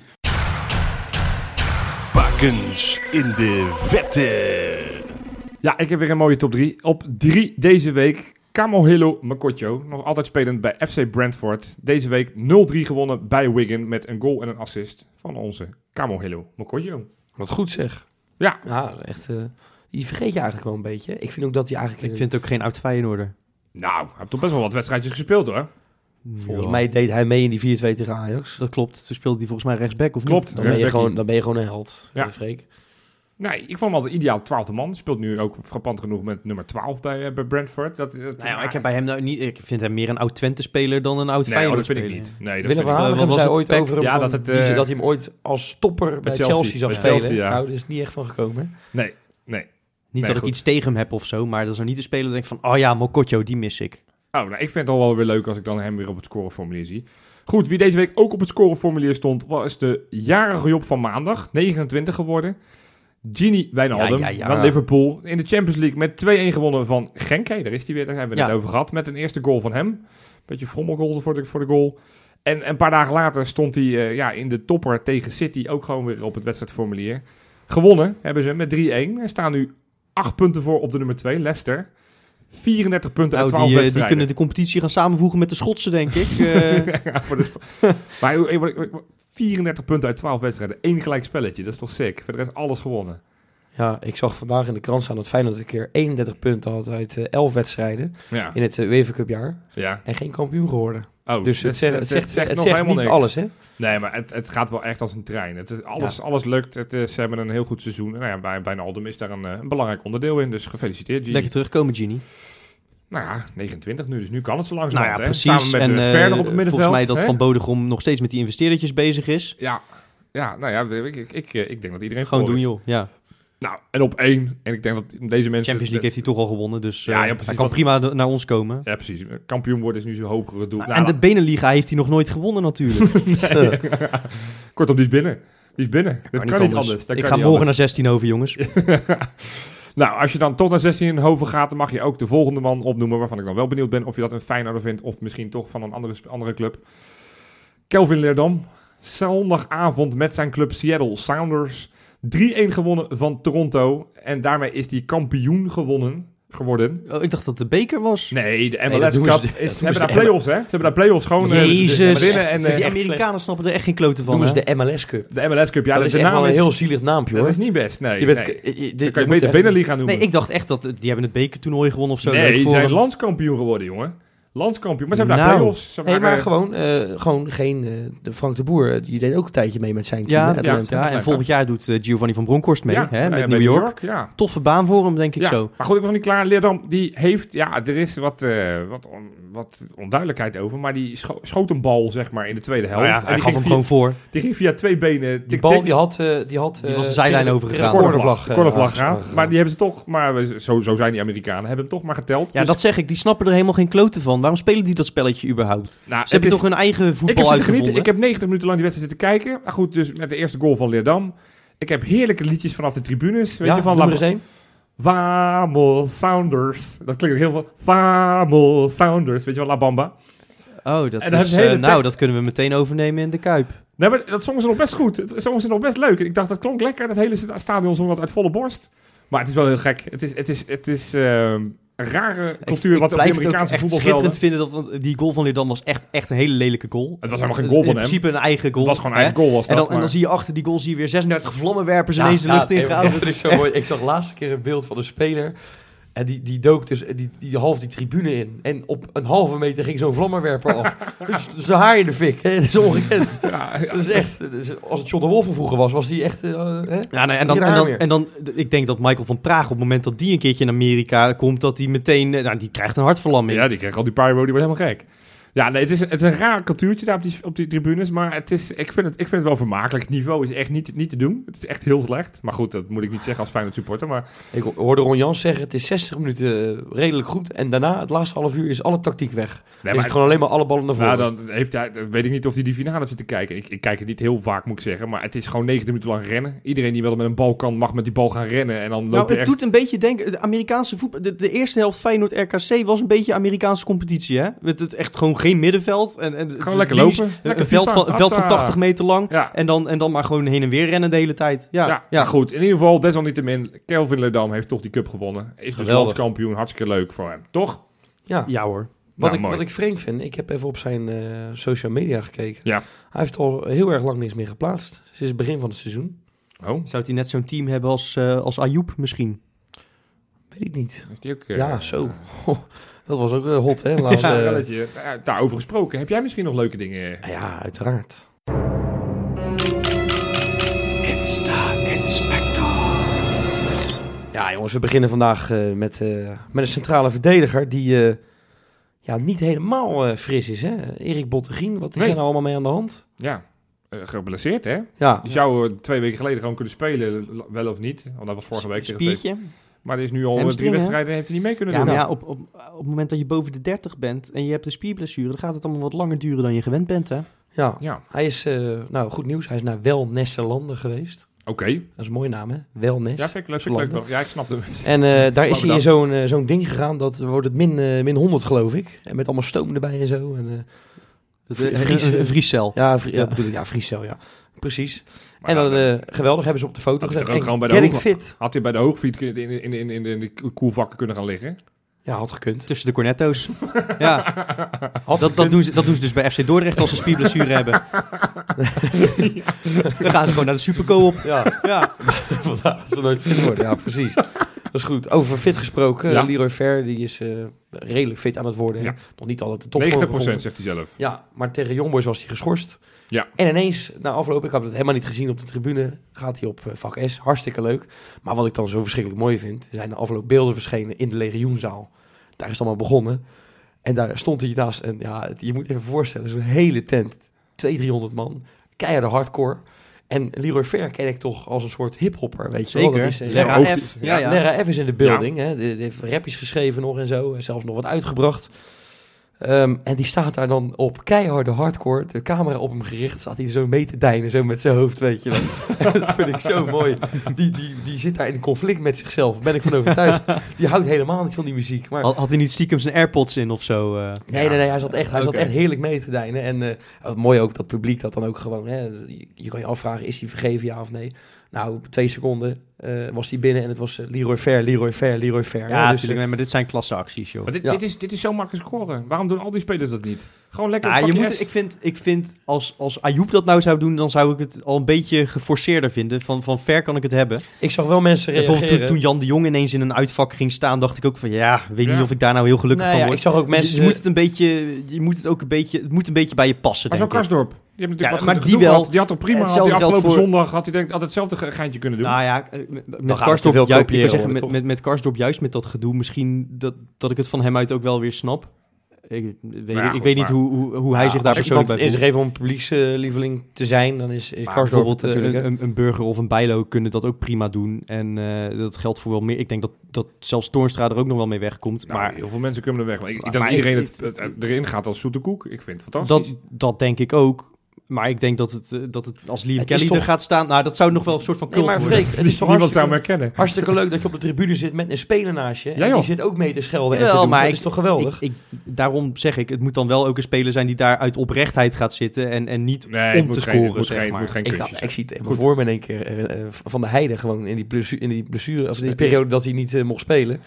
[SPEAKER 4] Bakens in de vette.
[SPEAKER 3] Ja, ik heb weer een mooie top 3. Op 3 deze week Camohillo Mokotjo, nog altijd spelend bij FC Brentford. Deze week 0-3 gewonnen bij Wigan met een goal en een assist van onze Camohillo Mokotjo.
[SPEAKER 1] Wat goed zeg.
[SPEAKER 3] Ja.
[SPEAKER 1] Ja, echt... eh, die vergeet je eigenlijk wel een beetje. Ik vind ook dat hij eigenlijk...
[SPEAKER 2] ik vind het ook geen oud Feyenoorder.
[SPEAKER 3] Nou, hij heeft toch best wel wat wedstrijdjes gespeeld hoor.
[SPEAKER 1] Volgens
[SPEAKER 2] Ja.
[SPEAKER 1] mij deed hij mee in die 4-2 tegen Ajax.
[SPEAKER 2] Dat klopt. Toen speelde hij volgens mij rechtsback, of
[SPEAKER 3] Klopt.
[SPEAKER 2] niet?
[SPEAKER 1] Dan ben, je
[SPEAKER 3] Rechtsbackie.
[SPEAKER 1] gewoon, dan ben je gewoon een held,
[SPEAKER 3] Ja.
[SPEAKER 1] ja. Freek.
[SPEAKER 3] Nee, ik vond hem altijd ideaal twaalfde man. Speelt nu ook frappant genoeg met nummer 12 bij, eh, bij Brentford. Dat, dat,
[SPEAKER 2] Nou ja, ik, heb bij hem nou niet, ik vind hem meer een oud Twente-speler dan een oud
[SPEAKER 3] nee, oh,
[SPEAKER 2] Feyenoord
[SPEAKER 3] dat vind ik niet. Nee, dat
[SPEAKER 1] Willem
[SPEAKER 3] vind ik
[SPEAKER 1] van
[SPEAKER 2] wel- wat
[SPEAKER 1] Hanegem
[SPEAKER 2] was
[SPEAKER 1] zei
[SPEAKER 2] het,
[SPEAKER 1] ooit
[SPEAKER 2] Peck?
[SPEAKER 1] over hem
[SPEAKER 3] Ja,
[SPEAKER 1] van-
[SPEAKER 3] dat het,
[SPEAKER 1] die ze-
[SPEAKER 3] eh,
[SPEAKER 1] dat hij hem ooit als topper bij
[SPEAKER 3] Chelsea,
[SPEAKER 1] Chelsea, zag
[SPEAKER 3] bij
[SPEAKER 1] spelen.
[SPEAKER 3] Chelsea, ja.
[SPEAKER 1] Nou, daar is niet echt van gekomen.
[SPEAKER 3] Nee,
[SPEAKER 2] Niet
[SPEAKER 3] Nee,
[SPEAKER 2] dat
[SPEAKER 3] goed.
[SPEAKER 2] ik iets tegen hem heb of zo, maar dat is nou niet de speler dat ik denk van, oh ja, Mokotjo, die mis ik.
[SPEAKER 3] Oh, nou, ik vind het al wel weer leuk als ik dan hem weer op het scoreformulier zie. Goed, wie deze week ook op het scoreformulier stond, was de jarige Job van maandag, 29 geworden. Gini Wijnaldum
[SPEAKER 1] Ja, ja, ja.
[SPEAKER 3] van Liverpool in de Champions League met 2-1 gewonnen van Genk. Hé, daar is hij weer, daar hebben we
[SPEAKER 2] Ja.
[SPEAKER 3] het over gehad. Met een eerste goal van hem. Beetje frommelgoal voor de, voor de goal. En een paar dagen later stond hij eh, ja, in de topper tegen City ook gewoon weer op het wedstrijdformulier. Gewonnen hebben ze met 3-1 en staan nu 8 punten voor op de nummer 2, Leicester. 34 punten
[SPEAKER 2] Nou,
[SPEAKER 3] uit 12
[SPEAKER 2] die, eh, die
[SPEAKER 3] wedstrijden.
[SPEAKER 2] kunnen de competitie gaan samenvoegen met de Schotsen, denk ik. Eh,
[SPEAKER 3] Ja, voor de Sp- maar hoe- hoe- hoe- hoe- 34 punten uit 12 wedstrijden. Eén gelijk spelletje. Dat is toch sick. Verder is alles gewonnen.
[SPEAKER 1] Ja, ik zag vandaag in de krant staan dat Feyenoord een keer 31 punten had uit eh, 11 wedstrijden
[SPEAKER 3] Ja.
[SPEAKER 1] in het eh, UEFA Cup jaar.
[SPEAKER 3] ja.
[SPEAKER 1] En geen kampioen geworden.
[SPEAKER 3] Oh,
[SPEAKER 1] dus
[SPEAKER 3] dat-
[SPEAKER 1] het, zegt,
[SPEAKER 3] dat-
[SPEAKER 1] het
[SPEAKER 3] dat
[SPEAKER 1] zegt, het zegt niet alles, hè?
[SPEAKER 3] Nee, maar het, het gaat wel echt als een trein. Het is, alles, alles lukt. Het, is- ze hebben een heel goed seizoen. En Nou ja, bij, bij Naldum is daar een, eh, een belangrijk onderdeel in. Dus gefeliciteerd, Gini.
[SPEAKER 2] Lekker terugkomen, Genie.
[SPEAKER 3] Nou ja, 29 nu. Dus nu kan het zo langzaam.
[SPEAKER 2] Nou ja,
[SPEAKER 3] hè?
[SPEAKER 2] precies.
[SPEAKER 3] Samen met
[SPEAKER 2] en
[SPEAKER 3] eh,
[SPEAKER 2] eh,
[SPEAKER 3] Verder op het middenveld.
[SPEAKER 2] volgens mij dat
[SPEAKER 3] hè?
[SPEAKER 2] Van Bodegom nog steeds met die investeerdertjes bezig is.
[SPEAKER 3] Ja. Ja, nou ja, ik, ik, ik, ik denk dat iedereen
[SPEAKER 2] Gewoon
[SPEAKER 3] voor
[SPEAKER 2] doen,
[SPEAKER 3] is.
[SPEAKER 2] joh. Ja.
[SPEAKER 3] Nou, en op één. En ik denk dat deze mensen...
[SPEAKER 2] Champions League heeft hij toch al gewonnen, dus eh,
[SPEAKER 3] Ja, ja, precies.
[SPEAKER 2] hij kan
[SPEAKER 3] Wat-
[SPEAKER 2] prima de- naar ons komen.
[SPEAKER 3] Ja, precies. Kampioen worden is nu zijn hogere doel.
[SPEAKER 2] Nou,
[SPEAKER 3] Nou,
[SPEAKER 2] en de Beneliga heeft hij nog nooit gewonnen, natuurlijk. Eh, Dat
[SPEAKER 3] Kortom, die is binnen. Die is binnen. dat kan niet anders. Dat
[SPEAKER 2] ik
[SPEAKER 3] kan
[SPEAKER 2] ga morgen
[SPEAKER 3] niet anders.
[SPEAKER 2] naar 16 over, jongens.
[SPEAKER 3] Nou, als je dan toch naar 16 in Hoven gaat, dan mag je ook de volgende man opnoemen. Waarvan ik dan wel benieuwd ben of je dat een Feyenoorder vindt. Of misschien toch van een andere, sp- andere club. Kelvin Leerdam. Zondagavond met zijn club Seattle Sounders. 3-1 gewonnen van Toronto. En daarmee is die kampioen gewonnen, geworden.
[SPEAKER 2] Oh, ik dacht dat het de beker was.
[SPEAKER 3] Nee, de
[SPEAKER 1] Nee, dat
[SPEAKER 3] MLS
[SPEAKER 1] doen
[SPEAKER 3] Cup.
[SPEAKER 1] ze- dat
[SPEAKER 3] is,
[SPEAKER 1] doen
[SPEAKER 3] ze hebben
[SPEAKER 1] ze
[SPEAKER 3] daar
[SPEAKER 1] de
[SPEAKER 3] play-offs, hè? Ze hebben daar play-offs gewoon eh,
[SPEAKER 2] Jezus.
[SPEAKER 3] winnen. En, eh,
[SPEAKER 2] die
[SPEAKER 1] echt
[SPEAKER 2] Amerikanen snappen er echt geen kloten van.
[SPEAKER 1] Noemen ze
[SPEAKER 2] hè?
[SPEAKER 1] de MLS Cup.
[SPEAKER 3] de MLS Cup, ja,
[SPEAKER 1] dat
[SPEAKER 3] de-
[SPEAKER 1] is
[SPEAKER 3] de
[SPEAKER 1] echt
[SPEAKER 3] naam
[SPEAKER 1] wel een
[SPEAKER 3] is,
[SPEAKER 1] heel zielig naampje,
[SPEAKER 3] dat
[SPEAKER 1] hoor.
[SPEAKER 3] is niet best. Nee,
[SPEAKER 1] je bent,
[SPEAKER 3] nee.
[SPEAKER 1] je-
[SPEAKER 3] Dan
[SPEAKER 1] je-
[SPEAKER 3] kan
[SPEAKER 1] je
[SPEAKER 3] je
[SPEAKER 1] moet
[SPEAKER 3] beter
[SPEAKER 1] echt-
[SPEAKER 3] Beneliga noemen.
[SPEAKER 2] Nee, ik dacht echt dat die hebben het bekertoernooi gewonnen of zo.
[SPEAKER 3] nee,
[SPEAKER 2] leuk
[SPEAKER 3] die
[SPEAKER 2] voor
[SPEAKER 3] zijn
[SPEAKER 2] hem.
[SPEAKER 3] landskampioen geworden, jongen. Landskampioen. Maar ze hebben daar
[SPEAKER 2] Nou.
[SPEAKER 3] play-offs. Ze
[SPEAKER 1] Nee,
[SPEAKER 3] maken-
[SPEAKER 1] maar gewoon, eh, gewoon geen... eh, de Frank de Boer, eh, die deed ook een tijdje mee met zijn team.
[SPEAKER 2] Ja,
[SPEAKER 1] hè,
[SPEAKER 2] dat
[SPEAKER 3] ja.
[SPEAKER 1] Atlanta.
[SPEAKER 2] klopt, ja, en volgend jaar doet eh, Giovanni van Bronckhorst mee
[SPEAKER 3] Ja,
[SPEAKER 2] hè,
[SPEAKER 3] ja,
[SPEAKER 2] met
[SPEAKER 3] bij
[SPEAKER 2] New York.
[SPEAKER 3] Ja.
[SPEAKER 2] Toffe baan voor hem, denk ik
[SPEAKER 3] Ja, Oh
[SPEAKER 2] zo.
[SPEAKER 3] maar goed, ik was nog niet klaar. Leerdam, die heeft, ja, er is wat, eh, wat, on- wat onduidelijkheid over, maar die scho- schoot een bal, zeg maar, in de tweede helft.
[SPEAKER 2] Nou ja,
[SPEAKER 3] En
[SPEAKER 2] hij
[SPEAKER 3] die,
[SPEAKER 2] gaf
[SPEAKER 3] ging
[SPEAKER 2] hem
[SPEAKER 3] via,
[SPEAKER 2] gewoon voor.
[SPEAKER 3] die ging via twee benen,
[SPEAKER 1] Die
[SPEAKER 3] tik,
[SPEAKER 1] bal
[SPEAKER 3] tik,
[SPEAKER 1] die had... eh, die, had
[SPEAKER 2] Die was de zijlijn overgegaan.
[SPEAKER 1] Cornervlag. eh,
[SPEAKER 3] cornervlag
[SPEAKER 1] aangeslagen.
[SPEAKER 3] gehaald. Maar die hebben ze toch, maar we- zo, zo zijn die Amerikanen, hebben hem toch maar geteld.
[SPEAKER 2] Ja,
[SPEAKER 3] Dus,
[SPEAKER 2] dat zeg ik. Die snappen er helemaal geen kloten van. Waarom spelen die dat spelletje überhaupt?
[SPEAKER 3] nou,
[SPEAKER 2] Ze hebben
[SPEAKER 3] het is-
[SPEAKER 2] toch hun eigen
[SPEAKER 3] ik heb
[SPEAKER 2] voetbal
[SPEAKER 3] zitten
[SPEAKER 2] uitgevonden?
[SPEAKER 3] genieten. Ik heb 90 minuten lang die wedstrijd zitten kijken. Maar goed, dus met de eerste goal van Leerdam. Ik heb heerlijke liedjes vanaf de tribunes. Weet
[SPEAKER 1] Ja,
[SPEAKER 3] je, van
[SPEAKER 1] noem
[SPEAKER 3] La-
[SPEAKER 1] er eens één.
[SPEAKER 3] Vamos Sounders. Dat klinkt ook heel veel. Vamos Sounders. Weet je wel, La Bamba.
[SPEAKER 2] Oh, dat
[SPEAKER 3] En dan
[SPEAKER 2] is,
[SPEAKER 3] hebben ze hele
[SPEAKER 2] eh, nou,
[SPEAKER 3] tekst-
[SPEAKER 2] dat kunnen we meteen overnemen in de Kuip.
[SPEAKER 3] Nee, maar dat zongen ze nog best goed. Het zongen ze nog best leuk. Ik dacht, dat klonk lekker. Dat hele sta- stadion zong dat uit volle borst. Maar het is wel heel gek. Het is, het is, het is ehm, een rare cultuur wat op de
[SPEAKER 2] blijf het ook
[SPEAKER 3] Amerikaanse
[SPEAKER 2] echt
[SPEAKER 3] voetbalvelden...
[SPEAKER 2] schitterend vinden. Dat, want die goal van Leerdam was echt, echt een hele lelijke goal.
[SPEAKER 3] Het was helemaal geen goal
[SPEAKER 2] Dus
[SPEAKER 3] van
[SPEAKER 2] In
[SPEAKER 3] hem.
[SPEAKER 2] principe een eigen
[SPEAKER 3] Het
[SPEAKER 2] goal.
[SPEAKER 3] was gewoon een
[SPEAKER 2] hè?
[SPEAKER 3] eigen goal. Was
[SPEAKER 2] En
[SPEAKER 3] dat,
[SPEAKER 2] dan, en dan
[SPEAKER 3] maar-
[SPEAKER 2] zie je achter die goal zie je weer 36 vlammenwerpers
[SPEAKER 1] Ja,
[SPEAKER 2] ineens de
[SPEAKER 1] ja,
[SPEAKER 2] lucht
[SPEAKER 1] nee,
[SPEAKER 2] ingehouden.
[SPEAKER 1] Dat is zo mooi. Ik zag laatst een keer een beeld van een speler. En die, die dook dus die, die half die tribune in. En op een halve meter ging zo'n vlammerwerper af. dus zijn haar in de fik. Hè? Dat is ongekend.
[SPEAKER 3] Ja, ja.
[SPEAKER 1] Dat is echt, dat is- als het John de Wolf van vroeger was, was die echt... eh, hè?
[SPEAKER 2] Ja, nee, en, dan,
[SPEAKER 1] Hier
[SPEAKER 2] en,
[SPEAKER 1] haar
[SPEAKER 2] dan,
[SPEAKER 1] weer.
[SPEAKER 2] en dan, d- ik denk dat Michael van Praag, op het moment dat die een keertje in Amerika komt, dat hij meteen, eh, nou, die krijgt een hartverlamming.
[SPEAKER 3] Ja, die kreeg al die pyro, die wordt helemaal gek. Ja, nee, het is, het is een raar cultuurtje daar op die, op die tribunes. Maar het is, ik, vind het, ik vind het wel vermakelijk. Het niveau is echt niet, niet te doen. Het is echt heel slecht. Maar goed, dat moet ik niet zeggen als Feyenoord supporter. Maar
[SPEAKER 1] Ik hoorde Ron Jans zeggen, het is 60 minuten eh, redelijk goed. En daarna, het laatste half uur, is alle tactiek weg.
[SPEAKER 3] nee,
[SPEAKER 1] is
[SPEAKER 3] maar
[SPEAKER 1] het gewoon alleen maar alle ballen naar voren.
[SPEAKER 3] nou, dan heeft hij, dan weet ik niet of hij die finale heeft zitten kijken. Ik, ik kijk het niet heel vaak, moet ik zeggen. Maar het is gewoon 90 minuten lang rennen. Iedereen die wel met een bal kan, mag met die bal gaan rennen. En dan
[SPEAKER 2] Nou,
[SPEAKER 3] loop
[SPEAKER 2] het
[SPEAKER 3] je echt...
[SPEAKER 2] doet een beetje denken. De Amerikaanse voetbal. De, de eerste helft Feyenoord RKC was een beetje Amerikaanse competitie, hè? Met het echt gewoon geen middenveld. En, en
[SPEAKER 3] Gewoon
[SPEAKER 2] de
[SPEAKER 3] lekker
[SPEAKER 2] linies-
[SPEAKER 3] lopen.
[SPEAKER 2] Een,
[SPEAKER 3] Lekker
[SPEAKER 2] veld,
[SPEAKER 3] FIFA.
[SPEAKER 2] van, een veld van
[SPEAKER 3] Hatsa.
[SPEAKER 2] 80 meter lang.
[SPEAKER 3] Ja.
[SPEAKER 2] En dan, en dan maar gewoon heen en weer rennen de hele tijd. Ja,
[SPEAKER 3] Ja,
[SPEAKER 2] ja,
[SPEAKER 3] maar goed. In ieder geval, desalniettemin, Kelvin Ledam heeft toch die cup gewonnen. Is dus
[SPEAKER 1] Geweldig.
[SPEAKER 3] landskampioen. Hartstikke leuk voor hem. Toch?
[SPEAKER 1] ja.
[SPEAKER 2] Ja, hoor.
[SPEAKER 1] Wat,
[SPEAKER 3] Nou,
[SPEAKER 1] ik,
[SPEAKER 3] mooi.
[SPEAKER 1] wat ik vreemd vind, ik heb even op zijn eh, social media gekeken.
[SPEAKER 3] Ja.
[SPEAKER 1] Hij heeft al heel erg lang niks meer geplaatst. Sinds het begin van het seizoen.
[SPEAKER 3] Oh,
[SPEAKER 2] Zou hij net zo'n team hebben als, eh als Ayoub misschien?
[SPEAKER 1] Weet ik niet.
[SPEAKER 3] heeft hij ook... eh,
[SPEAKER 1] Ja, zo. Ho, dat was ook eh, hot, hè? Laatst,
[SPEAKER 3] Ja,
[SPEAKER 1] eh,
[SPEAKER 3] relletje. Nou Ja, daarover gesproken. Heb jij misschien nog leuke dingen? eh,
[SPEAKER 1] nou ja, uiteraard. Ja, jongens, we beginnen vandaag eh, met, eh, met een centrale verdediger die eh, ja, niet helemaal eh, fris is. Hè? Erik Bottegien, wat is
[SPEAKER 3] Nee.
[SPEAKER 1] er nou allemaal mee aan de hand?
[SPEAKER 3] Ja, eh, geblesseerd hè?
[SPEAKER 1] Ja,
[SPEAKER 3] Die zou eh, twee weken geleden gewoon kunnen spelen, l- wel of niet. Want dat was vorige week tegen VV.
[SPEAKER 2] Spiertje.
[SPEAKER 3] Maar er is nu al eh, drie
[SPEAKER 2] Hamstring, hè?
[SPEAKER 3] wedstrijden heeft hij niet mee kunnen
[SPEAKER 2] Ja,
[SPEAKER 3] doen.
[SPEAKER 2] maar ja, op, op, op het moment dat je boven de 30 bent en je hebt een spierblessure, dan gaat het allemaal wat langer duren dan je gewend bent, hè?
[SPEAKER 1] ja.
[SPEAKER 3] Ja,
[SPEAKER 1] hij is, eh, nou goed nieuws, hij is naar Welnesselanden geweest.
[SPEAKER 3] oké.
[SPEAKER 1] Dat is een mooie naam, hè? Welnes.
[SPEAKER 3] Ja, vind ik leuk. Vind ik leuk. wel.
[SPEAKER 1] Landen.
[SPEAKER 3] Ja, ik snap het.
[SPEAKER 1] En eh, daar is
[SPEAKER 3] Bedankt.
[SPEAKER 1] hij in zo'n eh, zo'n ding gegaan, dat wordt het min, eh, min 100 geloof ik. En met allemaal stoom erbij en zo. En, eh,
[SPEAKER 2] Een
[SPEAKER 1] Vries-
[SPEAKER 2] Vries- een vriescel.
[SPEAKER 1] ja, vri-
[SPEAKER 2] Ja.
[SPEAKER 1] ja. bedoel ik, ja, Friesel, ja. Precies.
[SPEAKER 3] Maar
[SPEAKER 1] en dan,
[SPEAKER 3] dan, eh,
[SPEAKER 1] eh, geweldig, hebben ze op de foto
[SPEAKER 3] had hij
[SPEAKER 1] gezet.
[SPEAKER 3] toch ook
[SPEAKER 1] En
[SPEAKER 3] gewoon bij de
[SPEAKER 1] getting
[SPEAKER 3] hoge-
[SPEAKER 1] fit.
[SPEAKER 3] Had hij bij de hoogfiets kun- in, in, in, in, in de koelvakken kunnen gaan liggen?
[SPEAKER 1] Ja, had gekund.
[SPEAKER 2] Tussen de cornetto's. ja. Dat, dat, doen ze, dat doen ze dus bij FC Dordrecht als ze spierblessure hebben. Dan gaan ze gewoon naar de Supercoop.
[SPEAKER 1] Ja.
[SPEAKER 2] Ja.
[SPEAKER 1] Vandaar dat ze nooit fit worden. Ja, precies. Dat is goed. Over fit gesproken.
[SPEAKER 3] Ja.
[SPEAKER 1] Leroy Ver die is eh, redelijk fit aan het worden.
[SPEAKER 3] Ja.
[SPEAKER 1] Nog niet altijd de
[SPEAKER 3] 90%
[SPEAKER 1] top.
[SPEAKER 3] zegt hij zelf.
[SPEAKER 1] Ja, maar tegen Jongboys was hij geschorst.
[SPEAKER 3] Ja.
[SPEAKER 1] En ineens, na afloop, ik had het helemaal niet gezien op de tribune, gaat hij op eh, vak S. Hartstikke leuk. Maar wat ik dan zo verschrikkelijk mooi vind, zijn de afloop beelden verschenen in de legioenzaal. Daar is het allemaal begonnen. En daar stond hij naast, en ja, het- je moet even voorstellen, zo'n hele tent, 200, 300 man, keiharde hardcore. En Leroy Ver ken ik toch als een soort hiphopper, weet je wel.
[SPEAKER 2] Zeker.
[SPEAKER 1] Dat is, eh,
[SPEAKER 2] Lara
[SPEAKER 3] hoofd-
[SPEAKER 2] F. Ja, ja.
[SPEAKER 1] Lara F is in de building. Hè? Die, die heeft rapjes geschreven nog en zo. En zelfs nog wat uitgebracht. Ehm, en die staat daar dan op keiharde hardcore, de camera op hem gericht, staat hij zo mee te deinen, zo met zijn hoofd, weet je wel. dat vind ik zo mooi. Die, die, die zit daar in een conflict met zichzelf, ben ik van overtuigd. Die houdt helemaal niet van die muziek. Maar
[SPEAKER 2] Had, had hij niet stiekem zijn AirPods in of zo? eh?
[SPEAKER 1] Nee, nee, nee, hij zat echt, hij
[SPEAKER 2] Oké.
[SPEAKER 1] zat echt heerlijk mee te deinen. En eh, wat mooi ook dat publiek dat dan ook gewoon... Hè, je, je kan je afvragen, is hij vergeven, ja of nee? Nou, op twee seconden eh, was hij binnen en het was eh, Leroy Fair, Leroy Fair, Leroy
[SPEAKER 2] ja,
[SPEAKER 1] Fair. hè, dus,
[SPEAKER 2] natuurlijk. Nee, maar dit zijn klasseacties, joh.
[SPEAKER 3] Maar dit,
[SPEAKER 1] Ja.
[SPEAKER 3] dit, is, dit is zo makkelijk scoren. Waarom doen al die spelers dat niet? Gewoon lekker.
[SPEAKER 2] Nou,
[SPEAKER 3] pak
[SPEAKER 2] je
[SPEAKER 3] je
[SPEAKER 2] moet,
[SPEAKER 3] S.
[SPEAKER 2] ik vind, ik vind als, als Ayoub dat nou zou doen, dan zou ik het al een beetje geforceerder vinden. Van, van ver kan ik het hebben.
[SPEAKER 1] eh, ik zag wel mensen
[SPEAKER 2] En
[SPEAKER 1] reageren.
[SPEAKER 2] Bijvoorbeeld toen, toen Jan de Jong ineens in een uitvak ging staan, dacht ik ook van ja, weet
[SPEAKER 3] Ja.
[SPEAKER 2] niet of ik daar nou heel gelukkig
[SPEAKER 1] Nou
[SPEAKER 2] van
[SPEAKER 1] ja,
[SPEAKER 2] word.
[SPEAKER 1] ik zag ook
[SPEAKER 2] Dus
[SPEAKER 1] mensen...
[SPEAKER 2] je moet het een beetje, je moet het ook een beetje, het moet een beetje bij je passen.
[SPEAKER 3] Maar zo'n
[SPEAKER 2] denk ik.
[SPEAKER 3] Karsdorp. Die hebben natuurlijk
[SPEAKER 2] Ja, maar
[SPEAKER 3] wat geno-
[SPEAKER 2] die
[SPEAKER 3] genoeg
[SPEAKER 2] wel.
[SPEAKER 3] gehad. Die had toch prima. Had die
[SPEAKER 2] Hetzelfde geldt
[SPEAKER 3] afgelopen
[SPEAKER 2] voor-
[SPEAKER 3] zondag had hij denk had hetzelfde ge- geintje kunnen doen.
[SPEAKER 2] Nou ja, eh, met- met
[SPEAKER 1] gaan we te
[SPEAKER 2] Karsdorp,
[SPEAKER 1] veel
[SPEAKER 2] ju- ik
[SPEAKER 1] kopiëren,
[SPEAKER 2] wou zeggen,
[SPEAKER 1] hoor,
[SPEAKER 2] met,
[SPEAKER 1] toch?
[SPEAKER 2] met, met Karsdorp juist met dat gedoe, misschien dat, dat ik het van hem uit ook wel weer snap. Ik, ik weet,
[SPEAKER 3] ja,
[SPEAKER 2] ik
[SPEAKER 3] goed,
[SPEAKER 2] weet niet
[SPEAKER 3] maar-
[SPEAKER 2] hoe, hoe, hoe hij
[SPEAKER 1] Ja,
[SPEAKER 2] zich daar
[SPEAKER 1] als
[SPEAKER 2] persoonlijk bij
[SPEAKER 1] iemand
[SPEAKER 2] voelt.
[SPEAKER 1] is er even om publiekslieveling te zijn, dan is, is
[SPEAKER 2] Maar
[SPEAKER 1] Karsdorp het
[SPEAKER 2] bijvoorbeeld eh,
[SPEAKER 1] natuurlijk. hè.
[SPEAKER 2] een, een burger of een bijlo kunnen dat ook prima doen. En eh, dat geldt voor wel meer. Ik denk dat, dat zelfs Toornstra er ook nog wel mee wegkomt.
[SPEAKER 3] Nou,
[SPEAKER 2] maar
[SPEAKER 3] heel veel mensen kunnen er weg. Ik, ik denk
[SPEAKER 2] Maar
[SPEAKER 3] dat iedereen
[SPEAKER 2] ik-
[SPEAKER 3] het, het- het erin gaat als zoete koek. Ik vind het fantastisch.
[SPEAKER 2] dat, dat denk ik ook. Maar ik denk dat het, eh, dat het als Liam
[SPEAKER 1] Het
[SPEAKER 2] Kelly
[SPEAKER 1] is toch-
[SPEAKER 2] er gaat staan... Nou, dat zou nog wel een soort van
[SPEAKER 1] Nee,
[SPEAKER 2] cult
[SPEAKER 1] maar
[SPEAKER 2] worden.
[SPEAKER 1] Freek, het is toch
[SPEAKER 3] Niemand zou hem
[SPEAKER 1] hartstikke,
[SPEAKER 3] herkennen.
[SPEAKER 1] hartstikke leuk dat je op de tribune zit met een speler naast je.
[SPEAKER 3] Ja,
[SPEAKER 1] En
[SPEAKER 3] joh.
[SPEAKER 1] die zit ook mee te schelden en te
[SPEAKER 2] Jawel,
[SPEAKER 1] doen.
[SPEAKER 2] maar
[SPEAKER 1] Dat
[SPEAKER 2] ik-
[SPEAKER 1] is toch geweldig?
[SPEAKER 2] Ik, ik- daarom zeg ik, het moet dan wel ook een speler zijn die daar uit oprechtheid gaat zitten. En, en niet
[SPEAKER 3] Nee, het
[SPEAKER 2] om
[SPEAKER 3] moet
[SPEAKER 2] te
[SPEAKER 3] geen- het
[SPEAKER 2] scoren,
[SPEAKER 3] moet
[SPEAKER 2] zeg
[SPEAKER 3] geen- het
[SPEAKER 2] maar.
[SPEAKER 3] moet geen
[SPEAKER 1] Ik,
[SPEAKER 3] kunstjes
[SPEAKER 1] ik zie het helemaal voor me in één keer. eh, eh, van de Heide gewoon in die blessure, in die, blessure of in die periode dat hij niet eh, mocht spelen.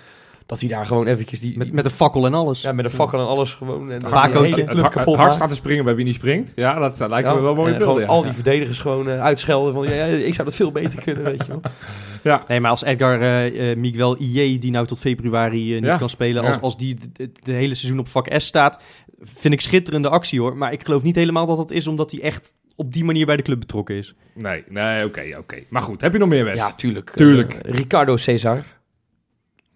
[SPEAKER 1] Dat hij daar gewoon eventjes die,
[SPEAKER 2] Met,
[SPEAKER 1] die-
[SPEAKER 2] met een fakkel en alles.
[SPEAKER 1] ja, met een fakkel en alles gewoon... En
[SPEAKER 2] Paco-
[SPEAKER 1] die hele
[SPEAKER 2] het-
[SPEAKER 3] Het,
[SPEAKER 1] club
[SPEAKER 3] ha- het
[SPEAKER 1] kapot
[SPEAKER 3] hart
[SPEAKER 1] maakt.
[SPEAKER 3] staat te springen bij wie niet springt. Ja, dat eh, lijken
[SPEAKER 1] Ja,
[SPEAKER 3] me wel mooie
[SPEAKER 1] en gewoon
[SPEAKER 3] beelden. ja.
[SPEAKER 1] al die verdedigers gewoon eh, uitschelden van... Ja, ja, ik zou dat veel beter kunnen, weet je wel.
[SPEAKER 3] Ja.
[SPEAKER 2] Nee, maar als Edgar eh eh, Miguel IJ, die nou tot februari eh, niet
[SPEAKER 3] Ja,
[SPEAKER 2] kan spelen,
[SPEAKER 3] ja.
[SPEAKER 2] als, als die het het hele seizoen op vak S staat, vind ik schitterende actie hoor. Maar ik geloof niet helemaal dat dat is omdat hij echt op die manier bij de club betrokken is.
[SPEAKER 3] Nee, nee, oké, oké. Maar goed, heb je nog meer, Wes?
[SPEAKER 1] Ja, tuurlijk. Eh,
[SPEAKER 3] Tuurlijk.
[SPEAKER 1] Ricardo Cesar.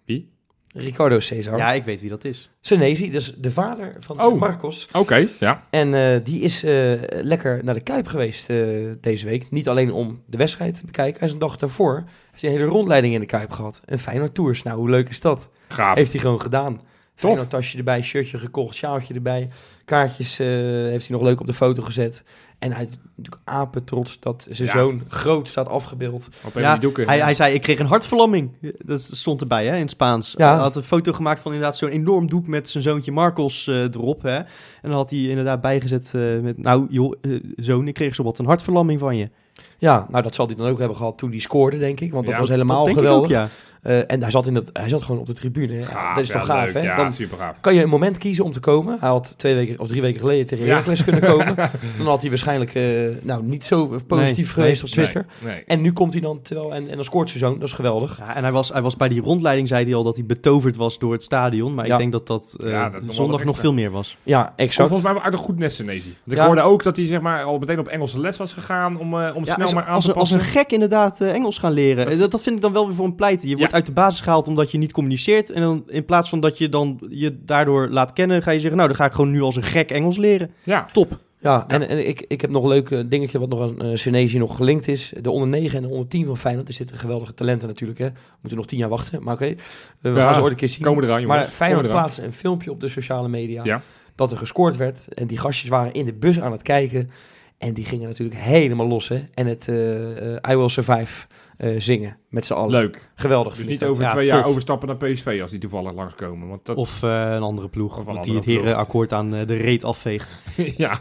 [SPEAKER 3] Wie?
[SPEAKER 1] Ricardo Cesar.
[SPEAKER 2] Ja, ik weet wie dat is.
[SPEAKER 1] Senesi, dus de vader van
[SPEAKER 3] Oh.
[SPEAKER 1] Marcos.
[SPEAKER 3] Oké, ja.
[SPEAKER 1] En eh, die is eh, lekker naar de Kuip geweest eh, deze week. Niet alleen om de wedstrijd te bekijken. Hij is een dag daarvoor heeft hij een hele rondleiding in de Kuip gehad. Een Feyenoord Tours. Nou, hoe leuk is dat?
[SPEAKER 3] Gaaf.
[SPEAKER 1] Heeft hij gewoon gedaan. Feyenoord tasje erbij, shirtje gekocht, sjaaltje erbij. Kaartjes eh, heeft hij nog leuk op de foto gezet. En hij is natuurlijk apen trots dat zijn
[SPEAKER 3] Ja.
[SPEAKER 1] zoon groot staat afgebeeld.
[SPEAKER 3] Op een
[SPEAKER 2] Ja,
[SPEAKER 3] die doeken.
[SPEAKER 2] hij, hij zei, ik kreeg een hartverlamming. Dat stond erbij hè, in het Spaans.
[SPEAKER 1] Ja.
[SPEAKER 2] Hij had een foto gemaakt van inderdaad zo'n enorm doek met zijn zoontje Marcos eh, erop. Hè. En dan had hij inderdaad bijgezet eh, met, nou joh, eh, zoon, ik kreeg zowat een hartverlamming van je.
[SPEAKER 1] Ja, nou dat zal hij dan ook hebben gehad toen hij scoorde, denk ik. Want dat
[SPEAKER 3] Ja,
[SPEAKER 1] was
[SPEAKER 3] dat
[SPEAKER 1] helemaal
[SPEAKER 2] dat denk
[SPEAKER 1] geweldig.
[SPEAKER 2] ik ook, ja.
[SPEAKER 1] Eh, en hij zat, in dat, hij zat gewoon op de tribune. hè.
[SPEAKER 3] Gaaf,
[SPEAKER 1] dat is toch
[SPEAKER 3] ja,
[SPEAKER 1] gaaf,
[SPEAKER 3] leuk.
[SPEAKER 1] hè?
[SPEAKER 3] Ja,
[SPEAKER 1] Dan-
[SPEAKER 3] super gaaf.
[SPEAKER 1] Kan je een moment kiezen om te komen? Hij had twee weken of drie weken geleden tegen
[SPEAKER 3] Ja.
[SPEAKER 1] Heracles kunnen komen. Dan had hij waarschijnlijk eh, nou, niet zo positief
[SPEAKER 2] Nee,
[SPEAKER 1] geweest
[SPEAKER 2] nee,
[SPEAKER 1] op Twitter.
[SPEAKER 3] Nee, nee.
[SPEAKER 1] En nu komt hij dan terwijl en, en dan scoort zijn zoon. Dat is geweldig.
[SPEAKER 2] Ja, en hij was, hij was bij die rondleiding, zei hij al, dat hij betoverd was door het stadion. Maar
[SPEAKER 1] Ja.
[SPEAKER 2] ik denk dat dat, eh,
[SPEAKER 3] Ja, dat nog wel
[SPEAKER 2] zondag
[SPEAKER 3] wat
[SPEAKER 2] nog
[SPEAKER 3] extra.
[SPEAKER 2] veel meer was.
[SPEAKER 1] Ja,
[SPEAKER 3] Komt
[SPEAKER 1] exact.
[SPEAKER 3] volgens mij wel uit een goed nest Senesi. Want ik
[SPEAKER 1] Ja.
[SPEAKER 3] hoorde ook dat hij zeg maar, al meteen op Engelse les was gegaan om, eh, om
[SPEAKER 2] Ja,
[SPEAKER 3] snel
[SPEAKER 2] als,
[SPEAKER 3] maar aan
[SPEAKER 2] als,
[SPEAKER 3] te
[SPEAKER 2] een, als
[SPEAKER 3] passen.
[SPEAKER 2] een gek inderdaad eh, Engels gaan leren. Eh, Dat, dat vind ik dan wel weer voor een pleit. Je wordt uit de basis gehaald omdat je niet communiceert. En dan, in plaats van dat je dan je daardoor laat kennen, ga je zeggen... nou, dan ga ik gewoon nu als een gek Engels leren.
[SPEAKER 3] Ja,
[SPEAKER 2] Top.
[SPEAKER 1] Ja, en, en ik, ik heb nog een leuk eh, dingetje wat nog aan eh Senesi nog gelinkt is. De onder 9 en de onder 10 van Feyenoord. Er zitten geweldige talenten natuurlijk. Hè. We moeten nog 10 jaar wachten, maar oké. Eh, We
[SPEAKER 3] Ja,
[SPEAKER 1] gaan ze ooit een keer zien.
[SPEAKER 3] komen eraan, jongens.
[SPEAKER 1] Maar Feyenoord
[SPEAKER 3] Komen eraan.
[SPEAKER 1] plaatste een filmpje op de sociale media
[SPEAKER 3] Ja.
[SPEAKER 1] dat er gescoord werd. En die gastjes waren in de bus aan het kijken. En die gingen natuurlijk helemaal los, hè. En het eh, eh, I Will Survive eh, zingen met z'n allen.
[SPEAKER 3] leuk.
[SPEAKER 1] Geweldig.
[SPEAKER 3] Dus
[SPEAKER 1] vind
[SPEAKER 3] niet
[SPEAKER 1] ik dat.
[SPEAKER 3] over
[SPEAKER 2] Ja,
[SPEAKER 3] twee jaar
[SPEAKER 2] tof.
[SPEAKER 3] overstappen naar PSV als die toevallig langskomen. Want dat,
[SPEAKER 2] Of eh, een andere
[SPEAKER 3] Of
[SPEAKER 2] ploeg,
[SPEAKER 3] een
[SPEAKER 2] want die
[SPEAKER 3] andere
[SPEAKER 2] het
[SPEAKER 3] ploeg.
[SPEAKER 2] herenakkoord aan eh, de reet afveegt.
[SPEAKER 3] ja.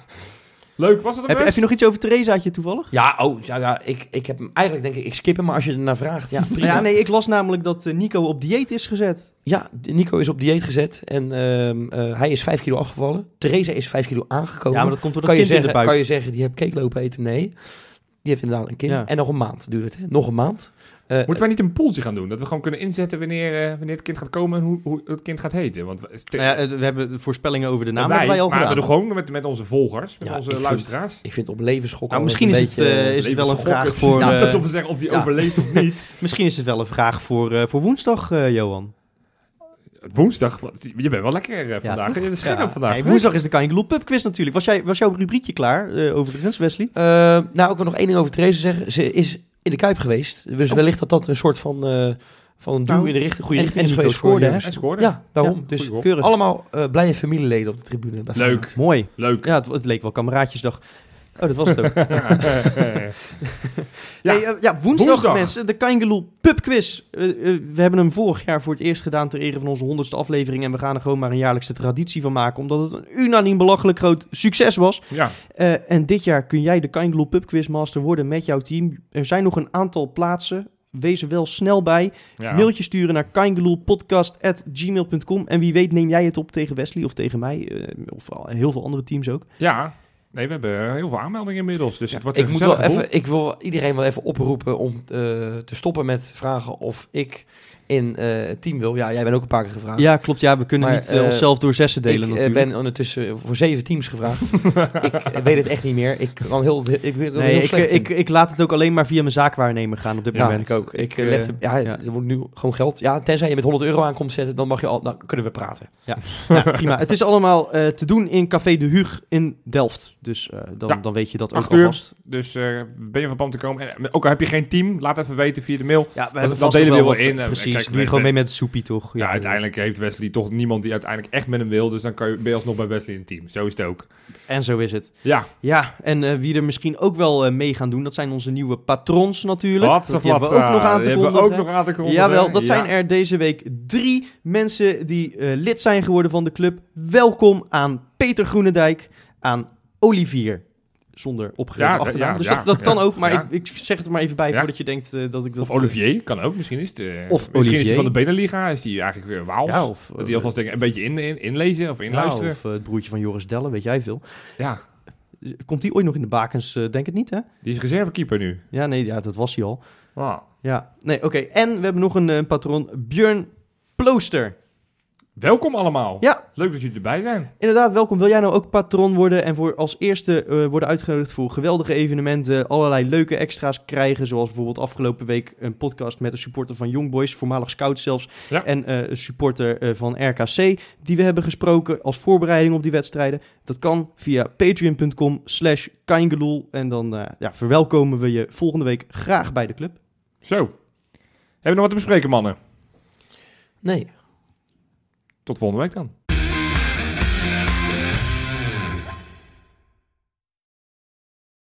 [SPEAKER 3] Leuk, was het hem
[SPEAKER 2] Heb, heb
[SPEAKER 3] best?
[SPEAKER 2] je nog iets over Theresaatje toevallig?
[SPEAKER 1] Ja, oh, ja, ja ik, ik heb hem eigenlijk denk ik, ik skip hem, maar als je ernaar vraagt, ja, prima.
[SPEAKER 2] Ja, nee, ik las namelijk dat eh, Nico op dieet is gezet.
[SPEAKER 1] Ja, Nico is op dieet gezet en ehm, eh, hij is 5 kilo afgevallen. Theresa is 5 kilo
[SPEAKER 3] Oh.
[SPEAKER 1] aangekomen.
[SPEAKER 2] Ja, maar dat komt door dat
[SPEAKER 1] kan, je
[SPEAKER 2] kind in de
[SPEAKER 1] zeggen,
[SPEAKER 2] buik.
[SPEAKER 1] kan je zeggen, die heb cake lopen eten? Nee. Die heeft inderdaad een kind.
[SPEAKER 2] Ja.
[SPEAKER 1] En nog een maand duurt het, hè? Nog een maand. Eh,
[SPEAKER 3] Moeten wij niet een poeltje gaan doen? Dat we gewoon kunnen inzetten wanneer, eh, wanneer het kind gaat komen en hoe, hoe het kind gaat heten. Want we,
[SPEAKER 2] Nou ja, eh, we hebben de voorspellingen over de naam
[SPEAKER 3] wij,
[SPEAKER 2] hebben wij al
[SPEAKER 3] maar we
[SPEAKER 2] gedaan.
[SPEAKER 3] doen gewoon met, met onze volgers, met
[SPEAKER 1] Ja,
[SPEAKER 3] onze
[SPEAKER 1] ik
[SPEAKER 3] luisteraars.
[SPEAKER 1] Ik vind op levensschok
[SPEAKER 2] Nou,
[SPEAKER 1] al
[SPEAKER 2] misschien
[SPEAKER 1] een
[SPEAKER 2] is het,
[SPEAKER 1] beetje,
[SPEAKER 2] eh,
[SPEAKER 1] eh,
[SPEAKER 2] is het wel een vraag
[SPEAKER 3] Levensgokken. Het is
[SPEAKER 2] voor...
[SPEAKER 3] niet
[SPEAKER 2] eh,
[SPEAKER 3] alsof we zeggen of die
[SPEAKER 1] ja.
[SPEAKER 3] overleeft of niet.
[SPEAKER 2] Misschien is het wel een vraag voor, eh, voor woensdag, eh, Johan.
[SPEAKER 3] Woensdag, wat- je bent wel lekker eh, vandaag.
[SPEAKER 2] toch?
[SPEAKER 3] Je bent scherp
[SPEAKER 2] Ja.
[SPEAKER 3] vandaag.
[SPEAKER 2] Hey,
[SPEAKER 3] hè?
[SPEAKER 2] woensdag is de Kanjing Loop Pub Quiz natuurlijk. Was, jij, was jouw rubriekje klaar, eh overigens, Wesley?
[SPEAKER 1] Eh, Oh. nou, ik wil nog één ding over Theresa zeggen. Ze is in de Kuip geweest. Dus wellicht dat dat een soort van eh, van een duw
[SPEAKER 2] Nou,
[SPEAKER 1] in de richting, goede
[SPEAKER 2] en-
[SPEAKER 1] richting.
[SPEAKER 2] en
[SPEAKER 1] En, en
[SPEAKER 2] Nico scoorde,
[SPEAKER 1] scoorde,
[SPEAKER 2] hè?
[SPEAKER 1] hè?
[SPEAKER 3] En scoorde.
[SPEAKER 1] Ja, daarom.
[SPEAKER 2] Ja,
[SPEAKER 1] dus
[SPEAKER 3] goal.
[SPEAKER 2] Keurig.
[SPEAKER 1] allemaal eh, blije familieleden op de tribune. bij
[SPEAKER 3] Leuk.
[SPEAKER 1] Feyenoord.
[SPEAKER 2] Mooi.
[SPEAKER 3] Leuk.
[SPEAKER 2] Ja, het, het leek wel kameraadjesdag. Oh, dat was het ook.
[SPEAKER 3] Ja.
[SPEAKER 2] Ja, ja woensdag,
[SPEAKER 3] Woensdag.
[SPEAKER 2] mensen, de Kangeloel Pub Quiz. Eh, eh, we hebben hem vorig jaar voor het eerst gedaan ter ere van onze honderdste aflevering. En we gaan er gewoon maar een jaarlijkse traditie van maken, omdat het een unaniem belachelijk groot succes was.
[SPEAKER 3] ja.
[SPEAKER 2] Eh, en dit jaar kun jij de Kangeloel Pub Quiz Master worden met jouw team. Er zijn nog een aantal plaatsen. Wees er wel snel bij.
[SPEAKER 3] ja.
[SPEAKER 2] Mailtje sturen naar kangeloelpodcast.gmail.com. En wie weet neem jij het op tegen Wesley of tegen mij. eh, of al- heel veel andere teams ook.
[SPEAKER 3] Ja. Nee, we hebben heel veel aanmeldingen inmiddels. Dus het wordt een
[SPEAKER 1] Ik, moet wel
[SPEAKER 3] gezellige boel.
[SPEAKER 1] even, ik wil iedereen wel even oproepen om eh, te stoppen met vragen of ik in eh, het team wil. Ja, jij bent ook een paar keer gevraagd.
[SPEAKER 2] Ja, klopt. Ja, we kunnen
[SPEAKER 1] Maar,
[SPEAKER 2] niet eh,
[SPEAKER 1] eh,
[SPEAKER 2] onszelf door zessen delen
[SPEAKER 1] ik eh,
[SPEAKER 2] natuurlijk.
[SPEAKER 1] ben ondertussen voor zeven teams gevraagd. ik eh, weet het echt niet meer. Ik kan heel, ik ben er heel
[SPEAKER 2] Nee, ik, eh,
[SPEAKER 1] slecht
[SPEAKER 2] ik,
[SPEAKER 1] in.
[SPEAKER 2] ik laat het ook alleen maar via mijn zaakwaarnemer gaan op dit
[SPEAKER 1] ja,
[SPEAKER 2] moment.
[SPEAKER 1] ik ook. Ik,
[SPEAKER 2] eh,
[SPEAKER 1] leg de- ja,
[SPEAKER 2] ja.
[SPEAKER 1] er wordt nu gewoon geld. Ja, tenzij je met 100 euro aankomt zetten, dan mag je al, dan kunnen we praten.
[SPEAKER 2] ja, Nou, prima. Het is allemaal eh, te doen in Café de Huug in Delft. Dus eh, dan,
[SPEAKER 3] Ja.
[SPEAKER 2] dan weet je dat
[SPEAKER 3] Acht
[SPEAKER 2] ook
[SPEAKER 3] uur.
[SPEAKER 2] alvast.
[SPEAKER 3] Dus eh, ben je van plan te komen? En, eh, ook al heb je geen team, laat even weten via de mail.
[SPEAKER 2] Ja, we
[SPEAKER 3] hebben dat vast delen nog wel we wel wat, in. eh,
[SPEAKER 2] Precies,
[SPEAKER 3] kijk,
[SPEAKER 2] doe
[SPEAKER 3] we-
[SPEAKER 2] je gewoon
[SPEAKER 3] we-
[SPEAKER 2] mee met het soepie toch?
[SPEAKER 3] Ja, uiteindelijk heeft Wesley toch niemand die uiteindelijk echt met hem wil. Dus dan kan je, ben je alsnog bij Wesley in het team. Zo is het ook.
[SPEAKER 2] En zo is het.
[SPEAKER 3] Ja,
[SPEAKER 2] Ja, en eh, wie er misschien ook wel eh, mee gaan doen, dat zijn onze nieuwe patrons natuurlijk.
[SPEAKER 3] wat eh,
[SPEAKER 2] Want die hebben we ook nog aan te
[SPEAKER 3] hebben we ook
[SPEAKER 2] kondigen.
[SPEAKER 3] nog aan te kondigen.
[SPEAKER 2] Jawel, dat
[SPEAKER 3] Ja.
[SPEAKER 2] zijn er deze week drie mensen die eh, lid zijn geworden van de club. Welkom aan Peter Groenendijk, aan Olivier. Zonder opgegeven
[SPEAKER 3] Ja,
[SPEAKER 2] achternaam.
[SPEAKER 3] ja,
[SPEAKER 2] dus
[SPEAKER 3] ja,
[SPEAKER 2] dat, dat
[SPEAKER 3] ja,
[SPEAKER 2] kan ook, maar
[SPEAKER 3] ja.
[SPEAKER 2] ik, ik zeg het er maar even bij
[SPEAKER 3] Ja.
[SPEAKER 2] voordat je denkt eh, dat ik dat...
[SPEAKER 3] Of Olivier, kan ook. Misschien is het... eh,
[SPEAKER 2] Of
[SPEAKER 3] misschien is
[SPEAKER 2] Olivier.
[SPEAKER 3] hij van de Beneliga. Is hij eigenlijk weer Waals.
[SPEAKER 2] eh, Ja, of,
[SPEAKER 3] dat hij alvast denk, ik, een beetje in, in- inlezen of
[SPEAKER 2] eh,
[SPEAKER 3] inluisteren.
[SPEAKER 2] ja, of eh, het broertje van Joris Dellen, weet jij veel.
[SPEAKER 3] Ja,
[SPEAKER 2] Komt die ooit nog in de bakens? Eh, denk het niet, hè?
[SPEAKER 3] die is reservekeeper nu.
[SPEAKER 2] Ja, nee, ja, dat was hij al.
[SPEAKER 3] Wow.
[SPEAKER 2] Ja, nee, oké. En we hebben nog een, eh, patroon, Björn Plooster.
[SPEAKER 3] Welkom allemaal.
[SPEAKER 2] Ja.
[SPEAKER 3] Leuk dat jullie erbij zijn.
[SPEAKER 2] Inderdaad, welkom. Wil jij nou ook patroon worden en voor als eerste eh, worden uitgenodigd voor geweldige evenementen, allerlei leuke extra's krijgen, zoals bijvoorbeeld afgelopen week een podcast met een supporter van Young Boys, voormalig scout zelfs,
[SPEAKER 3] Ja.
[SPEAKER 2] en eh, een supporter eh, van RKC, die we hebben gesproken als voorbereiding op die wedstrijden. Dat kan via patreon.com slash kaingeloel en dan eh, ja, verwelkomen we je volgende week graag bij de club.
[SPEAKER 3] Zo. Hebben we nog wat te bespreken, mannen?
[SPEAKER 1] Nee.
[SPEAKER 3] Tot volgende week dan.